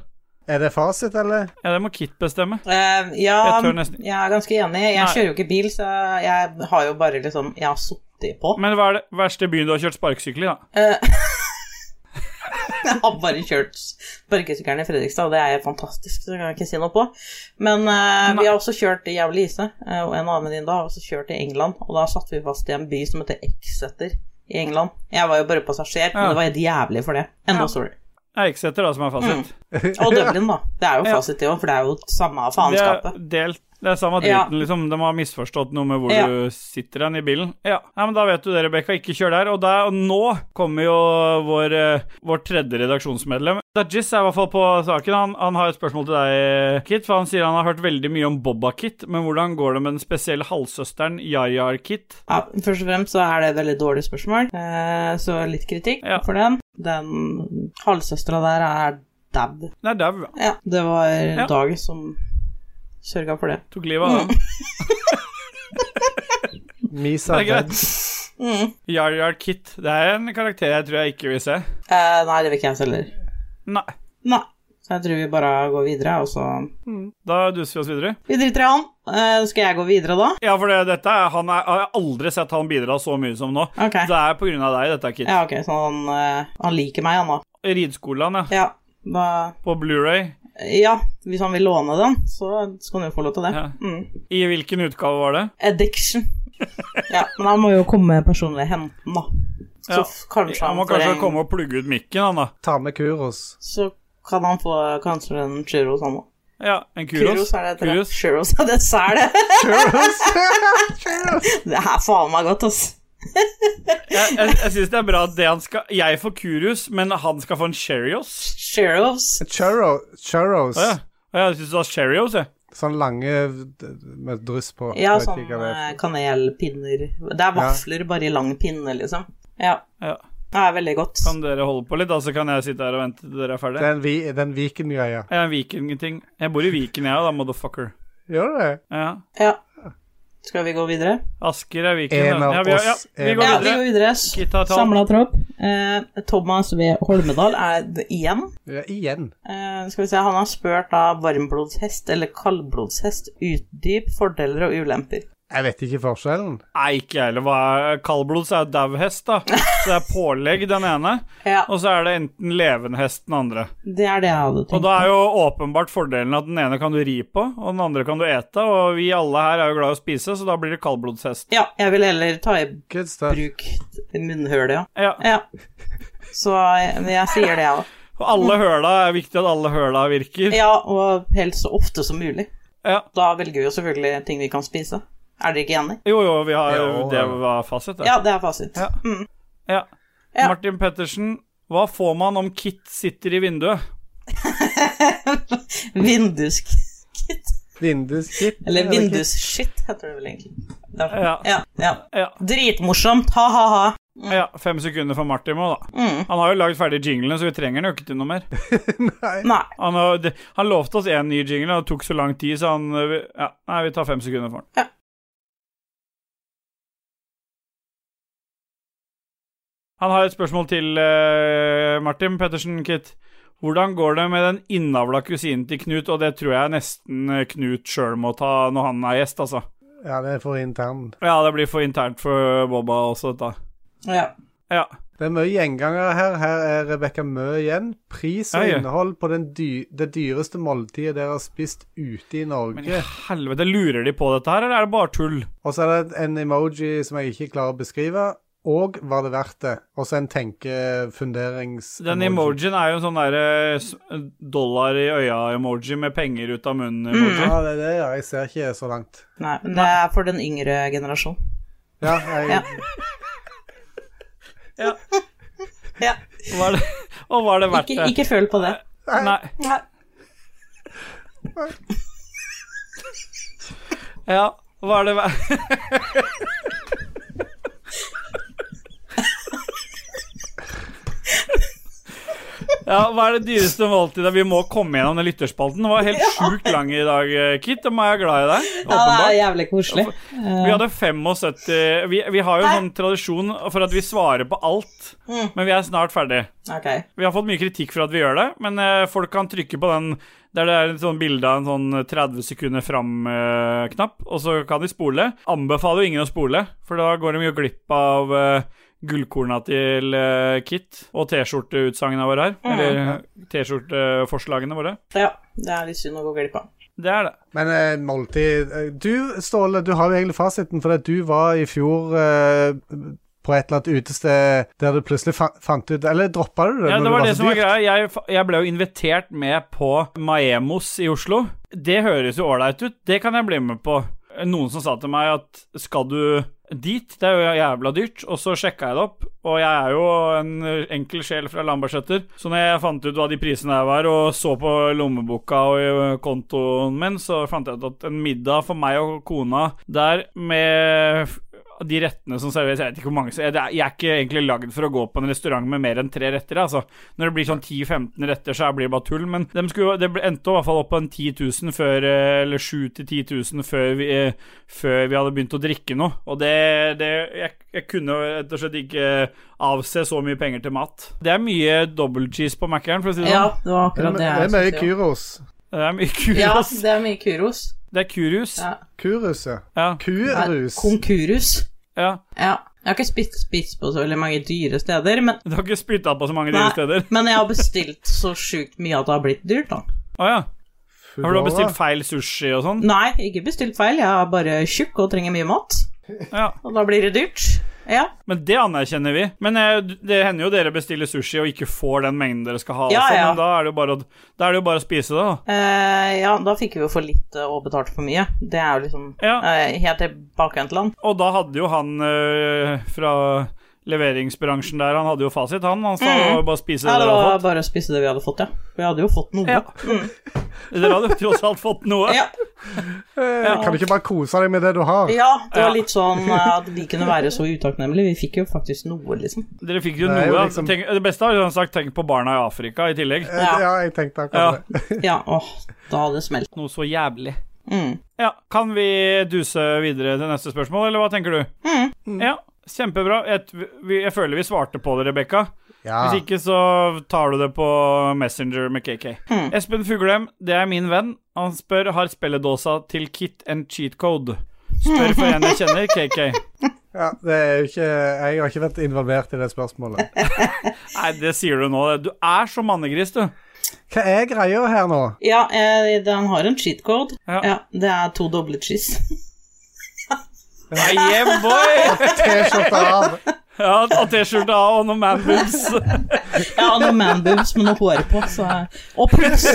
Speaker 3: Er det fasit, eller?
Speaker 1: Ja, det må Kit bestemme.
Speaker 2: Eh, ja,
Speaker 1: Jeg tør nesten-
Speaker 2: jeg er ganske enig. Jeg
Speaker 1: Nei.
Speaker 2: kjører jo ikke bil, så jeg har jo bare liksom Jeg har sittet på. Eh,
Speaker 1: Men hva er det verste byen du har kjørt sparkesykkel i, da?
Speaker 2: [laughs] Jeg har bare kjørt sparkesykkelen i Fredrikstad, og det er fantastisk, så det kan jeg ikke si noe på. Men eh, vi har også kjørt i Jævlig Ise, eh, og en annen venninne har også kjørt i England, og da satt vi fast i en by som heter Exeter i England. Jeg var jo bare passasjer,
Speaker 1: Ja.
Speaker 2: men det var helt jævlig for det. Enda sorry.
Speaker 1: Det er Exeter, da, som er fasit.
Speaker 2: Og Dublin, da. Det er jo
Speaker 1: Ja.
Speaker 2: fasit, det òg, for det er jo samme
Speaker 1: Det er,
Speaker 2: faenskapet.
Speaker 1: delt, det er samme
Speaker 2: Ja.
Speaker 1: driten, liksom. De har misforstått noe med hvor
Speaker 2: Ja.
Speaker 1: du sitter hen i bilen. Ja. Nei, men da vet du det, Rebekka. Ikke kjør der. Og, da, og nå kommer jo vår, eh, vårt tredje redaksjonsmedlem. Dajis er i hvert fall på saken. Han, han har et spørsmål til deg, Kit. For han sier han har hørt veldig mye om Bobba-Kit, men hvordan går det med den spesielle halvsøsteren Yayar-Kit?
Speaker 2: Ja, først og fremst så er det et veldig dårlig spørsmål, eh, så litt kritikk
Speaker 1: Ja.
Speaker 2: for den. Den halvsøstera der er dab.
Speaker 1: Nei, dau.
Speaker 2: Ja, det var Dag som sørga for det.
Speaker 1: Tok livet
Speaker 2: Mm.
Speaker 1: av han.
Speaker 3: Misa
Speaker 1: Det er
Speaker 3: Dead.
Speaker 1: greit.
Speaker 2: Mm.
Speaker 1: Yayar-Kit. Det er en karakter jeg tror jeg ikke vil se.
Speaker 2: Eh, nei, det vil ikke jeg selv heller.
Speaker 1: Nei.
Speaker 2: Nei. Så jeg tror vi bare går videre, og så
Speaker 1: Da duser vi oss videre.
Speaker 2: Vi driter i han. Eh, skal jeg gå videre da?
Speaker 1: Ja, for det, dette er, han er, Jeg har aldri sett han bidra så mye som nå.
Speaker 2: Ok.
Speaker 1: Det er på grunn av deg, dette, Kit.
Speaker 2: Ja, ok, så han, eh, han liker meg, han da.
Speaker 1: Ridskolen, ja.
Speaker 2: Ja. Da,
Speaker 1: På Blu-ray.
Speaker 2: ja, hvis han vil låne den, så skal han jo få lov til det.
Speaker 1: Ja.
Speaker 2: Mm.
Speaker 1: I hvilken utgave var det? [laughs]
Speaker 2: Addiction. ja, men han må jo komme personlig og hente den, da. Så
Speaker 1: Ja.
Speaker 2: f- kanskje han,
Speaker 1: Han må
Speaker 2: får
Speaker 1: kanskje
Speaker 2: en-
Speaker 1: komme og plugge ut mikken, han da.
Speaker 3: Ta med
Speaker 1: [laughs]
Speaker 3: Kuros.
Speaker 2: Så kan han få kanskje en churros, han òg.
Speaker 1: Ja, en kuros.
Speaker 2: Kuros er det
Speaker 1: Kuros.
Speaker 2: Churros [laughs] er det sæle.
Speaker 3: Kuros! Kuros!
Speaker 2: Det er faen meg godt, ass.
Speaker 1: Jeg, jeg, jeg syns det er bra at det han skal Jeg får kurus, men han skal få en Cheerios.
Speaker 2: Churros.
Speaker 3: Churro, churros.
Speaker 1: Å ja. Å ja, jeg syns du sa Cheerios, jeg.
Speaker 3: Sånn lange d- med dryss på.
Speaker 2: Ja,
Speaker 3: Jeg vet
Speaker 2: sånn
Speaker 3: ikke hva det er
Speaker 2: eh, kanelpinner. Det er vafler, bare i lang pinne, liksom. Ja.
Speaker 1: Ja.
Speaker 2: Det er veldig godt.
Speaker 1: Kan dere holde på litt, da, så kan jeg sitte her og vente til dere er
Speaker 3: for. det
Speaker 1: ferdige?
Speaker 3: er en, vi, det er en Viken-greie.
Speaker 1: Jeg er en vikingting. Jeg bor i Viken, jeg òg, da, motherfucker.
Speaker 3: Gjør det det?
Speaker 1: Ja.
Speaker 2: Ja. Skal vi gå videre?
Speaker 1: Asker er Viken.
Speaker 3: En
Speaker 1: da.
Speaker 3: av
Speaker 1: Ja, vi, har- ja,
Speaker 3: oss,
Speaker 1: vi
Speaker 3: en
Speaker 1: går
Speaker 2: Ja, vi
Speaker 1: videre.
Speaker 2: går videre.
Speaker 1: Gitt har talt.
Speaker 2: Samla tropp. Eh, Thomas V. Holmedal er d- igjen.
Speaker 3: Ja, igjen.
Speaker 2: Eh, skal vi se, Han har spurt da varmblodshest eller kaldblodshest. Utdyp fordeler og ulemper.
Speaker 3: Jeg vet ikke forskjellen.
Speaker 1: Nei, ikke jeg heller. Hva er- Kaldblods er jo dau hest, da. Så det er pålegg, den ene.
Speaker 2: Ja,
Speaker 1: Og så er det enten levende hest, den andre.
Speaker 2: det er det jeg hadde
Speaker 1: Og
Speaker 2: tenkt.
Speaker 1: da er jo åpenbart fordelen at den ene kan du ri på, og den andre kan du ete, og vi alle her er jo glad i å spise, så da blir det kaldblodshest.
Speaker 2: Ja, jeg vil heller ta i
Speaker 3: Good stuff.
Speaker 2: bruk munnhølet, ja.
Speaker 1: Ja.
Speaker 2: ja. Så jeg, men jeg sier det, jeg òg.
Speaker 1: Og alle høla er viktig at alle høla virker.
Speaker 2: Ja, og helst så ofte som mulig.
Speaker 1: Ja.
Speaker 2: Da velger vi jo selvfølgelig ting vi kan spise. Er dere ikke enig?
Speaker 1: Jo, jo, vi har
Speaker 3: Jo,
Speaker 1: Det
Speaker 3: ja.
Speaker 1: var fasit, det.
Speaker 2: Ja, det er fasit. [laughs]
Speaker 1: Ja.
Speaker 2: Mm.
Speaker 1: Ja.
Speaker 2: Ja.
Speaker 1: Martin Pettersen, hva får man om Kit sitter i vinduet?
Speaker 2: Vindusskitt.
Speaker 3: Vindusgitt.
Speaker 2: Eller
Speaker 3: [laughs]
Speaker 2: vindusskitt heter det vel egentlig. Det er-
Speaker 1: Ja.
Speaker 2: Ja, ja.
Speaker 1: Ja.
Speaker 2: Dritmorsomt, ha-ha-ha.
Speaker 1: Ja, fem sekunder for Martin må, da.
Speaker 2: Mm.
Speaker 1: Han har jo lagd ferdig jinglene, så vi trenger den jo ikke til noe mer.
Speaker 2: Mm. Nei.
Speaker 1: Han, har, det- han lovte oss én ny jingle, og det tok så lang tid, så han øh, vi- ja, Nei, vi tar fem sekunder for den. Han har et spørsmål til øh, Martin Pettersen, Kit. Hvordan går det med den innavla kusinen til Knut, og det tror jeg nesten øh, Knut sjøl må ta når han er gjest, altså.
Speaker 3: Ja, det er for intern.
Speaker 1: Ja, det blir for internt for Bobba også, dette.
Speaker 2: Ja.
Speaker 1: Ja.
Speaker 3: Det er mye gjengangere her. Her er Rebekka Mø igjen. Pris og
Speaker 1: Ja, ja.
Speaker 3: innhold på den dy det dyreste måltidet dere har spist ute i
Speaker 1: Men
Speaker 3: Norge.
Speaker 1: i helvete, lurer de på dette her, eller er det bare tull?
Speaker 3: Og så er det en emoji som jeg ikke klarer å beskrive. Og var det verdt det? Og så en tenkefunderings...
Speaker 1: Den emojien er jo en sånn derre s- dollar i øya-emoji med penger ut av
Speaker 2: Mm.
Speaker 1: munnen-emoji.
Speaker 3: Ja, det er det, ja. Jeg ser ikke så langt.
Speaker 2: Nei, men det er for den yngre generasjon.
Speaker 3: Ja, jeg,
Speaker 2: Ja. Ja.
Speaker 1: Var det, [laughs] og var det verdt
Speaker 2: Ikke,
Speaker 1: det?
Speaker 2: ikke føl på det.
Speaker 1: Nei.
Speaker 2: Nei.
Speaker 1: Ja, var det verdt [laughs] Ja, Hva er det dyreste måltidet? Vi må komme gjennom den lytterspalten. Den var helt sjukt lang i dag, eh, Kit. Da må jeg være glad i deg.
Speaker 2: Ja, det
Speaker 1: åpenbart.
Speaker 2: er jævlig koselig.
Speaker 1: Vi hadde 75 vi, vi har jo en sånn tradisjon for at vi svarer på alt,
Speaker 2: Mm.
Speaker 1: men vi er snart ferdig.
Speaker 2: Ok.
Speaker 1: Vi har fått mye kritikk for at vi gjør det, men eh, folk kan trykke på den der det er et sånn bilde av en sånn 30 sekunder fram-knapp, og så kan de spole. Anbefaler jo ingen å spole, for da går de jo glipp av eh, gullkorna til eh, Kit og T-skjorteutsagnene våre her. Eller eh, T-skjorteforslagene våre.
Speaker 2: Ja, det er litt synd å gå glipp av.
Speaker 1: Det er det.
Speaker 3: Men eh, måltid eh, Du, Ståle, du har jo egentlig fasiten, for at du var i fjor eh, på et eller annet utested der du plutselig fa fant ut Eller droppa du det?
Speaker 1: Ja,
Speaker 3: når
Speaker 1: det var det som var
Speaker 3: dyrt?
Speaker 1: greia. Jeg, jeg ble jo invitert med på Maemos i Oslo. Det høres jo ålreit ut. Det kan jeg bli med på. Noen som sa til meg at skal du dit, det er jo jævla dyrt, og så sjekka jeg det opp. Og jeg er jo en enkel sjel fra Lambertseter, så når jeg fant ut hva de prisene her var, og så på lommeboka og kontoen min, så fant jeg ut at en middag for meg og kona der med av de rettene som serveres Jeg vet ikke hvor mange Jeg, det er- jeg er ikke egentlig lagd for å gå på en restaurant med mer enn tre retter. Altså. Når det blir sånn 10-15 retter, så blir det bare tull. Men dem skulle, det ble- endte i hvert fall opp på en 10 000 før eh, Eller 7 000-10 000 før vi, eh, før vi hadde begynt å drikke noe. Og det, det jeg, jeg kunne rett og slett ikke eh, avse så mye penger til mat. Det er mye double cheese på Mac-eren, for å si det
Speaker 2: Ja,
Speaker 1: sånn.
Speaker 2: det var akkurat det
Speaker 3: Det
Speaker 2: jeg
Speaker 3: er mye
Speaker 2: synes, ja.
Speaker 3: Kyros.
Speaker 1: Det er mye
Speaker 2: Ja,
Speaker 1: Kuros.
Speaker 2: det er mye kuros.
Speaker 1: [laughs] Det er Kurus.
Speaker 2: Ja.
Speaker 3: Kurus, ja.
Speaker 1: Ja.
Speaker 2: Nei,
Speaker 3: Kurus.
Speaker 2: Konkurus.
Speaker 1: ja.
Speaker 2: Ja. Jeg har ikke spist, spist på så veldig mange dyre steder, men,
Speaker 1: Du har ikke spytta på så mange
Speaker 2: Nei.
Speaker 1: dyre steder?
Speaker 2: [laughs] men jeg har bestilt så sjukt mye at det har blitt dyrt, da.
Speaker 1: Å ja. Har du
Speaker 3: Foodora.
Speaker 1: bestilt feil sushi og sånn?
Speaker 2: Nei, ikke bestilt feil. Jeg er bare tjukk og trenger mye mat,
Speaker 1: Ja.
Speaker 2: og da blir det dyrt. Ja,
Speaker 1: Men det anerkjenner vi. Men eh, det hender jo dere bestiller sushi og ikke får den mengden dere skal ha.
Speaker 2: Ja,
Speaker 1: og sånn,
Speaker 2: ja.
Speaker 1: Men da er, det jo bare å, da er det jo bare å spise det, da.
Speaker 2: eh, ja da fikk vi jo for lite og betalte for mye. Det er jo liksom
Speaker 1: Ja.
Speaker 2: eh, helt tilbakevendtland.
Speaker 1: Og da hadde jo han eh, fra leveringsbransjen der, han hadde jo fasit, han. Han sa
Speaker 2: Mm.
Speaker 1: jo bare spise det
Speaker 2: Ja, det
Speaker 1: dere
Speaker 2: var
Speaker 1: hadde fått.
Speaker 2: bare å spise det vi hadde fått, ja. Vi hadde jo fått noe. [laughs]
Speaker 1: Ja. Dere hadde jo tross alt fått noe.
Speaker 2: Mm. Ja,
Speaker 3: Eh, Kan du ikke bare kose deg med det du har?
Speaker 2: ja det
Speaker 1: Ja.
Speaker 2: var litt sånn eh, at vi kunne være så utakknemlige. Vi fikk jo faktisk noe, liksom.
Speaker 1: Dere fikk jo
Speaker 3: Det
Speaker 1: noe.
Speaker 3: er jo
Speaker 1: ja.
Speaker 3: liksom-
Speaker 1: Tenk, det beste har jo han sagt, tenk på barna i Afrika i tillegg.
Speaker 3: Eh,
Speaker 2: Ja.
Speaker 3: ja, jeg
Speaker 1: Ja.
Speaker 3: tenkte akkurat det.
Speaker 2: Ja, åh, da hadde det smelt.
Speaker 1: Noe så jævlig.
Speaker 2: Mm.
Speaker 1: Ja, kan vi duse videre til neste spørsmål, eller hva tenker du?
Speaker 2: Mm.
Speaker 1: Ja, kjempebra. Jeg, vi- jeg føler vi svarte på det, Rebekka.
Speaker 3: Ja.
Speaker 1: Hvis ikke så tar du det på Messenger med KK. Espen Fuglem, det er min venn. Han spør har spilledåsa til Kit en cheat code. Spør for en jeg kjenner, KK.
Speaker 3: ja, det er jo ikke Jeg har ikke vært involvert i det spørsmålet.
Speaker 1: Nei, det sier du nå. Du er så mannegris, du.
Speaker 3: Hva er greia her nå?
Speaker 2: Ja, eh, den har en cheat code.
Speaker 1: Ja.
Speaker 2: Ja. det er to doble cheese. [laughs]
Speaker 1: Nei, yeah, boy!
Speaker 3: T-skjorte av.
Speaker 1: [laughs] Ja, og T-skjorte av og noen manboobs.
Speaker 2: Ja, og noen manboobs med noe hår på, så eh, Og puls!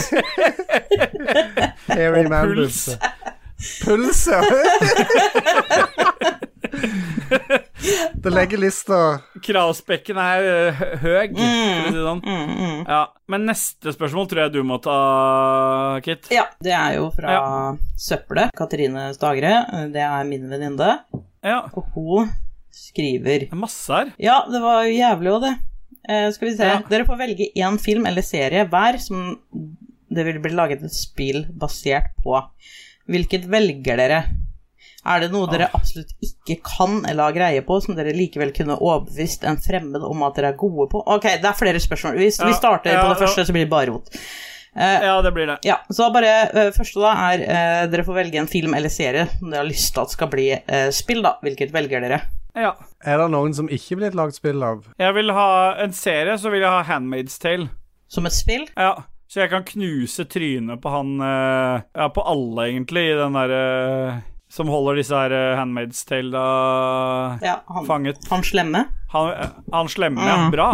Speaker 3: Airy
Speaker 1: Og
Speaker 3: Man
Speaker 1: puls.
Speaker 3: Bubse. Puls, [laughs] ja. det legger lista.
Speaker 1: Kravspekken er eh, høg, for å si det sånn. Ja, men neste spørsmål tror jeg du må ta, Kit.
Speaker 2: Ja, det er jo fra eh, Søppelet. Katrine Stagre. Det er min venninne.
Speaker 1: Ja.
Speaker 2: Og hun skriver.
Speaker 1: Det er masse her.
Speaker 2: Ja, det var jo jævlig òg, det. Eh, skal vi se.
Speaker 1: Ja.
Speaker 2: Dere får velge én film eller serie hver som det vil bli laget et spill basert på. Hvilket velger dere? Er det noe
Speaker 1: Ah.
Speaker 2: dere absolutt ikke kan eller har greie på, som dere likevel kunne overbevist en fremmed om at dere er gode på? Ok, det er flere spørsmål. Hvis vi
Speaker 1: Ja,
Speaker 2: starter
Speaker 1: ja,
Speaker 2: på det
Speaker 1: ja.
Speaker 2: første, så blir det bare rot. Eh,
Speaker 1: Ja, det blir det.
Speaker 2: ja, så da bare eh, første da er eh, Dere får velge en film eller serie som dere har lyst til at skal bli eh, spill, da. Hvilket velger dere?
Speaker 1: Ja.
Speaker 3: Er det noen som ikke blir lagd spill av?
Speaker 1: Jeg vil ha en serie, så vil jeg ha Handmaid's Tale.
Speaker 2: Som et spill?
Speaker 1: Ja. Så jeg kan knuse trynet på han eh, Ja, på alle, egentlig, i den derre Som holder disse her eh, Handmaid's Tale da
Speaker 2: Ja, han,
Speaker 1: fanget.
Speaker 2: han slemme.
Speaker 1: Han, eh, han slemme, ja.
Speaker 2: Mhm.
Speaker 1: Bra.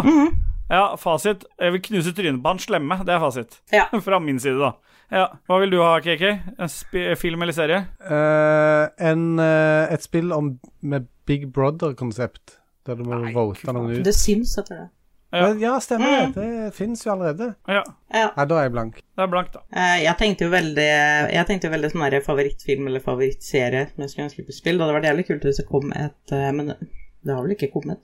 Speaker 1: Ja, fasit. Jeg vil knuse trynet på han slemme. Det er fasit. [laughs]
Speaker 2: Ja.
Speaker 1: Fra min side, da. Ja. Hva vil du ha, KK? En spi- film eller serie?
Speaker 3: Eh, en, eh, et spill om, med Big Brother-konsept, der du Mm. må vote noen ut.
Speaker 2: The Sims heter det.
Speaker 1: Ja.
Speaker 3: Men, ja, stemmer det. Det fins jo allerede.
Speaker 1: Ja.
Speaker 2: Ja.
Speaker 3: Nei, da er jeg blank.
Speaker 1: Det er blankt, da.
Speaker 2: Eh, Jeg tenkte jo veldig Jeg tenkte jo veldig sånn her favorittfilm eller favorittserie som jeg skulle ønske på spill. Det hadde vært jævlig kult hvis det kom et eh, Men det har vel ikke kommet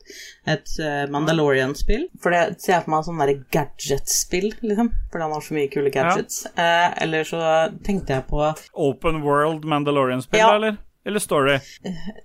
Speaker 2: et eh, Mandalorian-spill? For det ser jeg for meg sånn derre gadget-spill, liksom. Fordi han har så mye kule gadgets. Eh, eller så tenkte jeg på
Speaker 1: Open World Mandalorian-spill,
Speaker 2: Ja.
Speaker 1: eller? Eller Story?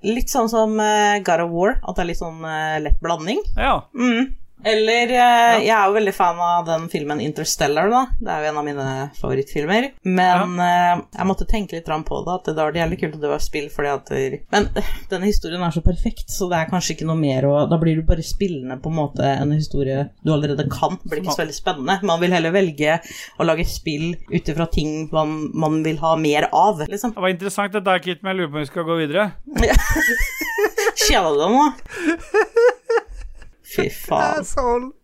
Speaker 2: litt sånn som eh, God of War, at det er litt sånn eh, lett blanding.
Speaker 1: Ja.
Speaker 2: Mm. Eller eh, Jeg er jo veldig fan av den filmen Interstellar, da. Det er jo en av mine favorittfilmer. Men eh, jeg måtte tenke litt grann på det, at det var jævlig kult at det var spill fordi at det- Men eh, denne historien er så perfekt, så det er kanskje ikke noe mer å Da blir du bare spillende på en måte en historie du allerede kan. Det blir ikke så veldig spennende. Man vil heller velge å lage spill ut ifra ting man, man vil ha mer av, liksom.
Speaker 1: Det var interessant dette, her, Kit, men jeg lurer på om vi skal gå videre.
Speaker 2: Kjeda du deg nå? Fy faen.
Speaker 3: Asshole!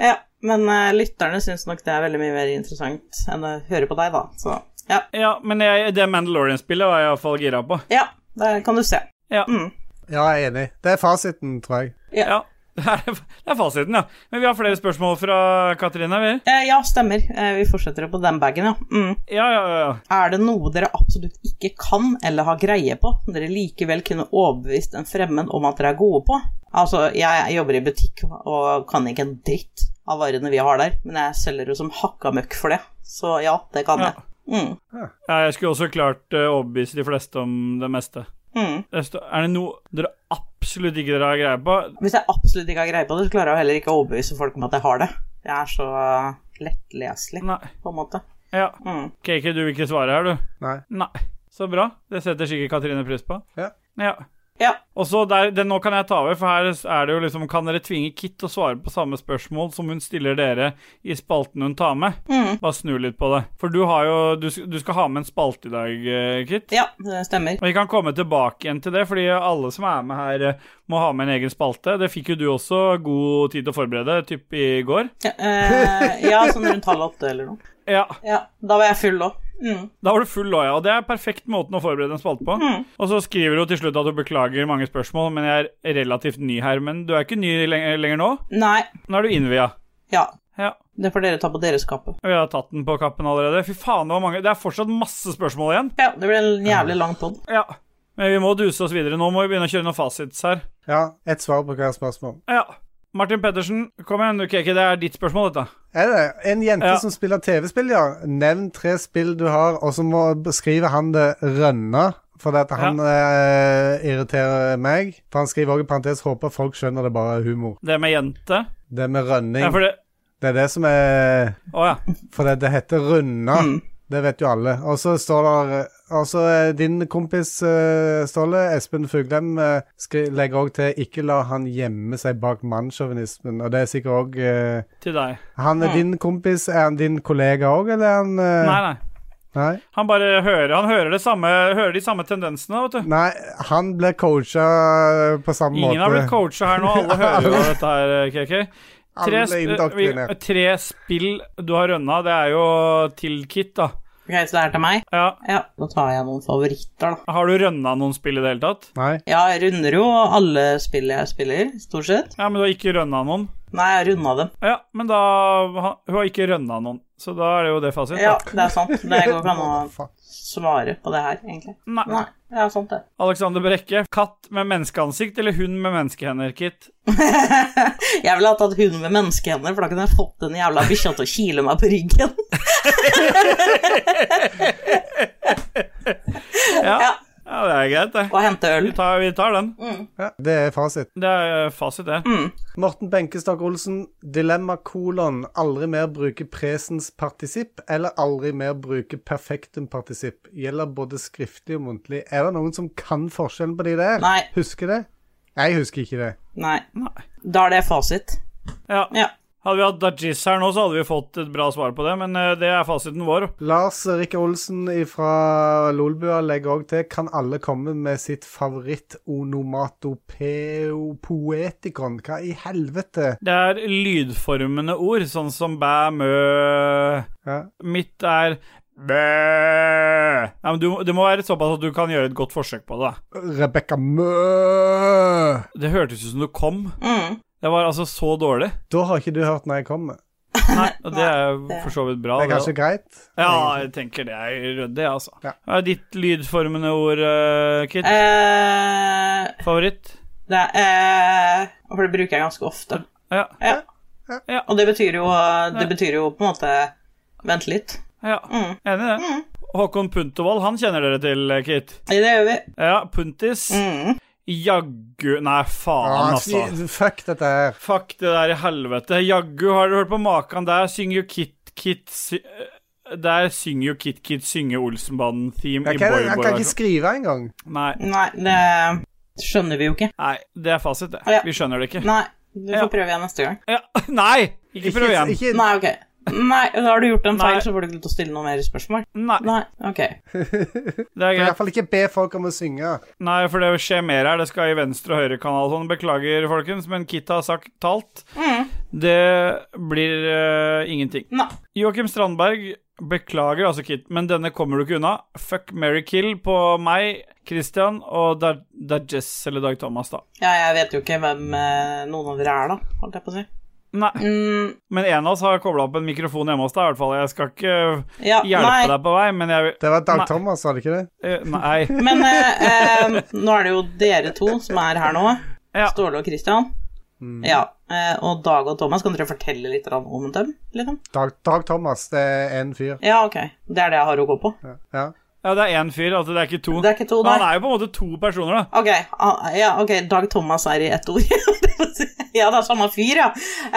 Speaker 2: Ja, men eh, lytterne syns nok det er veldig mye mer interessant enn å høre på deg, da. Så ja.
Speaker 1: Ja, men jeg, det Mandalorian-spillet var jeg iallfall gira på.
Speaker 2: ja der kan du se.
Speaker 1: Ja.
Speaker 2: Mm.
Speaker 3: Ja, jeg er enig. Det er fasiten, tror jeg.
Speaker 1: ja. [laughs] Det er, det er fasiten, ja. Men vi har flere spørsmål fra Katrine. Vi.
Speaker 2: Eh, ja, stemmer. Eh, vi fortsetter på den bagen, ja. Mm.
Speaker 1: Ja, ja, ja.
Speaker 2: Er det noe dere absolutt ikke kan eller har greie på, som dere likevel kunne overbevist en fremmed om at dere er gode på? Altså, jeg jobber i butikk og kan ikke en dritt av varene vi har der, men jeg selger jo som hakka møkk for det, så ja, det kan
Speaker 1: Ja.
Speaker 2: jeg. Mm.
Speaker 1: ja. Jeg skulle også klart eh, overbevise de fleste om det meste.
Speaker 2: Mm.
Speaker 1: Det står- Er det noe dere absolutt ikke dere har greie på?
Speaker 2: Hvis jeg absolutt ikke har greie på det, så klarer jeg heller ikke å overbevise folk om at jeg har det. Jeg er så lettleselig,
Speaker 1: Nei.
Speaker 2: på en måte.
Speaker 1: Ja.
Speaker 2: Mm.
Speaker 1: KK, du vil ikke svare her, du?
Speaker 3: Nei.
Speaker 1: Nei. Så bra. Det setter sikkert Katrine pris på.
Speaker 3: Ja.
Speaker 1: ja.
Speaker 2: Ja.
Speaker 1: Og så der, det, Nå kan jeg ta over, for her er det jo liksom Kan dere tvinge Kit til å svare på samme spørsmål som hun stiller dere i spalten hun tar med?
Speaker 2: Mm.
Speaker 1: Bare snu litt på det. For du har jo Du, sk- du skal ha med en spalte i dag, eh, Kit.
Speaker 2: Ja, det stemmer.
Speaker 1: Og vi kan komme tilbake igjen til det, fordi alle som er med her, eh, må ha med en egen spalte. Det fikk jo du også god tid til å forberede, typ i går.
Speaker 2: Ja, eh, ja sånn rundt halv åtte eller noe.
Speaker 1: Ja,
Speaker 2: Ja, da var jeg full òg. Mm.
Speaker 1: Da var du full òg, ja. Og det er perfekt måten å forberede en spalte på. Og så skriver du til slutt at du beklager mange spørsmål, men jeg er relativt ny her. Men du er ikke ny lenger, lenger nå.
Speaker 2: Nei,
Speaker 1: Nå er du innvia.
Speaker 2: ja.
Speaker 1: Ja.
Speaker 2: Det får dere ta på deres kappe.
Speaker 1: Vi har tatt den på kappen allerede. Fy faen, det var mange. Det er fortsatt masse spørsmål igjen.
Speaker 2: Ja, det ble en jævlig lang pod.
Speaker 1: Ja. Men vi må duse oss videre. Nå må vi begynne å kjøre noen fasits her.
Speaker 3: Ja, ett svar på hver spørsmål.
Speaker 1: Ja. Martin Pettersen, kom igjen. Ok, ikke det er ditt spørsmål, dette.
Speaker 3: Er det en jente
Speaker 1: Ja.
Speaker 3: som spiller TV-spill, ja? Nevn tre spill du har, og så må beskrive han det rønna. Fordi at han eh, irriterer meg. For han skriver også i parentes 'håper folk skjønner det bare er humor'.
Speaker 1: Det med jente.
Speaker 3: Det med rønning,
Speaker 1: Ja, for det
Speaker 3: det er det som er
Speaker 1: Å ja.
Speaker 3: For det, det heter runde.
Speaker 2: Mm.
Speaker 3: Det vet jo alle. Og så står der Og så eh, din kompis eh, Ståle, Espen Fuglem, eh, skri- legger òg til 'ikke la han gjemme seg bak mannssjåvinismen'. Og det er sikkert òg eh,
Speaker 1: Til deg.
Speaker 3: Han er din kompis. Er han din kollega òg, eller er han eh,
Speaker 1: Mm. Nei, nei.
Speaker 3: nei.
Speaker 1: Han bare hører Han hører, det samme, hører de samme tendensene, vet du.
Speaker 3: Nei, han blir coacha på samme måte.
Speaker 1: Ingen har blitt coacha her nå. Alle [laughs] hører jo dette her, KK. Tre,
Speaker 3: Alle
Speaker 1: sp- vi-
Speaker 3: indoktrinert.
Speaker 1: tre spill du har rønna, det er jo til Kit, da.
Speaker 2: Ok, så det er til meg?
Speaker 1: Ja.
Speaker 2: Ja, da tar jeg noen favoritter, da.
Speaker 1: Har du rønna noen spill i det hele tatt?
Speaker 3: Nei.
Speaker 2: Ja, jeg runder jo alle spill jeg spiller, stort sett.
Speaker 1: Ja, men du har ikke rønna noen.
Speaker 2: Nei, jeg runda dem.
Speaker 1: Ja, men da Hun har ikke rønna noen, så da er det jo det fasit. da.
Speaker 2: Ja, det er sant. Det går ikke an å
Speaker 3: Fuck.
Speaker 2: svare på det her, egentlig.
Speaker 1: Nei.
Speaker 2: Nei, det er sant, det.
Speaker 1: Alexander Brekke. Katt med menneskeansikt eller hund med menneskehender, Kit?
Speaker 2: Jeg ville ha tatt hunden med menneskehender, for da kunne jeg fått den jævla bikkja til å kile meg på ryggen. [laughs]
Speaker 1: Ja, ja.
Speaker 2: Ja.
Speaker 1: det er greit, det.
Speaker 2: Og hente øl.
Speaker 1: Vi tar, vi tar den.
Speaker 3: Ja, det er fasit.
Speaker 1: Det er eh, fasit, det.
Speaker 3: Morten Benkestak Olsen, dilemma kolon aldri mer bruke presens partisipp eller aldri mer bruke perfektum partisipp. Gjelder både skriftlig og muntlig. Er det noen som kan forskjellen på de der?
Speaker 2: Nei.
Speaker 3: Husker det? Jeg husker ikke det.
Speaker 2: Nei. Da er det fasit.
Speaker 1: Ja.
Speaker 2: Ja.
Speaker 1: Hadde vi hatt Dajis her nå, så hadde vi fått et bra svar på det, men eh, det er fasiten vår.
Speaker 3: Lars Rikke Olsen fra Lolbua legger òg til kan alle komme med sitt favoritt-onomatopeo-poetikon. Hva i helvete?
Speaker 1: Det er lydformende ord, sånn som bæ, mø
Speaker 3: Ja.
Speaker 1: Mitt er bæ. Nei, men du, må- det må være såpass at du kan gjøre et godt forsøk på det. da.
Speaker 3: Rebekka Mø!
Speaker 1: Det hørtes ut som du kom.
Speaker 2: Mm.
Speaker 1: Det var altså så dårlig.
Speaker 3: Da har ikke du hørt når jeg kommer.
Speaker 1: Nei, [laughs] og det er jo
Speaker 2: det-
Speaker 1: for så vidt bra.
Speaker 3: Det
Speaker 1: det,
Speaker 3: er
Speaker 1: da.
Speaker 3: kanskje greit?
Speaker 1: Ja, jeg tenker det er ryddig, altså.
Speaker 3: Ja.
Speaker 1: Hva er ditt lydformende ord, eh, Kit?
Speaker 2: Eh,
Speaker 1: Favoritt?
Speaker 2: det er, eh, for det bruker jeg ganske ofte.
Speaker 1: Ja.
Speaker 2: Ja.
Speaker 1: Ja.
Speaker 2: Og det betyr jo, det betyr jo på en måte Vent litt.
Speaker 1: ja.
Speaker 2: Mm.
Speaker 1: Enig i det. Håkon Puntervold, han kjenner dere til, eh, Kit.
Speaker 2: Det gjør vi.
Speaker 1: Ja, Puntis.
Speaker 2: Mm.
Speaker 1: Jaggu Nei, faen,
Speaker 3: Ah,
Speaker 1: altså.
Speaker 3: fy- Fuck dette her.
Speaker 1: Fuck det der i helvete. Jaggu, har du hørt på maken der? Synger jo Kit Kit sy Der synger jo Kit Kit synge Olsenbanden-theme
Speaker 3: Jeg
Speaker 1: i
Speaker 3: kan,
Speaker 1: Boy Boy. altså.
Speaker 3: jeg kan ikke
Speaker 1: versjon.
Speaker 3: skrive engang.
Speaker 1: Nei.
Speaker 2: Nei, det skjønner vi jo ikke.
Speaker 1: Nei, det er fasit, det.
Speaker 2: Ja.
Speaker 1: Vi skjønner det ikke.
Speaker 2: Nei, du får
Speaker 1: Ja.
Speaker 2: prøve igjen neste gang.
Speaker 1: Ja. [laughs] Nei! Ikke prøv igjen.
Speaker 3: Ikke,
Speaker 2: Nei, ok. Nei, har du gjort en feil,
Speaker 1: Nei.
Speaker 2: så får du ikke lov til å stille noen mer spørsmål.
Speaker 1: Nei,
Speaker 2: Nei, ok.
Speaker 1: det er
Speaker 3: I hvert
Speaker 1: greit.
Speaker 3: fall ikke be folk om å synge.
Speaker 1: Nei, for det skjer mer her. Det skal i venstre- og høyrekanal og sånn. Beklager, folkens, men Kit har sagt talt.
Speaker 2: Mm.
Speaker 1: Det blir eh, ingenting.
Speaker 2: Nei.
Speaker 1: Joakim Strandberg, beklager altså, Kit, men denne kommer du ikke unna. Fuck, marry, kill på meg, Christian og Da- Dajes, eller Dag Thomas, da.
Speaker 2: Ja, jeg vet jo ikke hvem eh, noen av dere er, da, holdt jeg på å si.
Speaker 1: Nei,
Speaker 2: Mm,
Speaker 1: men en av oss har kobla opp en mikrofon hjemme hos deg, i hvert fall. Jeg skal ikke
Speaker 2: ja,
Speaker 1: hjelpe
Speaker 2: nei,
Speaker 1: deg på vei, men jeg vil
Speaker 3: Det var Dag
Speaker 1: Nei.
Speaker 3: Thomas, var det ikke det?
Speaker 1: eh, Nei.
Speaker 2: men eh, eh, nå er det jo dere to som er her nå.
Speaker 1: Ja. Mm.
Speaker 2: Ståle og Christian. Ja, eh, og Dag og Thomas, kan dere fortelle litt grann om dem? Liksom?
Speaker 3: Dag, Dag Thomas, det er en fyr.
Speaker 2: Ja, ok. Det er det jeg har å gå på.
Speaker 3: Ja.
Speaker 1: Ja, det er én fyr, altså. Det er ikke to.
Speaker 2: Det er ikke to,
Speaker 1: Men han
Speaker 2: nei.
Speaker 1: er jo på en måte to personer, da.
Speaker 2: Ok, ah, ja, ok, Dag Thomas er i ett ord. [laughs] holdt jeg på å si. ja, det er samme fyr, ja.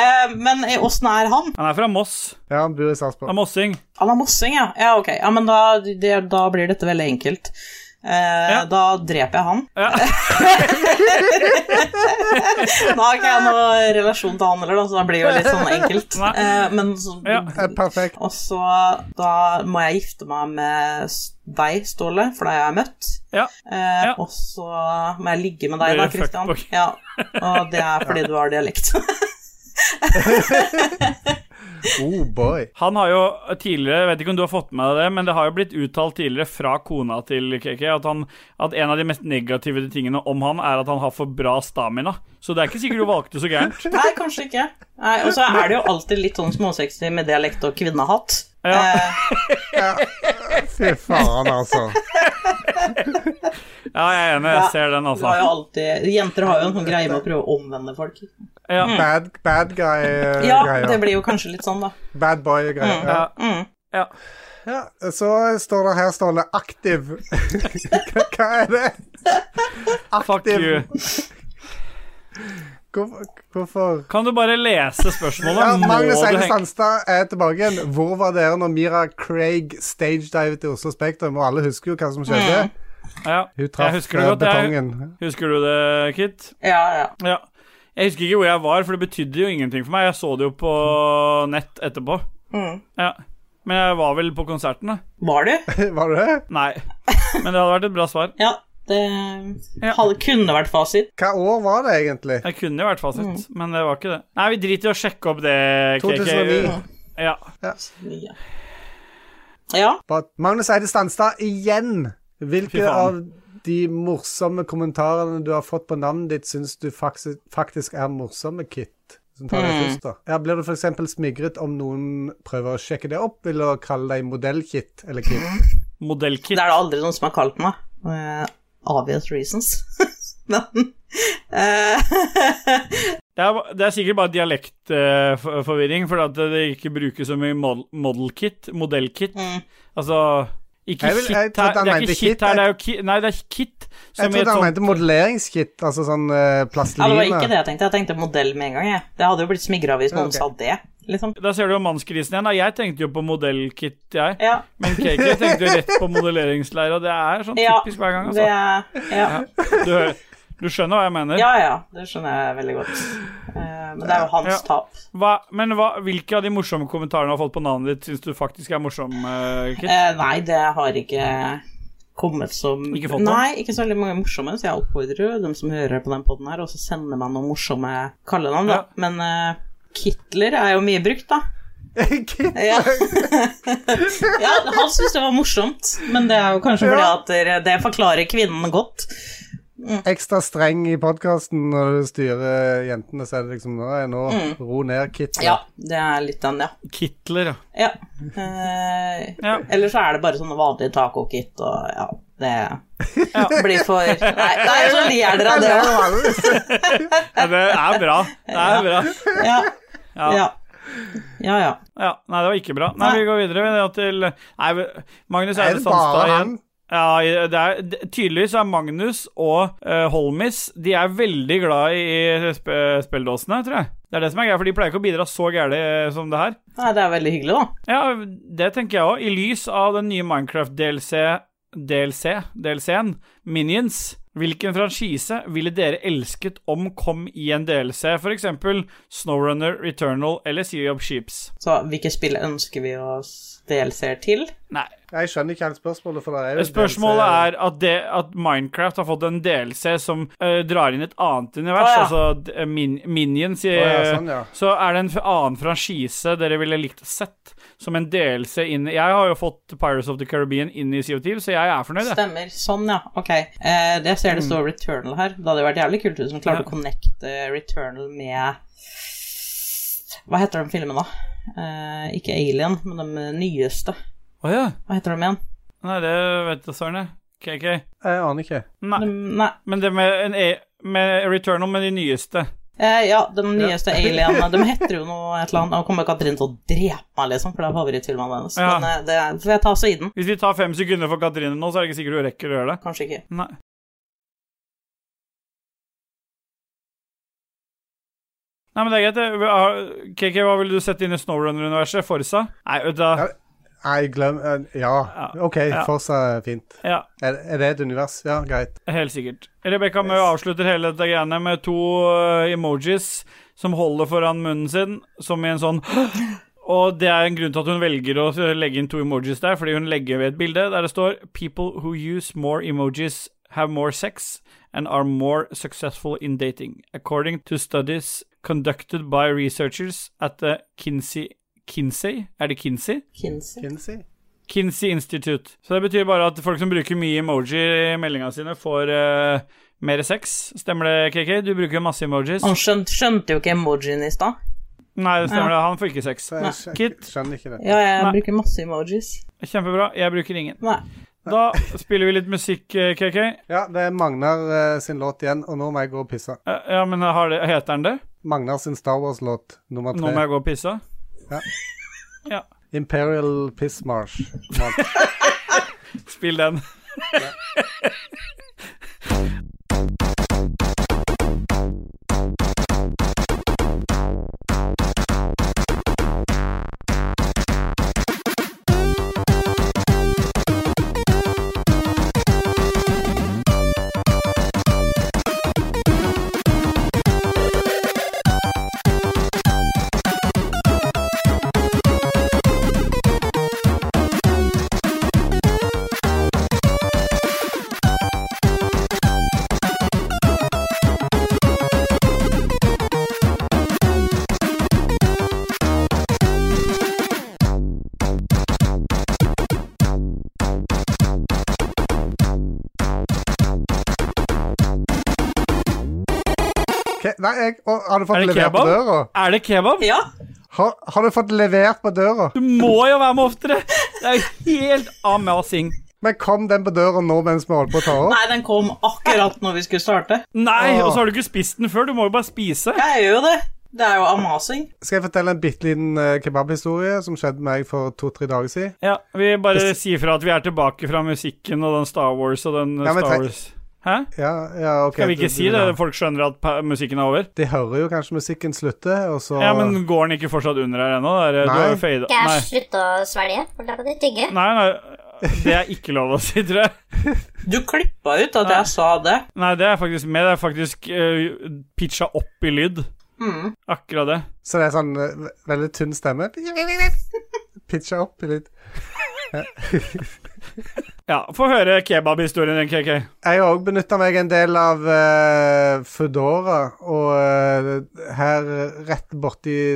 Speaker 2: Eh, men eh, åssen er han?
Speaker 1: Han er fra Moss.
Speaker 3: ja, han bor i
Speaker 1: Han
Speaker 3: Sarpsborg.
Speaker 1: er mossing.
Speaker 2: Han er mossing, ja. Ja, ok. Ja, men da, det, da blir dette veldig enkelt. Eh,
Speaker 1: Ja.
Speaker 2: Da dreper jeg han.
Speaker 1: Ja.
Speaker 2: Nå har ikke jeg noe relasjon til han heller, da, så da blir det jo litt sånn enkelt.
Speaker 1: Nei.
Speaker 2: Eh, men så,
Speaker 1: Ja.
Speaker 3: Eh, Perfekt.
Speaker 2: Og så da må jeg gifte meg med s- deg, Ståle, for deg har jeg møtt.
Speaker 1: Ja.
Speaker 2: Eh,
Speaker 1: Ja.
Speaker 2: Og så må jeg ligge med deg,
Speaker 1: Blir
Speaker 2: da,
Speaker 1: det
Speaker 2: Christian.
Speaker 1: fuckboy?
Speaker 2: Ja. Og det er fordi du har dialekt.
Speaker 1: [laughs]
Speaker 3: Oh boy.
Speaker 1: Han har jo tidligere, jeg vet ikke om du har fått med deg det, men det har jo blitt uttalt tidligere fra kona til KK at, han, at en av de mest negative tingene om han er at han har for bra stamina. Så det er ikke sikkert du valgte så gærent.
Speaker 2: Nei, kanskje ikke. Nei, Og så er det jo alltid litt sånn småsexy med dialekt og kvinnehatt.
Speaker 1: Ja.
Speaker 2: Eh,
Speaker 3: Fy faen, altså.
Speaker 1: Ja, jeg er enig, jeg ser den,
Speaker 2: du har jo
Speaker 1: altså.
Speaker 2: alltid, jenter har jo en sånn greie med å prøve å omvende folk.
Speaker 1: Ja.
Speaker 3: Bad, bad
Speaker 2: Ja,
Speaker 3: guy-greier.
Speaker 2: det blir Mm. jo kanskje litt sånn, da.
Speaker 3: Bad boy-greier.
Speaker 1: Ja.
Speaker 3: Ja.
Speaker 1: Ja.
Speaker 3: Ja. Så står det her, Ståle, aktiv. [laughs] Hva- Hva er det?
Speaker 1: Fuck you.
Speaker 3: Hvorfor? hvorfor?
Speaker 1: Kan du bare lese spørsmålet?
Speaker 3: Ja,
Speaker 1: Må
Speaker 3: Magnus
Speaker 1: du
Speaker 3: Eide
Speaker 1: henge-
Speaker 3: Sandstad er tilbake igjen. Hvor var dere når Mira Craig stagedivet i Oslo Spektrum? Og alle husker jo hva som
Speaker 2: Mm.
Speaker 3: skjedde.
Speaker 1: Ja.
Speaker 3: Hun
Speaker 1: Jeg
Speaker 3: traff
Speaker 1: husker det
Speaker 3: eh,
Speaker 1: godt, jeg.
Speaker 3: betongen. [laughs]
Speaker 1: Husker du det, Kit?
Speaker 2: Ja, ja.
Speaker 1: Ja. Jeg husker ikke hvor jeg var, for det betydde jo ingenting for meg. Jeg så det jo på nett etterpå.
Speaker 2: Mm.
Speaker 1: Ja. Men jeg var vel på konserten, da.
Speaker 2: Var du?
Speaker 3: Var det det?
Speaker 1: Nei. Men det hadde vært et bra svar.
Speaker 2: Ja, det
Speaker 1: Ja.
Speaker 2: hadde, kunne vært fasit.
Speaker 3: Hva år var det egentlig?
Speaker 1: Det kunne jo vært fasit,
Speaker 2: Mm.
Speaker 1: men det var ikke det. Nei, vi driter i å sjekke opp det, KK.
Speaker 3: 2009.
Speaker 1: Ja.
Speaker 2: Ja. ja.
Speaker 3: But Magnus Eide Sandstad igjen.
Speaker 1: Fy
Speaker 3: Hvilke av
Speaker 1: faen.
Speaker 3: de morsomme kommentarene du har fått på navnet ditt, syns du faktisk, faktisk er morsomme, Kit? Liksom ta det
Speaker 2: Mm.
Speaker 3: først, da. Ja, blir du f.eks. smigret om noen prøver å sjekke det opp, vil du kalle deg modellkit eller kit?
Speaker 2: Mm.
Speaker 1: Modellkit.
Speaker 2: Det er det aldri noen som har kalt meg. eh, obvious reasons. [laughs] Men eh, [laughs]
Speaker 1: Det er, det er sikkert bare dialektforvirring, for at det ikke brukes så mye mod- model kit, modellkit.
Speaker 2: Mm.
Speaker 1: Altså ikke
Speaker 3: Jeg vil- jeg
Speaker 1: kit her,
Speaker 3: trodde han
Speaker 1: det er
Speaker 3: mente
Speaker 1: ikke kit
Speaker 3: kit,
Speaker 1: her,
Speaker 3: jeg-
Speaker 1: det er jo kit Nei, det er kit
Speaker 3: Jeg
Speaker 1: i et
Speaker 3: trodde han
Speaker 1: sånt-
Speaker 3: mente modelleringskit, altså sånn uh,
Speaker 2: ja, det var ikke det
Speaker 3: plastelina.
Speaker 2: jeg tenkte. Jeg tenkte modell med en gang, jeg. Det hadde jo blitt smigra hvis noen
Speaker 3: Ok.
Speaker 2: sa det, liksom.
Speaker 1: Da ser du jo mannskrisen igjen. da. Jeg tenkte jo på modellkit, jeg.
Speaker 2: Ja.
Speaker 1: Men Kaki tenkte jo rett på modelleringsleir, og det er sånn
Speaker 2: Ja,
Speaker 1: typisk hver gang.
Speaker 2: Det
Speaker 1: Altså.
Speaker 2: er ja.
Speaker 1: Du, hører- du skjønner hva jeg mener?
Speaker 2: ja, ja. Det skjønner jeg veldig godt. Eh, men det er jo hans
Speaker 1: Ja.
Speaker 2: tap.
Speaker 1: Hva, men hva, hvilke av de morsomme kommentarene du har fått på navnet ditt, syns du faktisk er morsom, eh, Kit?
Speaker 2: Eh, nei, det har ikke kommet som
Speaker 1: Ikke fått noe?
Speaker 2: Nei, ikke så veldig mange morsomme, så jeg oppfordrer jo dem som hører på den poden her, og så sender man noen morsomme kallenavn, da.
Speaker 1: Ja.
Speaker 2: Men eh, Kitler er jo mye brukt, da.
Speaker 3: [laughs] Kit.
Speaker 2: Ja. [laughs] ja, han syntes det var morsomt, men det er jo kanskje fordi
Speaker 3: Ja.
Speaker 2: at dere- det forklarer kvinnen godt.
Speaker 3: Ekstra streng i podkasten når du styrer jentene, så er det liksom Nå, nå ro ned, kit.
Speaker 2: Mm. Ja, det er litt den, ja.
Speaker 1: Kitler, ja.
Speaker 2: Eh, ja. Eh,
Speaker 1: Ja.
Speaker 2: Eller så er det bare sånne vanlige taco-kit og ja, det
Speaker 1: Ja.
Speaker 2: blir for Nei, nei så ler dere av det.
Speaker 3: Ja, alle-
Speaker 1: ja. Det er bra. Det er bra.
Speaker 2: Ja.
Speaker 1: [laughs] Ja.
Speaker 2: Ja. ja, ja.
Speaker 1: Ja, nei, det var ikke bra. Nei,
Speaker 2: Nei.
Speaker 1: vi går videre vi er til Nei, vi- Magnus
Speaker 3: Er
Speaker 1: Eide
Speaker 3: det bare
Speaker 1: Sandstad igjen.
Speaker 3: han?
Speaker 1: Ja, det er, det- tydeligvis er Magnus og eh, Holmis De er veldig glad i eh, sp spilledåsene, tror jeg. Det er det som er greia, for de pleier ikke å bidra så gærent som det her.
Speaker 2: Nei, det er veldig hyggelig, da.
Speaker 1: Ja, det tenker jeg òg. I lys av den nye Minecraft-DLC DLC, DLC-en, Minions, hvilken franchise ville dere elsket om kom i en DLC, for eksempel Snowrunner, Returnal eller Sea of Sheeps?
Speaker 2: Så hvilke spill ønsker vi oss DLC-er til?
Speaker 1: Nei,
Speaker 3: Jeg skjønner ikke helt spørsmålet, for det er jo
Speaker 1: Spørsmålet er at, det, at Minecraft har fått en DLC som øh, drar inn et annet univers,
Speaker 2: Å, ja.
Speaker 1: altså d- min, Minions i,
Speaker 3: Å, ja, sånn, ja.
Speaker 1: Så er det en f- annen franchise dere ville likt å sett som en DLC inn Jeg har jo fått Pirates of the Caribbean inn i CO2, så jeg er fornøyd, jeg.
Speaker 2: Stemmer. Sånn, ja. Ok. Eh, jeg ser det står Returnal her. Det hadde vært jævlig kult hvis man klarte
Speaker 1: Ja.
Speaker 2: å connecte Returnal med Hva heter den filmen, da? Eh, ikke Alien, men den nyeste.
Speaker 1: Å ja.
Speaker 2: Hva heter den igjen?
Speaker 1: Nei, det vet du søren, jeg. KK.
Speaker 3: Jeg aner ikke.
Speaker 1: Nei.
Speaker 2: Den- Nei.
Speaker 1: Men det med, en e med Returnal med de nyeste
Speaker 2: Eh, ja, den nyeste Alien eh, De heter jo noe et eller annet. Nå kommer Katrin til å drepe meg, liksom, for det er favorittfilmen hennes.
Speaker 1: Ja.
Speaker 2: Men eh, det får jeg ta så i den.
Speaker 1: Hvis vi tar fem sekunder for Katrine nå, så er det ikke sikkert hun rekker å gjøre det.
Speaker 2: Kanskje ikke.
Speaker 1: Nei. Nei, men det er greit. det. Vi har- KK, hva ville du sette inn i Snowrunner-universet? Forsa? Nei, vet du hva.
Speaker 3: Nei, glem eh, Ja,
Speaker 1: Ja.
Speaker 3: OK,
Speaker 1: Ja.
Speaker 3: Forsa er fint.
Speaker 1: Ja,
Speaker 3: Er, er det et univers? Ja, greit.
Speaker 1: helt sikkert. Rebekka Mø avslutter hele dette greiene med to øh, emojis som holder foran munnen sin, som i en sånn [gasps] Og det er en grunn til at hun velger å legge inn to emojis der, fordi hun legger ved et bilde der det står 'People who use more emojis have more sex and are more successful in dating', according to studies conducted by researchers at the Kinsey Kinsey? Er det Kinsey?
Speaker 2: Kinsey.
Speaker 3: Kinsey?
Speaker 1: Kinsey Institute. Så det betyr bare at folk som bruker mye emoji i meldinga sine, får eh, mer sex. Stemmer det, KK? Du bruker masse emojis.
Speaker 2: Han skjønte, skjønte jo ikke emojien i stad.
Speaker 1: Nei, det stemmer det. Han får ikke sex.
Speaker 3: Så jeg skj-
Speaker 1: Kit.
Speaker 3: skjønner ikke det.
Speaker 2: Ja, jeg
Speaker 1: Nei.
Speaker 2: bruker masse emojis.
Speaker 1: Kjempebra. Jeg bruker ingen.
Speaker 2: Nei.
Speaker 1: Da spiller vi litt musikk, eh, KK.
Speaker 3: Ja, det er Magnar eh, sin låt igjen, og nå må jeg gå og pisse.
Speaker 1: Eh, Ja, men har det, heter den det?
Speaker 3: Magnar sin Star Wars-låt nummer
Speaker 1: Nå må
Speaker 3: tre.
Speaker 1: jeg gå og pisse.
Speaker 3: Imperial Piss Marsh. Marsh.
Speaker 1: Spill den.
Speaker 5: Thank
Speaker 3: ke Nei, jeg, å, har du fått
Speaker 1: Er det
Speaker 3: levert på
Speaker 1: kebab?
Speaker 3: døra?
Speaker 1: Er det kebab?
Speaker 2: Ja,
Speaker 3: Har, har du fått levert på døra?
Speaker 1: Du må jo være med oftere! Det er jo helt amazing.
Speaker 3: Men kom den på døra nå mens vi holder på å ta opp?
Speaker 2: Nei, den kom akkurat når vi skulle starte.
Speaker 1: Nei, og så har du ikke spist den før. Du må jo bare spise.
Speaker 2: Jeg gjør jo det. Det er jo amazing.
Speaker 3: Skal jeg fortelle en bitte liten eh, kebabhistorie som skjedde meg for to-tre dager siden?
Speaker 1: Ja, Vi bare sier fra at vi er tilbake fra musikken og den Star Wars og den eh,
Speaker 3: Ja, men
Speaker 1: Star
Speaker 3: tre-
Speaker 1: Wars. Hæ?
Speaker 3: Ja, ja, ok.
Speaker 1: Kan vi
Speaker 3: Du-
Speaker 1: ikke si
Speaker 3: du-
Speaker 1: det? Folk skjønner at pa- musikken er over.
Speaker 3: De hører jo kanskje musikken slutte, og så
Speaker 1: Ja, men går den ikke fortsatt under her ennå? Det er- Du har jo fada
Speaker 10: Jeg
Speaker 1: Nei.
Speaker 10: har slutta å svelge. for da kan jeg tygge.
Speaker 1: nei, nei. Det er ikke lov å si, tror jeg.
Speaker 2: Du klippa ut at jeg sa det.
Speaker 1: Nei, det er faktisk med. Det er faktisk eh, pitcha opp i lyd. Mm. Akkurat det.
Speaker 3: Så det er sånn eh, veldig tynn stemme. Pitcha opp litt.
Speaker 1: Ja, få høre kebabhistorien din, KK.
Speaker 3: Jeg har òg benytta meg en del av eh, Foodora, og eh, her rett borti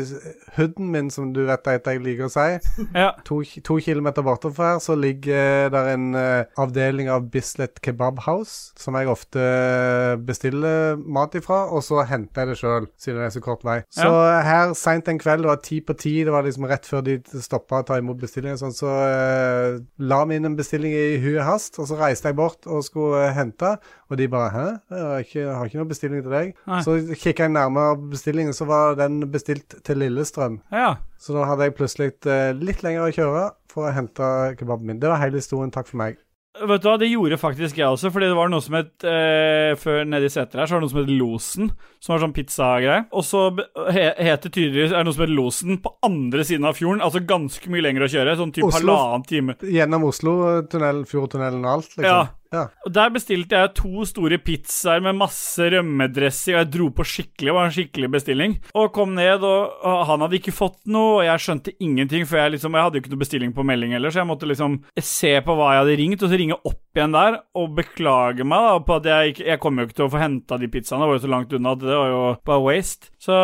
Speaker 3: hooden min, som du vet at jeg liker å si,
Speaker 1: Ja.
Speaker 3: to, to kilometer bortenfor her, så ligger der en eh, avdeling av Bislett Kebab House, som jeg ofte eh, bestiller mat ifra, og så henter jeg det sjøl, siden det er så kort vei. Så eh, her seint en kveld, det var ti på ti, det var liksom rett før de stoppa å ta imot bestillinger, og sånn, så eh, la vi inn en bestilling i huet hast, og så reiste jeg bort og skulle eh, hente, og de bare 'hæ, jeg har ikke, jeg har ikke noen bestilling til deg'.
Speaker 1: Nei.
Speaker 3: Så kikka jeg nærmere på bestillingen, så var den bestilt til Lillestrøm.
Speaker 1: ja.
Speaker 3: Så da hadde jeg plutselig eh, litt lenger å kjøre for å hente kebaben min. Det var hele historien. Takk for meg.
Speaker 1: Vet du hva, Det gjorde faktisk jeg også, fordi det var noe som het eh, Før nedi seteret her, så var det noe som het Losen, som var sånn pizzagreie. Og så be- he, het det tydeligvis er det noe som het Losen på andre siden av fjorden, altså ganske mye lenger å kjøre, sånn typ
Speaker 3: Oslo.
Speaker 1: halvannen time.
Speaker 3: Gjennom Oslo-tunnelen, Fjordtunnelen og alt,
Speaker 1: Ja.
Speaker 3: liksom. Ja.
Speaker 1: Og Der bestilte jeg to store pizzaer med masse rømmedressing, og jeg dro på skikkelig, det var en skikkelig bestilling. Og kom ned, og, og han hadde ikke fått noe, og jeg skjønte ingenting, for jeg liksom, jeg hadde jo ikke noe bestilling på melding heller, så jeg måtte liksom se på hva jeg hadde ringt, og så ringe opp igjen der, og beklage meg da, på at jeg, ikke, jeg kom jo ikke til å få henta de pizzaene, det var jo så langt unna at det var jo bare waste. Så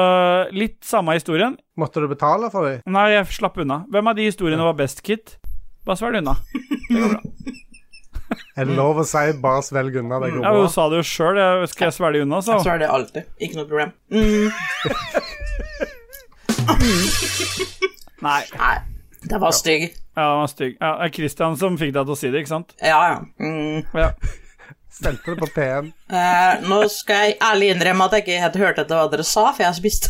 Speaker 1: litt samme historien.
Speaker 3: Måtte du betale for dem?
Speaker 1: Nei, jeg slapp unna. Hvem av de historiene var best, Kit? Bare svelg unna.
Speaker 3: Er det lov å si 'bare svelg unna'? Det går
Speaker 1: Jeg
Speaker 3: bra.
Speaker 1: sa det Mm. jo sjøl, skal jeg svelge unna, så?
Speaker 2: Så er det alltid. Ikke noe problem. Mm.
Speaker 1: Nei.
Speaker 2: Nei, det var stygg.
Speaker 1: Ja, den var stygg. Ja, det er Christian som fikk deg til å si det, ikke sant?
Speaker 2: Ja, ja. Mm.
Speaker 1: Ja.
Speaker 3: Sendte det på P1.
Speaker 2: Eh, nå skal jeg ærlig innrømme at jeg ikke helt hørte etter hva dere sa, for jeg spiste.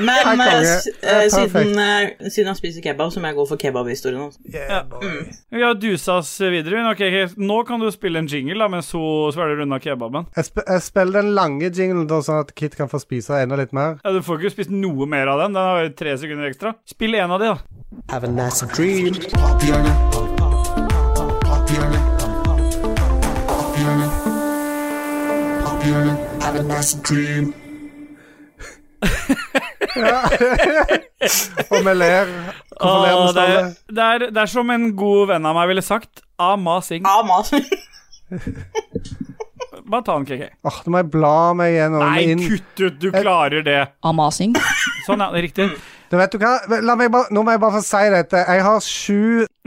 Speaker 2: Men
Speaker 3: Nei, konge.
Speaker 2: eh, s- eh,
Speaker 3: Det er
Speaker 2: siden, eh, siden jeg spiser kebab, så må jeg gå for kebabhistorien. Altså.
Speaker 3: Yeah, boy.
Speaker 1: Vi har dusa oss videre. men Ok, ok, Nå kan du spille en jingle da, mens hun svelger unna kebaben.
Speaker 3: Jeg, sp jeg spiller den lange jinglen, da, sånn at Kit kan få spise enda litt mer.
Speaker 1: Ja, Du får ikke spist noe mer av den. Den har jo tre sekunder ekstra. Spill en av de, da.
Speaker 8: Have a nice dream.
Speaker 1: [laughs]
Speaker 3: Og vi ler. Hvorfor ler vi
Speaker 1: det,
Speaker 3: sånn?
Speaker 1: er, det, er, det er som en god venn av meg ville sagt. Amazing.
Speaker 2: Ja, mas.
Speaker 1: Bare ta den, KK.
Speaker 3: Åh, Nå må jeg bla meg gjennom
Speaker 1: Nei,
Speaker 3: inn.
Speaker 1: kutt ut! Du klarer det.
Speaker 11: Amasing.
Speaker 1: Sånn, ja. det er Riktig.
Speaker 3: Du vet du hva? La meg bare, nå må jeg bare få si dette. Jeg har sju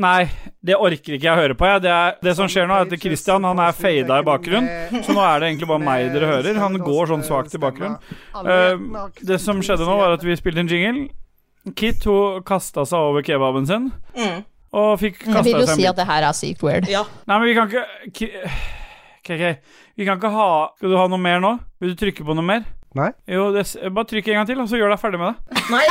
Speaker 1: Nei, det orker ikke jeg høre på. Jeg. Det, er, det som skjer nå, er at Christian han er fada i
Speaker 3: Eh,
Speaker 1: bakgrunnen. Så nå er det egentlig bare meg dere hører. Han går sånn svakt i bakgrunnen. Eh, det som skjedde nå, var at vi spilte en jingle. Kit hun kasta seg over kebaben sin. Og fikk
Speaker 11: Jeg vil
Speaker 1: kasta
Speaker 11: jo
Speaker 1: seg
Speaker 11: si
Speaker 1: en
Speaker 11: at det her er sykt weird.
Speaker 2: ja.
Speaker 1: bit. Nei, men vi kan ikke Ki- KK, vi kan ikke ha Skal du ha noe mer nå? Vil du trykke på noe mer?
Speaker 3: Nei.
Speaker 1: Jo, det, s- bare trykk en gang til, og så gjør deg ferdig med det.
Speaker 2: Nei.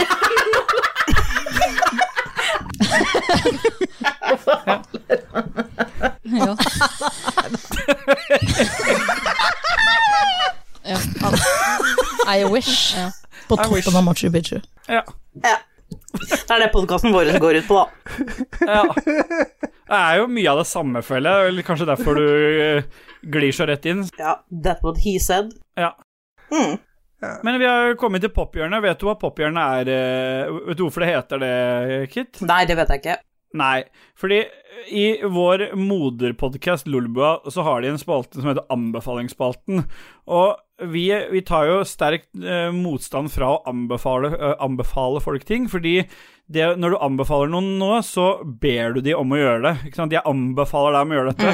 Speaker 11: Ja. [laughs] ja. I wish.
Speaker 1: På toppen av Machu Picchu. Ja.
Speaker 2: Det er det podkasten vår går ut på, da.
Speaker 1: Ja. Det er jo mye av det samme, føler jeg. Eller Kanskje derfor du eh, glir så rett inn.
Speaker 2: Ja, That's what he said.
Speaker 1: Ja.
Speaker 2: Mm.
Speaker 1: Men vi har jo kommet til pophjørnet. Vet du hva pophjørnet er eh, Vet du hvorfor det heter det, Kit?
Speaker 2: Nei, det vet jeg ikke.
Speaker 1: Nei, fordi i vår moderpodkast Lolbua så har de en spalte som heter Anbefalingsspalten. Og vi, vi tar jo sterk eh, motstand fra å anbefale, eh, anbefale folk ting, fordi det, når du anbefaler noen noe, så ber du de om å gjøre det. Ikke sant? Jeg anbefaler deg om å gjøre dette.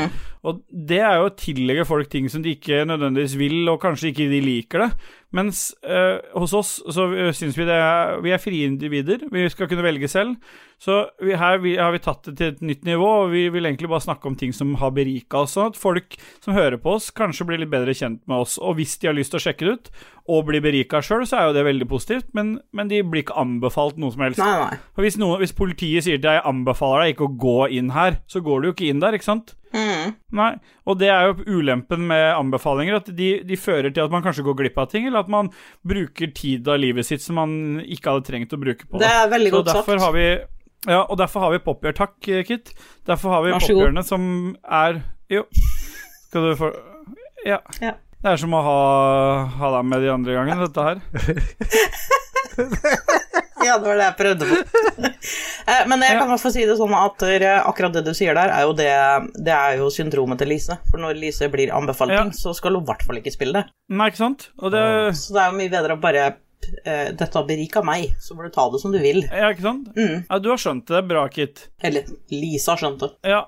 Speaker 1: Og det er jo å tillegge folk ting som de ikke nødvendigvis vil, og kanskje ikke de liker det. Mens eh, hos oss så syns vi det er Vi er frie individer, vi skal kunne velge selv. Så vi, her vi, har vi tatt det til et nytt nivå, og vi vil egentlig bare snakke om ting som har berika oss. Sånn at folk som hører på oss, kanskje blir litt bedre kjent med oss. Og hvis de har lyst til å sjekke det ut, og blir berika sjøl, så er jo det veldig positivt, men, men de blir ikke anbefalt noe som helst.
Speaker 2: Nei, nei.
Speaker 1: For hvis, noen, hvis politiet sier til deg 'jeg anbefaler deg ikke å gå inn her', så går du jo ikke inn der, ikke sant?
Speaker 2: Mm.
Speaker 1: Nei, og det er jo ulempen med anbefalinger, at de, de fører til at man kanskje går glipp av ting, eller at man bruker tid av livet sitt som man ikke hadde trengt å bruke på
Speaker 2: Det er veldig
Speaker 1: så
Speaker 2: godt sagt.
Speaker 1: derfor Har vi, ja, og derfor har vi poppjør. Takk, eh, Kit. Derfor har vi
Speaker 2: Vær så god.
Speaker 1: poppjørene som er Jo. Skal du få Ja.
Speaker 2: Ja.
Speaker 1: Det er som å ha, ha deg med de andre gangene, dette her.
Speaker 2: Ja, det var det jeg prøvde på. [laughs] Eh, Men jeg kan i hvert fall si det sånn at eh, akkurat det du sier der, er jo det, det er jo syndromet til Lise. For når Lise blir anbefalt ting, så skal hun i hvert fall ikke spille det.
Speaker 1: Nei, ikke sant? Og det
Speaker 2: Så det er jo mye bedre å bare eh, Dette har berika meg, så må du ta det som du vil.
Speaker 1: Ja, ikke sant?
Speaker 2: Mm.
Speaker 1: Ja, du har skjønt det bra, Kit.
Speaker 2: Eller Lise har skjønt det.
Speaker 1: Ja.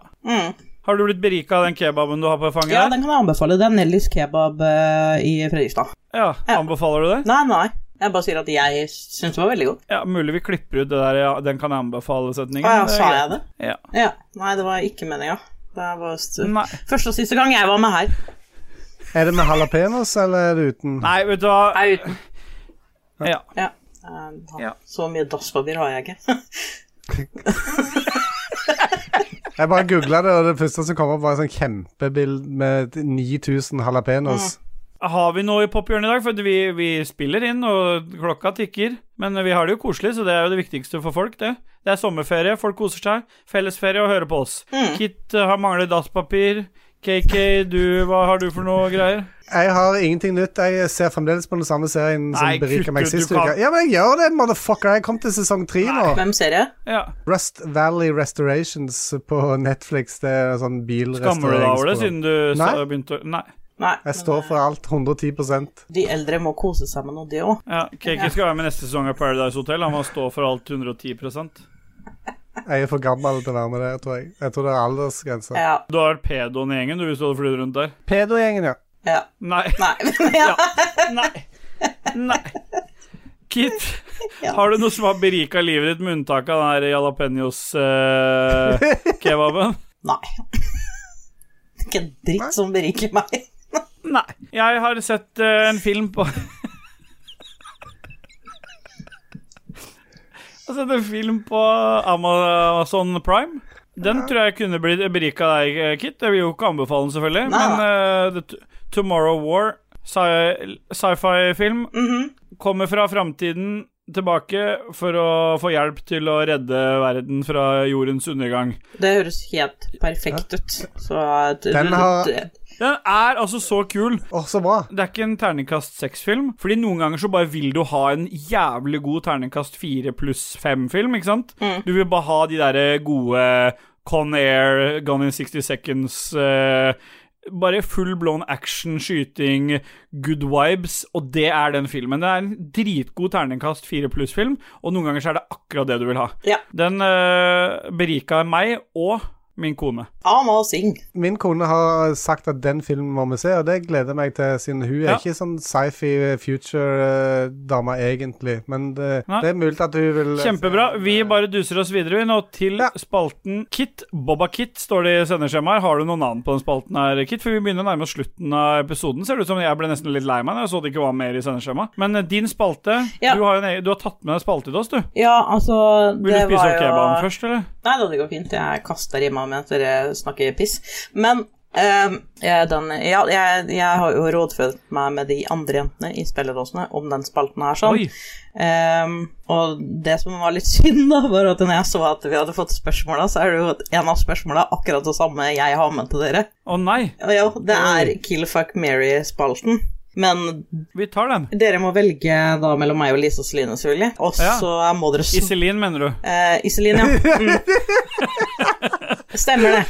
Speaker 1: Har du blitt berika av den kebaben du har på fanget?
Speaker 2: Mm. Ja,
Speaker 1: der?
Speaker 2: den kan jeg anbefale. Det er Nellys kebab eh, i Fredrikstad.
Speaker 1: ja. Anbefaler du det?
Speaker 2: Nei, nei. Jeg bare sier at jeg syns det var veldig godt.
Speaker 1: Ja, Mulig vi klipper ut det der ja, 'den kan jeg anbefale'-setningen.
Speaker 2: Å ja, sa jeg det?
Speaker 1: Ja.
Speaker 2: Ja. Nei, det var ikke meninga. Det er bare st- første og siste gang jeg var med her.
Speaker 3: Er det med jalapeños, eller er det uten?
Speaker 1: Nei, vet du hva
Speaker 2: Jeg er uten.
Speaker 1: Ja.
Speaker 2: Ja. Eh, Så mye dasspapir har jeg ikke. [laughs]
Speaker 3: Jeg bare googla det, og det første som kom opp, var et sånt kjempebilde med 9000 jalapeños.
Speaker 1: Mm. Har vi noe i pophjørnet i dag? For vi, vi spiller inn, og klokka tikker. Men vi har det jo koselig, så det er jo det viktigste for folk, det. Det er sommerferie, folk koser seg. Fellesferie og hører på oss.
Speaker 2: Mm.
Speaker 1: Kit eh, har mangler dasspapir. KK, du, hva har du for noe greier?
Speaker 3: Jeg har ingenting nytt. Jeg ser fremdeles på den samme serien som
Speaker 1: Nei,
Speaker 3: berika meg
Speaker 1: kutt ut,
Speaker 3: sist
Speaker 1: du
Speaker 3: uke.
Speaker 1: kan-
Speaker 3: Ja, men jeg gjør det, motherfucker. Jeg kom til sesong tre nå.
Speaker 2: Hvem ser jeg?
Speaker 1: Ja.
Speaker 3: Rust Valley Restorations på Netflix. Det er sånn
Speaker 1: Skammer du deg over det siden
Speaker 3: bilrestaureringsprogram.
Speaker 1: du sa,
Speaker 3: Nei.
Speaker 1: begynte å Nei.
Speaker 2: Nei.
Speaker 3: Jeg står for alt 110
Speaker 2: De eldre må kose seg med noe, de òg.
Speaker 1: Ja, KK skal være med neste sesong av Paradise Hotel. Han må stå for alt 110 Du
Speaker 3: Jeg er for gammel til å være med der, tror jeg. Jeg tror det er aldersgrense.
Speaker 1: har vært pedoen i gjengen, du, hvis du hadde flydd rundt der.
Speaker 3: Pedogjengen, ja.
Speaker 2: Ja.
Speaker 1: Nei.
Speaker 2: Nei. [laughs]
Speaker 1: ja. Nei. Nei. Kit, [laughs] har du noe som har berika livet ditt, med unntak av den her eh, jalapeños-kebaben?
Speaker 2: [laughs] Ikke en dritt som beriker meg.
Speaker 1: Nei. Jeg har sett eh, en film på Jeg har sett en film på Amazon Prime. Den tror jeg kunne blitt berika deg, eh, Kit. Jeg vil jo ikke anbefale den, selvfølgelig. Men eh, The T- Tomorrow War, sci- sci-fi-film, kommer fra framtiden tilbake for å få hjelp til å redde verden fra jordens undergang.
Speaker 2: Det høres helt perfekt ut. Så eh, at-
Speaker 1: Den har-
Speaker 2: det-
Speaker 1: Den er altså så kul.
Speaker 3: Åh, så bra
Speaker 1: Det er ikke en terningkast seks-film. Fordi noen ganger så bare vil du ha en jævlig god terningkast fire pluss fem-film, ikke sant? Du vil bare ha de derre gode eh, Con Air, Gone in 60 Seconds eh, Bare full blown action, skyting, good vibes, og det er den filmen. Det er en dritgod terningkast fire pluss-film, og noen ganger så er det akkurat det du vil ha. Den eh, berika meg og min kone.
Speaker 2: Amal Singh.
Speaker 3: Min kone har sagt at den filmen må vi se, og det gleder jeg meg til, siden hun
Speaker 1: Ja.
Speaker 3: er ikke sånn sci-fi future-dame egentlig, men det,
Speaker 1: Nei.
Speaker 3: det er mulig at hun vil eh,
Speaker 1: Kjempebra. Vi bare duser oss videre vi, nå til spalten Kit. Boba Kit står det i sendeskjemaet her. Har du noe navn på den spalten her, Kit? For vi begynner å nærme oss slutten av episoden. Ser det ut som jeg ble nesten litt lei meg når jeg så det ikke var mer i sendeskjemaet. Men eh, din spalte du, har jo en, egen- du har tatt med deg spalte til oss, du.
Speaker 2: Ja, altså
Speaker 1: Vil du
Speaker 2: det
Speaker 1: spise
Speaker 2: var
Speaker 1: opp
Speaker 2: jo-
Speaker 1: kebaben først, eller?
Speaker 2: Nei da, det går fint. Jeg kaster i meg mens dere snakker piss. Men ehm, eh, den, ja, jeg, jeg har jo rådført meg med de andre jentene i spilledåsene om den spalten her. sånn. Ehm, og det som var litt synd, da, var at når jeg så at vi hadde fått spørsmåla, så er det jo at en av spørsmåla er akkurat det samme jeg har med til dere.
Speaker 1: Å nei.
Speaker 2: Og jo, det er Kill Fuck Mary-spalten. Men
Speaker 1: Vi tar den.
Speaker 2: dere må velge da mellom meg og Lise og Celine, selvfølgelig. Og så må dere sv-
Speaker 1: Iselin, mener du?
Speaker 2: Eh, Iselin,
Speaker 1: [laughs]
Speaker 2: ja. Mm. Stemmer det.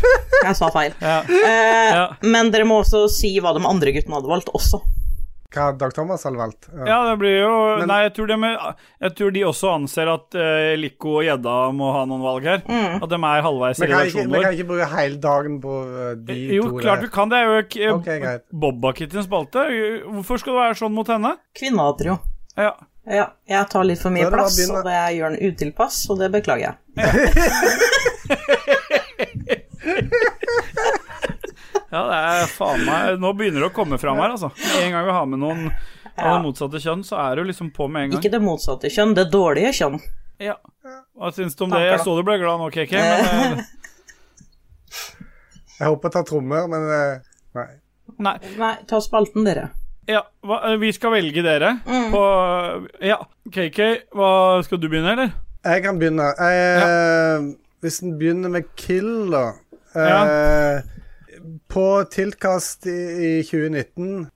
Speaker 2: Jeg sa feil. Eh, Men dere må også si hva de andre guttene hadde valgt, også.
Speaker 3: hva Dag Thomas hadde valgt. Ja.
Speaker 1: Ja, det blir jo
Speaker 3: Men-
Speaker 1: Nei, jeg tror, de, jeg tror de også anser at uh, Lico og Gjedda må ha noen valg her.
Speaker 2: Mm.
Speaker 1: At de er halvveis i
Speaker 3: Vi kan, ikke,
Speaker 1: redaksjonen
Speaker 3: vi kan
Speaker 1: vår.
Speaker 3: ikke bruke hele dagen på eh, de
Speaker 1: Jo,
Speaker 3: to.
Speaker 1: klart vi kan det. er jo ikke
Speaker 3: Ok, greit.
Speaker 1: Bobba Kittens spalte. Hvorfor skal du være sånn mot henne?
Speaker 2: Kvinnehater, jo.
Speaker 1: Ja.
Speaker 2: Ja, jeg tar litt for
Speaker 1: Da
Speaker 2: mye
Speaker 1: er det bare å
Speaker 2: plass,
Speaker 1: begynne.
Speaker 2: og det gjør den utilpass, og det beklager jeg.
Speaker 1: Ja, det er faen meg Nå begynner det å komme fram her, altså. Med en gang vi har med noen av det motsatte kjønn, så er du liksom på med en gang.
Speaker 2: Ikke det motsatte kjønn, det dårlige kjønn.
Speaker 1: Ja. Hva syns du om
Speaker 2: Takk,
Speaker 1: det? Jeg
Speaker 2: da.
Speaker 1: så du ble glad nå, KK, men eh,
Speaker 3: Jeg håper jeg tar trommer, men eh, nei.
Speaker 1: Nei.
Speaker 2: Nei, ta spalten, dere.
Speaker 1: ja, hva, eh, vi skal velge dere
Speaker 3: Mm.
Speaker 1: på eh, Ja, KK, hva, skal du begynne, eller?
Speaker 3: Jeg kan begynne. Eh, Hvis en begynner med Kill, da eh, På tiltkast i, i 2019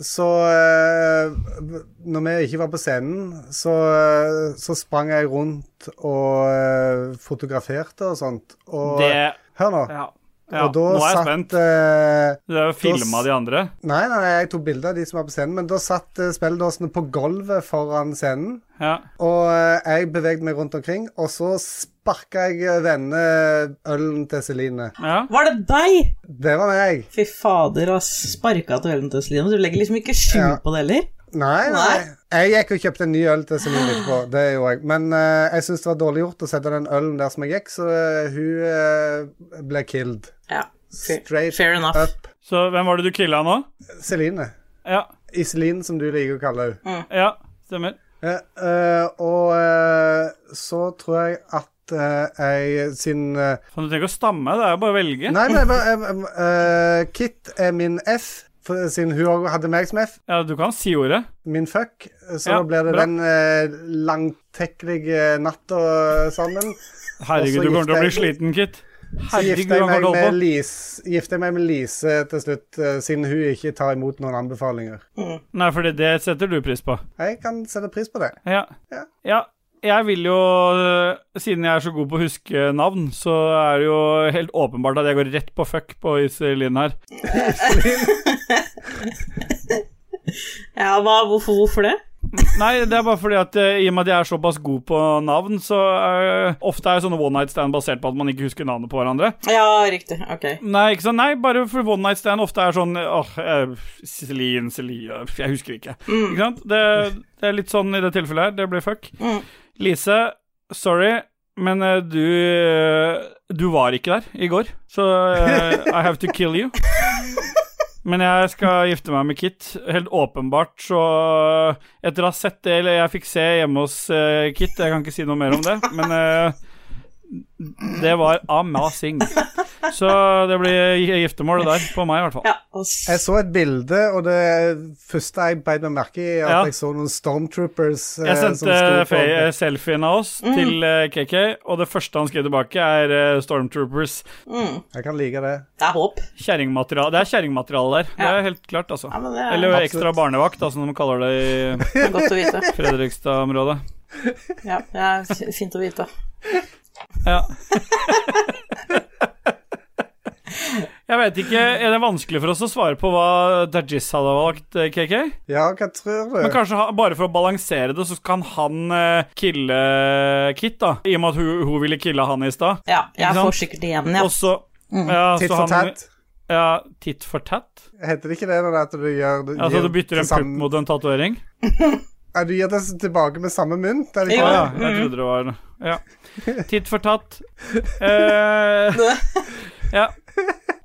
Speaker 3: så eh, Når vi ikke var på scenen, så, eh, så sprang jeg rundt og eh, fotograferte og sånt. Og
Speaker 1: Det-
Speaker 3: Hør nå.
Speaker 1: Ja. Ja,
Speaker 3: og da
Speaker 1: nå er jeg
Speaker 3: satt,
Speaker 1: spent.
Speaker 3: eh,
Speaker 1: Du har jo
Speaker 3: da s-
Speaker 1: filma de andre.
Speaker 3: Nei, nei, nei, jeg tok bilder av de som var på scenen, men da satt eh, spilledåsene på gulvet foran scenen.
Speaker 1: Ja.
Speaker 3: Og eh, jeg bevegde meg rundt omkring, og så sparka jeg eh, denne ølen til Celine.
Speaker 2: Var det deg?
Speaker 3: Det var meg.
Speaker 2: Fy fader, ass. Sparka til ølen til Celine. Du legger liksom ikke skjul på det heller.
Speaker 3: Nei, nei.
Speaker 2: Nei.
Speaker 3: Jeg gikk og kjøpte en ny øl til Celine
Speaker 1: [gasps]
Speaker 3: etterpå. Det gjorde jeg. Men eh, jeg syns det var dårlig gjort å sette den ølen der som jeg gikk, så eh, hun eh, ble killed.
Speaker 2: Ja.
Speaker 3: Straight
Speaker 2: Fair enough.
Speaker 3: up.
Speaker 1: Så hvem var det du killa nå?
Speaker 3: Celine.
Speaker 1: Ja.
Speaker 3: Iselin, som du liker å kalle henne.
Speaker 1: Ja, stemmer.
Speaker 3: Ja, eh, og eh, så tror jeg at eh, jeg siden eh,
Speaker 1: Faen, du trenger ikke å stamme, det er jo bare å velge.
Speaker 3: Nei, men jeg, bare- jeg, jeg- eh, Kit er min F, for, siden hun også hadde meg som F.
Speaker 1: Ja, du kan si ordet.
Speaker 3: Min fuck. Så
Speaker 1: Ja,
Speaker 3: da blir det
Speaker 1: bra.
Speaker 3: den eh, langtekkelige natta sammen.
Speaker 1: Herregud,
Speaker 3: Og så
Speaker 1: du kommer til å bli
Speaker 3: gifter jeg-
Speaker 1: sliten, Kit.
Speaker 3: Så
Speaker 1: Herregud,
Speaker 3: gifter jeg
Speaker 1: han kan
Speaker 3: meg
Speaker 1: ikke holde
Speaker 3: med
Speaker 1: på.
Speaker 3: Lise, gifter jeg meg med Lise til slutt, eh, siden hun ikke tar imot noen anbefalinger.
Speaker 1: Nei, for det setter du pris på.
Speaker 3: Jeg kan sette pris på det.
Speaker 1: Ja. ja. Jeg vil jo, øh, siden jeg er så god på å huske navn, så er det jo helt åpenbart at jeg går rett på fuck på Iselin her.
Speaker 2: Ja, hva, hvorfor, hvorfor det?
Speaker 1: Nei, det er bare fordi at eh, i og med at jeg er såpass god på navn, så eh, ofte er jo sånne one night stand basert på at man ikke husker navnet på hverandre.
Speaker 2: Ja, riktig. Ok.
Speaker 1: Nei, ikke sant? Nei, bare for one night stand ofte er sånn Åh, eh, Celine, Celine eh, Jeg husker ikke.
Speaker 2: Mm.
Speaker 1: [laughs] Ikke sant? Det, det er litt sånn i det tilfellet her. Det blir fuck.
Speaker 2: Mm.
Speaker 1: Lise, sorry, men eh, du eh, Du var ikke der i går, så eh, I have to kill you. Men jeg skal gifte meg med Kit. Helt åpenbart, så eh, Etter å ha sett det eller jeg fikk se hjemme hos eh, Kit, jeg kan ikke si noe mer om det, men eh, det var amazing. Så det blir giftermål der, på meg i hvert fall.
Speaker 3: Jeg så et bilde, og det første jeg beit meg merke i, er at
Speaker 1: Ja.
Speaker 3: jeg så noen Stormtroopers eh,
Speaker 1: Jeg
Speaker 3: som
Speaker 1: sendte eh.
Speaker 3: sto på-
Speaker 1: fe- selfien av oss
Speaker 3: Mm.
Speaker 1: til eh, KK, og det første han skrev tilbake, er eh, Stormtroopers.
Speaker 3: Jeg kan like det.
Speaker 2: Det er håp.
Speaker 1: Kjerringmateriale. Det er kjerringmateriale der. Det er helt klart, altså.
Speaker 2: det er-
Speaker 1: Eller
Speaker 2: Absolutt.
Speaker 1: ekstra barnevakt, da, som de kaller det
Speaker 2: er [laughs] godt å vite.
Speaker 1: i Fredrikstad-området.
Speaker 2: Ja, det er fi- fint å vite.
Speaker 1: Ja. [laughs] Jeg vet ikke, Er det vanskelig for oss å svare på hva Dajis hadde valgt, eh, KK?
Speaker 3: Ja, hva tror du?
Speaker 1: Men kanskje han, bare for å balansere det, så kan han eh, kille eh, Kit, da. I og med at hun, hun ville kille han i stad.
Speaker 2: Ja, jeg
Speaker 1: Ikke sant?
Speaker 2: får sikkert igjen, ja.
Speaker 1: Og så-
Speaker 2: Mm.
Speaker 1: ja,
Speaker 3: Titt
Speaker 1: så
Speaker 3: for
Speaker 1: han-
Speaker 3: tatt.
Speaker 1: Ja, titt for tatt.
Speaker 3: Heter det ikke det når det er at du gjør
Speaker 1: Ja,
Speaker 3: du
Speaker 1: så
Speaker 3: gir
Speaker 1: Altså, du bytter en
Speaker 3: det samme-
Speaker 1: pupp mot en tatovering?
Speaker 3: Ja, du gir det tilbake med samme mynt? er det
Speaker 1: Å
Speaker 3: ikke
Speaker 1: ja,
Speaker 3: det?
Speaker 1: jeg trodde det var Mm. Ja. Titt for tatt. Eh, ja.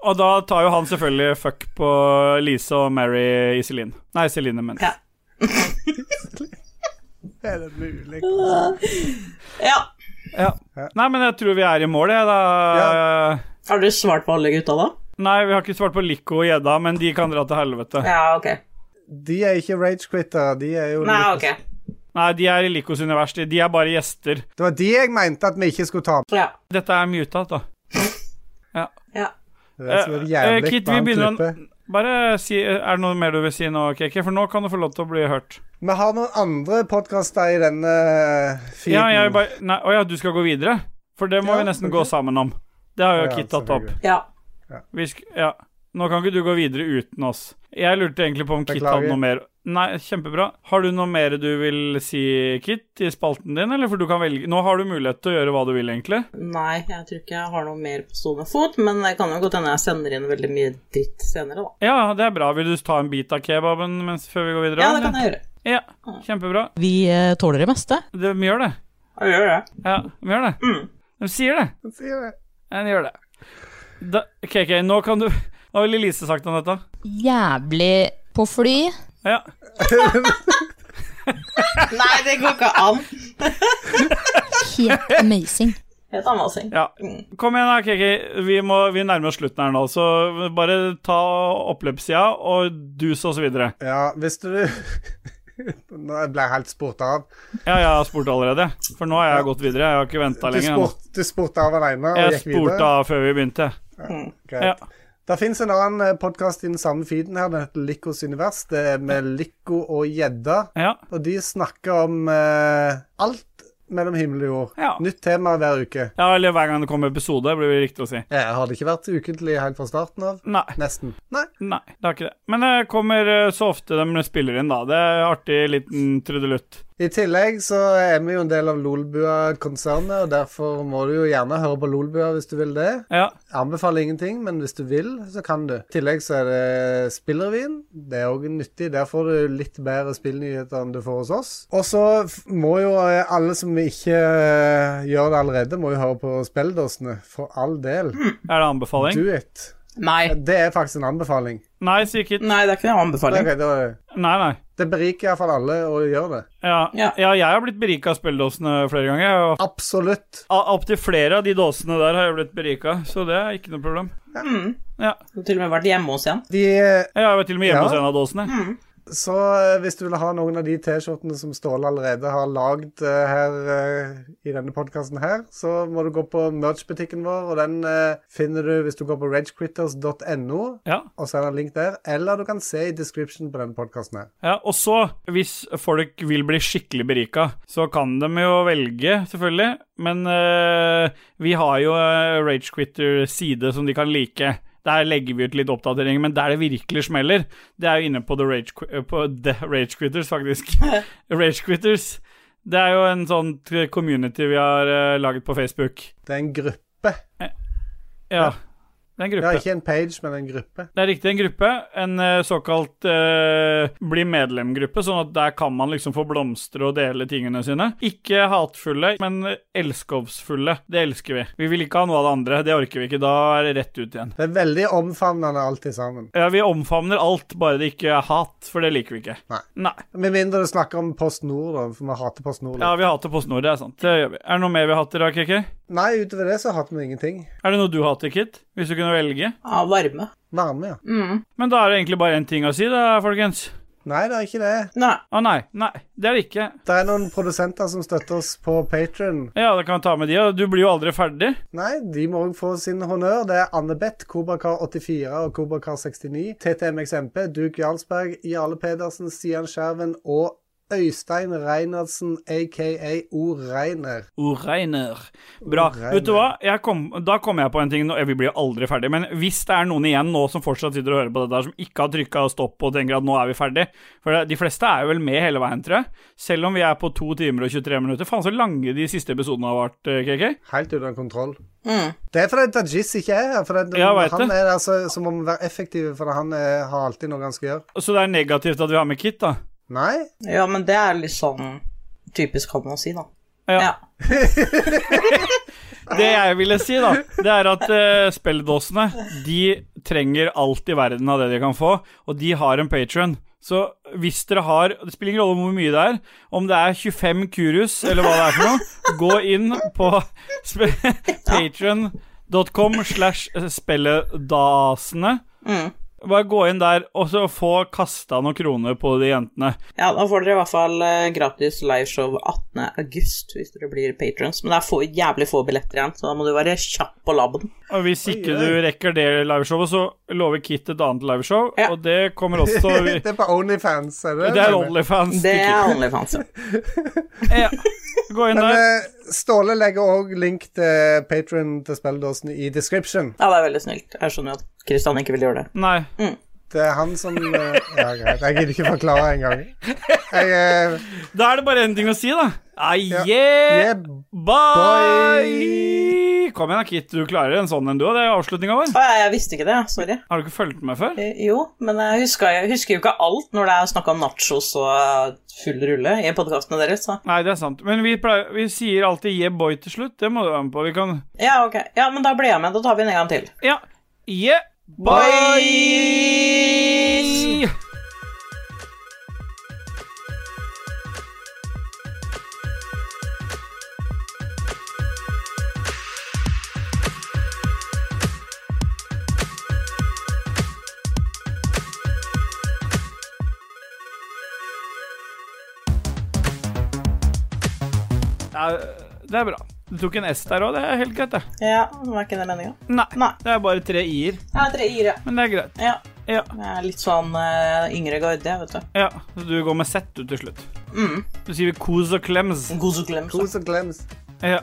Speaker 1: Og da tar jo han selvfølgelig fuck på Lise og Mary Iselin. Nei, Celine, men
Speaker 2: Ja.
Speaker 3: Er det mulig?
Speaker 2: ja.
Speaker 1: Ja. Nei, men jeg tror vi er i mål, jeg, da.
Speaker 2: Har du svart på alle gutta, da?
Speaker 1: Nei, vi har ikke svart på Lico og Gjedda, men de kan dra til helvete.
Speaker 2: Ja, ok.
Speaker 3: De er ikke rage-quittere. De er jo
Speaker 2: Nei,
Speaker 3: litt-
Speaker 2: ok.
Speaker 1: Nei, de er i Licos univers, de. De er bare gjester.
Speaker 3: Det var de jeg mente at vi ikke skulle ta med.
Speaker 1: Dette er muta, da. Ja.
Speaker 2: ja.
Speaker 3: Det er så jævlig
Speaker 1: Eh, Kit, vi
Speaker 3: varmt
Speaker 1: begynner å
Speaker 3: klippe.
Speaker 1: Bare si Er det noe mer du vil si nå, KK? For nå kan du få lov til å bli hørt.
Speaker 3: Vi har noen andre podkaster i denne eh, feeden.
Speaker 1: Ja, jeg vil bare Nei, å ja, du skal gå videre? For det må vi nesten gå sammen om. Det har jo
Speaker 3: Ja,
Speaker 1: Kit tatt opp.
Speaker 3: selvfølgelig.
Speaker 2: Ja.
Speaker 1: Vi sk ja. Nå kan ikke du gå videre uten oss. Jeg lurte egentlig på om Kit
Speaker 3: Beklager.
Speaker 1: hadde noe mer Nei, kjempebra. Har du noe mer du vil si, Kit, i spalten din, eller? For du kan velge Nå har du mulighet til å gjøre hva du vil, egentlig.
Speaker 2: Nei, jeg tror ikke jeg har noe mer på stående fot, men det kan jo godt hende jeg sender inn veldig mye dritt senere, da.
Speaker 1: Ja, det er bra. Vil du ta en bit av kebaben mens, før vi går videre?
Speaker 2: Ja, det kan jeg gjøre.
Speaker 1: Ja, kjempebra.
Speaker 12: Vi eh, tåler det meste.
Speaker 1: De gjør det.
Speaker 2: Jeg gjør det.
Speaker 1: Ja, de gjør det.
Speaker 2: Mm.
Speaker 1: De sier det.
Speaker 3: De sier det.
Speaker 1: Ja, de gjør det. Da, KK, nå kan du Hva ville Lise sagt om dette?
Speaker 11: Jævlig på fly.
Speaker 1: Ja.
Speaker 2: Nei, det går ikke an.
Speaker 1: [laughs]
Speaker 11: Helt amazing.
Speaker 2: Helt Mm. amazing.
Speaker 1: Ja. Kom igjen, da, KK. Vi, må, vi nærmer oss slutten her nå, så bare ta oppløpssida og dus oss videre.
Speaker 3: [laughs] Ja, visste du [laughs] Nå ble jeg helt spurt av.
Speaker 1: Ja, jeg har spurt allerede, for nå har jeg gått videre. Jeg har ikke venta
Speaker 3: Du,
Speaker 1: lenger. nå.
Speaker 3: spurt, du spurte av alene og
Speaker 1: Jeg
Speaker 3: gikk videre.
Speaker 1: spurte av før vi begynte.
Speaker 3: Greit. Det fins en annen podkast i den samme feeden her, den heter Lykkos univers. Det er med Lykko og gjedda. Og de snakker om eh, alt mellom himmel og jord. Nytt tema hver uke.
Speaker 1: Ja, eller hver gang det kommer episode, blir det riktig å si.
Speaker 3: Ja, har det ikke vært ukentlig helt fra starten av?
Speaker 1: Nei.
Speaker 3: Nesten. Nei.
Speaker 1: det har ikke det. Men det kommer eh, så ofte de spiller inn, da. Det er artig liten trudelutt.
Speaker 3: I tillegg så er vi jo en del av Lolbua-konsernet, og derfor må du jo gjerne høre på Lolbua hvis du vil det.
Speaker 1: Ja.
Speaker 3: Jeg anbefaler ingenting, men hvis du vil, så kan du. I tillegg så er det spillerevyen. Det er òg nyttig. Der får du litt bedre spillnyheter enn du får hos oss. Og så f- må jo eh, alle som ikke eh, gjør det allerede, må jo høre på spilledåsene. For all del.
Speaker 1: Er det anbefaling?
Speaker 3: Do it.
Speaker 2: Nei.
Speaker 3: Det er faktisk en anbefaling.
Speaker 1: Nei, sikkert.
Speaker 2: Nei, det er ikke en anbefaling.
Speaker 3: Ok, da,
Speaker 1: Nei, nei.
Speaker 3: det beriker iallfall alle å gjøre det.
Speaker 1: Ja, ja. jeg har blitt berika av spilledåsene flere ganger. og-
Speaker 3: Absolutt.
Speaker 1: A- Opptil flere av de dåsene der har jeg blitt berika, så det er ikke noe problem.
Speaker 2: Mm.
Speaker 1: Ja.
Speaker 2: Du har til og med vært hjemme hos en.
Speaker 3: De,
Speaker 1: Jeg har jo til og med hjemme
Speaker 3: Ja.
Speaker 1: hos en av dåsene.
Speaker 3: Så eh, hvis du vil ha noen av de T-skjortene som Ståle allerede har lagd eh, her eh, i denne podkasten her, så må du gå på merch-butikken vår, og den eh, finner du hvis du går på ragequitters.no, og så er det en link der, eller du kan se i description på denne podkasten her.
Speaker 1: Ja, og så, hvis folk vil bli skikkelig berika, så kan de jo velge, selvfølgelig. Men eh, vi har jo eh, Rage Ragequitter-side som de kan like. Der legger vi ut litt oppdateringer, men der det virkelig smeller, det er jo inne på The Rage, Qui- eh, på The Rage Quitters, faktisk. Rage Quitters. Det er jo en sånn t- community vi har eh, laget på Facebook.
Speaker 3: Det er en gruppe.
Speaker 1: Ja. Det er en gruppe.
Speaker 3: Ja, ikke en page, men en gruppe.
Speaker 1: Det er riktig en gruppe, en eh, såkalt eh, bli medlem-gruppe, sånn at der kan man liksom få blomstre og dele tingene sine. Ikke hatfulle, men elskovsfulle. Det elsker vi. Vi vil ikke ha noe av det andre, det orker vi ikke. Da er det rett ut igjen.
Speaker 3: Det er veldig omfavnende alt i sammen.
Speaker 1: Ja, vi omfavner alt, bare det ikke er hat, for det liker vi ikke.
Speaker 3: Nei.
Speaker 1: Nei.
Speaker 3: Med mindre du snakker om Post Nord, da, for vi hater Post Nord.
Speaker 1: Ja, vi hater PostNord, det er sant. Det gjør vi. Er det noe mer vi hater da, KK?
Speaker 3: Nei, utover det så hater vi ingenting.
Speaker 1: Er det noe du hater, Kit? Hvis du kunne velge?
Speaker 2: Ja, varme.
Speaker 3: Varme, ja.
Speaker 1: Mm. Men da er det egentlig bare én ting å si, da, folkens.
Speaker 3: Nei, det er ikke det.
Speaker 2: Nei.
Speaker 1: Å nei. Nei, det er det ikke.
Speaker 3: Det er noen produsenter som støtter oss på Patron.
Speaker 1: Ja, da kan vi ta med de, og du blir jo aldri ferdig.
Speaker 3: Nei, de må òg få sin honnør. Det er Annebeth, Kobrakar84 og Kobrakar69, TTMXMP, Duke Jarlsberg, Jarle Pedersen, Stian Skjerven og Øystein Reinertsen, aka O. Reiner.
Speaker 1: Oreiner. Bra.
Speaker 3: Oreiner.
Speaker 1: Vet du hva? Jeg kom, da kom jeg på en ting. Nå, vi blir jo aldri ferdig, men hvis det er noen igjen nå som fortsatt sitter og hører på dette her, som ikke har trykka stopp og tenker at nå er vi ferdig For det, de fleste er jo vel med hele veien, tror jeg. Selv om vi er på 2 timer og 23 minutter. Faen så lange de siste episodene har vært, eh, KK.
Speaker 3: Helt uten kontroll. Det er fordi Dajis ikke er her. For det,
Speaker 1: Jeg vet
Speaker 3: han
Speaker 1: det.
Speaker 3: er der så, så må vi være effektive, for han eh, har alltid noe han skal gjøre.
Speaker 1: Så det er negativt at vi har med Kit, da.
Speaker 3: Nei?
Speaker 2: Ja, men det er litt sånn typisk, kan man si, da.
Speaker 1: Ja. det jeg ville si, da, det er at uh, spelledåsene de trenger alt i verden av det de kan få, og de har en patron. Så hvis dere har Det spiller ingen rolle om hvor mye det er. Om det er 25 kurus, eller hva det er for noe, gå inn på [laughs] patron.com slash spelledasene.
Speaker 2: Mm.
Speaker 1: Bare gå inn der og så få kasta noen kroner på de jentene.
Speaker 2: Ja, da får dere i hvert fall eh, gratis liveshow 18. august hvis dere blir patrons. Men det er få, jævlig få billetter igjen, så da må du være kjapp på labben.
Speaker 1: Og hvis ikke du rekker det liveshowet, så lover Kit et annet liveshow, og det kommer også
Speaker 3: det er på Onlyfans, er det?
Speaker 1: Det er Onlyfans.
Speaker 2: Det er
Speaker 1: Kit.
Speaker 2: OnlyFans, ja.
Speaker 1: Gå inn
Speaker 3: Men
Speaker 1: der.
Speaker 3: eh, Ståle legger òg link til Patron til spilledåsen i description.
Speaker 2: Ja, det er veldig snilt. Jeg skjønner jo at Kristian ikke vil gjøre det.
Speaker 1: Nei.
Speaker 3: Det er han som eh, Ja, greit. Jeg gidder ikke forklare engang. Jeg, eh,
Speaker 1: Da er det bare en ting å si, da. Ah, yeah, bye! Kom igjen, da, Kit. Du klarer en sånn en, du òg. Det er avslutninga vår.
Speaker 2: Å, jeg visste ikke det. Sorry.
Speaker 1: Har du ikke fulgt med før?
Speaker 2: Eh, Jo, men jeg husker, jeg husker jo ikke alt når det er snakk om nachos og eh, full rulle i podkastene deres. Så.
Speaker 1: Nei, det er sant. Men vi, pleier, vi sier alltid 'yeah, boy' til slutt. Det må du være med på. Vi kan
Speaker 2: Ja, ok. Ja, men da blir jeg med. Da tar vi den en gang til.
Speaker 1: Ja. Yeah, bye! Ja, det er bra. Du tok en S der òg, det er helt greit, det.
Speaker 2: Ja, var ikke det meninga?
Speaker 1: Nei, det er bare tre i-er.
Speaker 2: Ja, tre i-er, ja.
Speaker 1: Men det er greit.
Speaker 2: Ja.
Speaker 1: Ja.
Speaker 2: Jeg er litt sånn eh, yngre garde, jeg, vet du.
Speaker 1: Ja, så du går med Z du til slutt.
Speaker 2: Mm.
Speaker 1: Du sier kos og klems.
Speaker 2: Kos og klems.
Speaker 3: Kos og klems.
Speaker 1: Ja.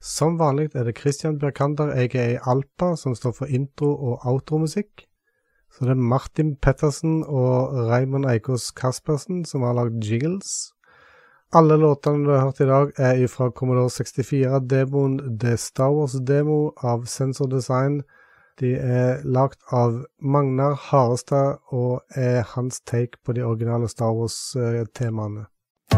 Speaker 3: Som vanlig er det Christian Bjørkander, aka Alpa, som står for intro- og outromusikk. Så det er Martin Pettersen og Raymond Eikås Kaspersen som har lagd jingles. Alle låtene du har hørt i dag, er fra Commodore 64-demoen The Star Wars-demo av Sensor Design. De er lagd av Magnar Harestad og er hans take på de originale Star eh, Wars-temaene.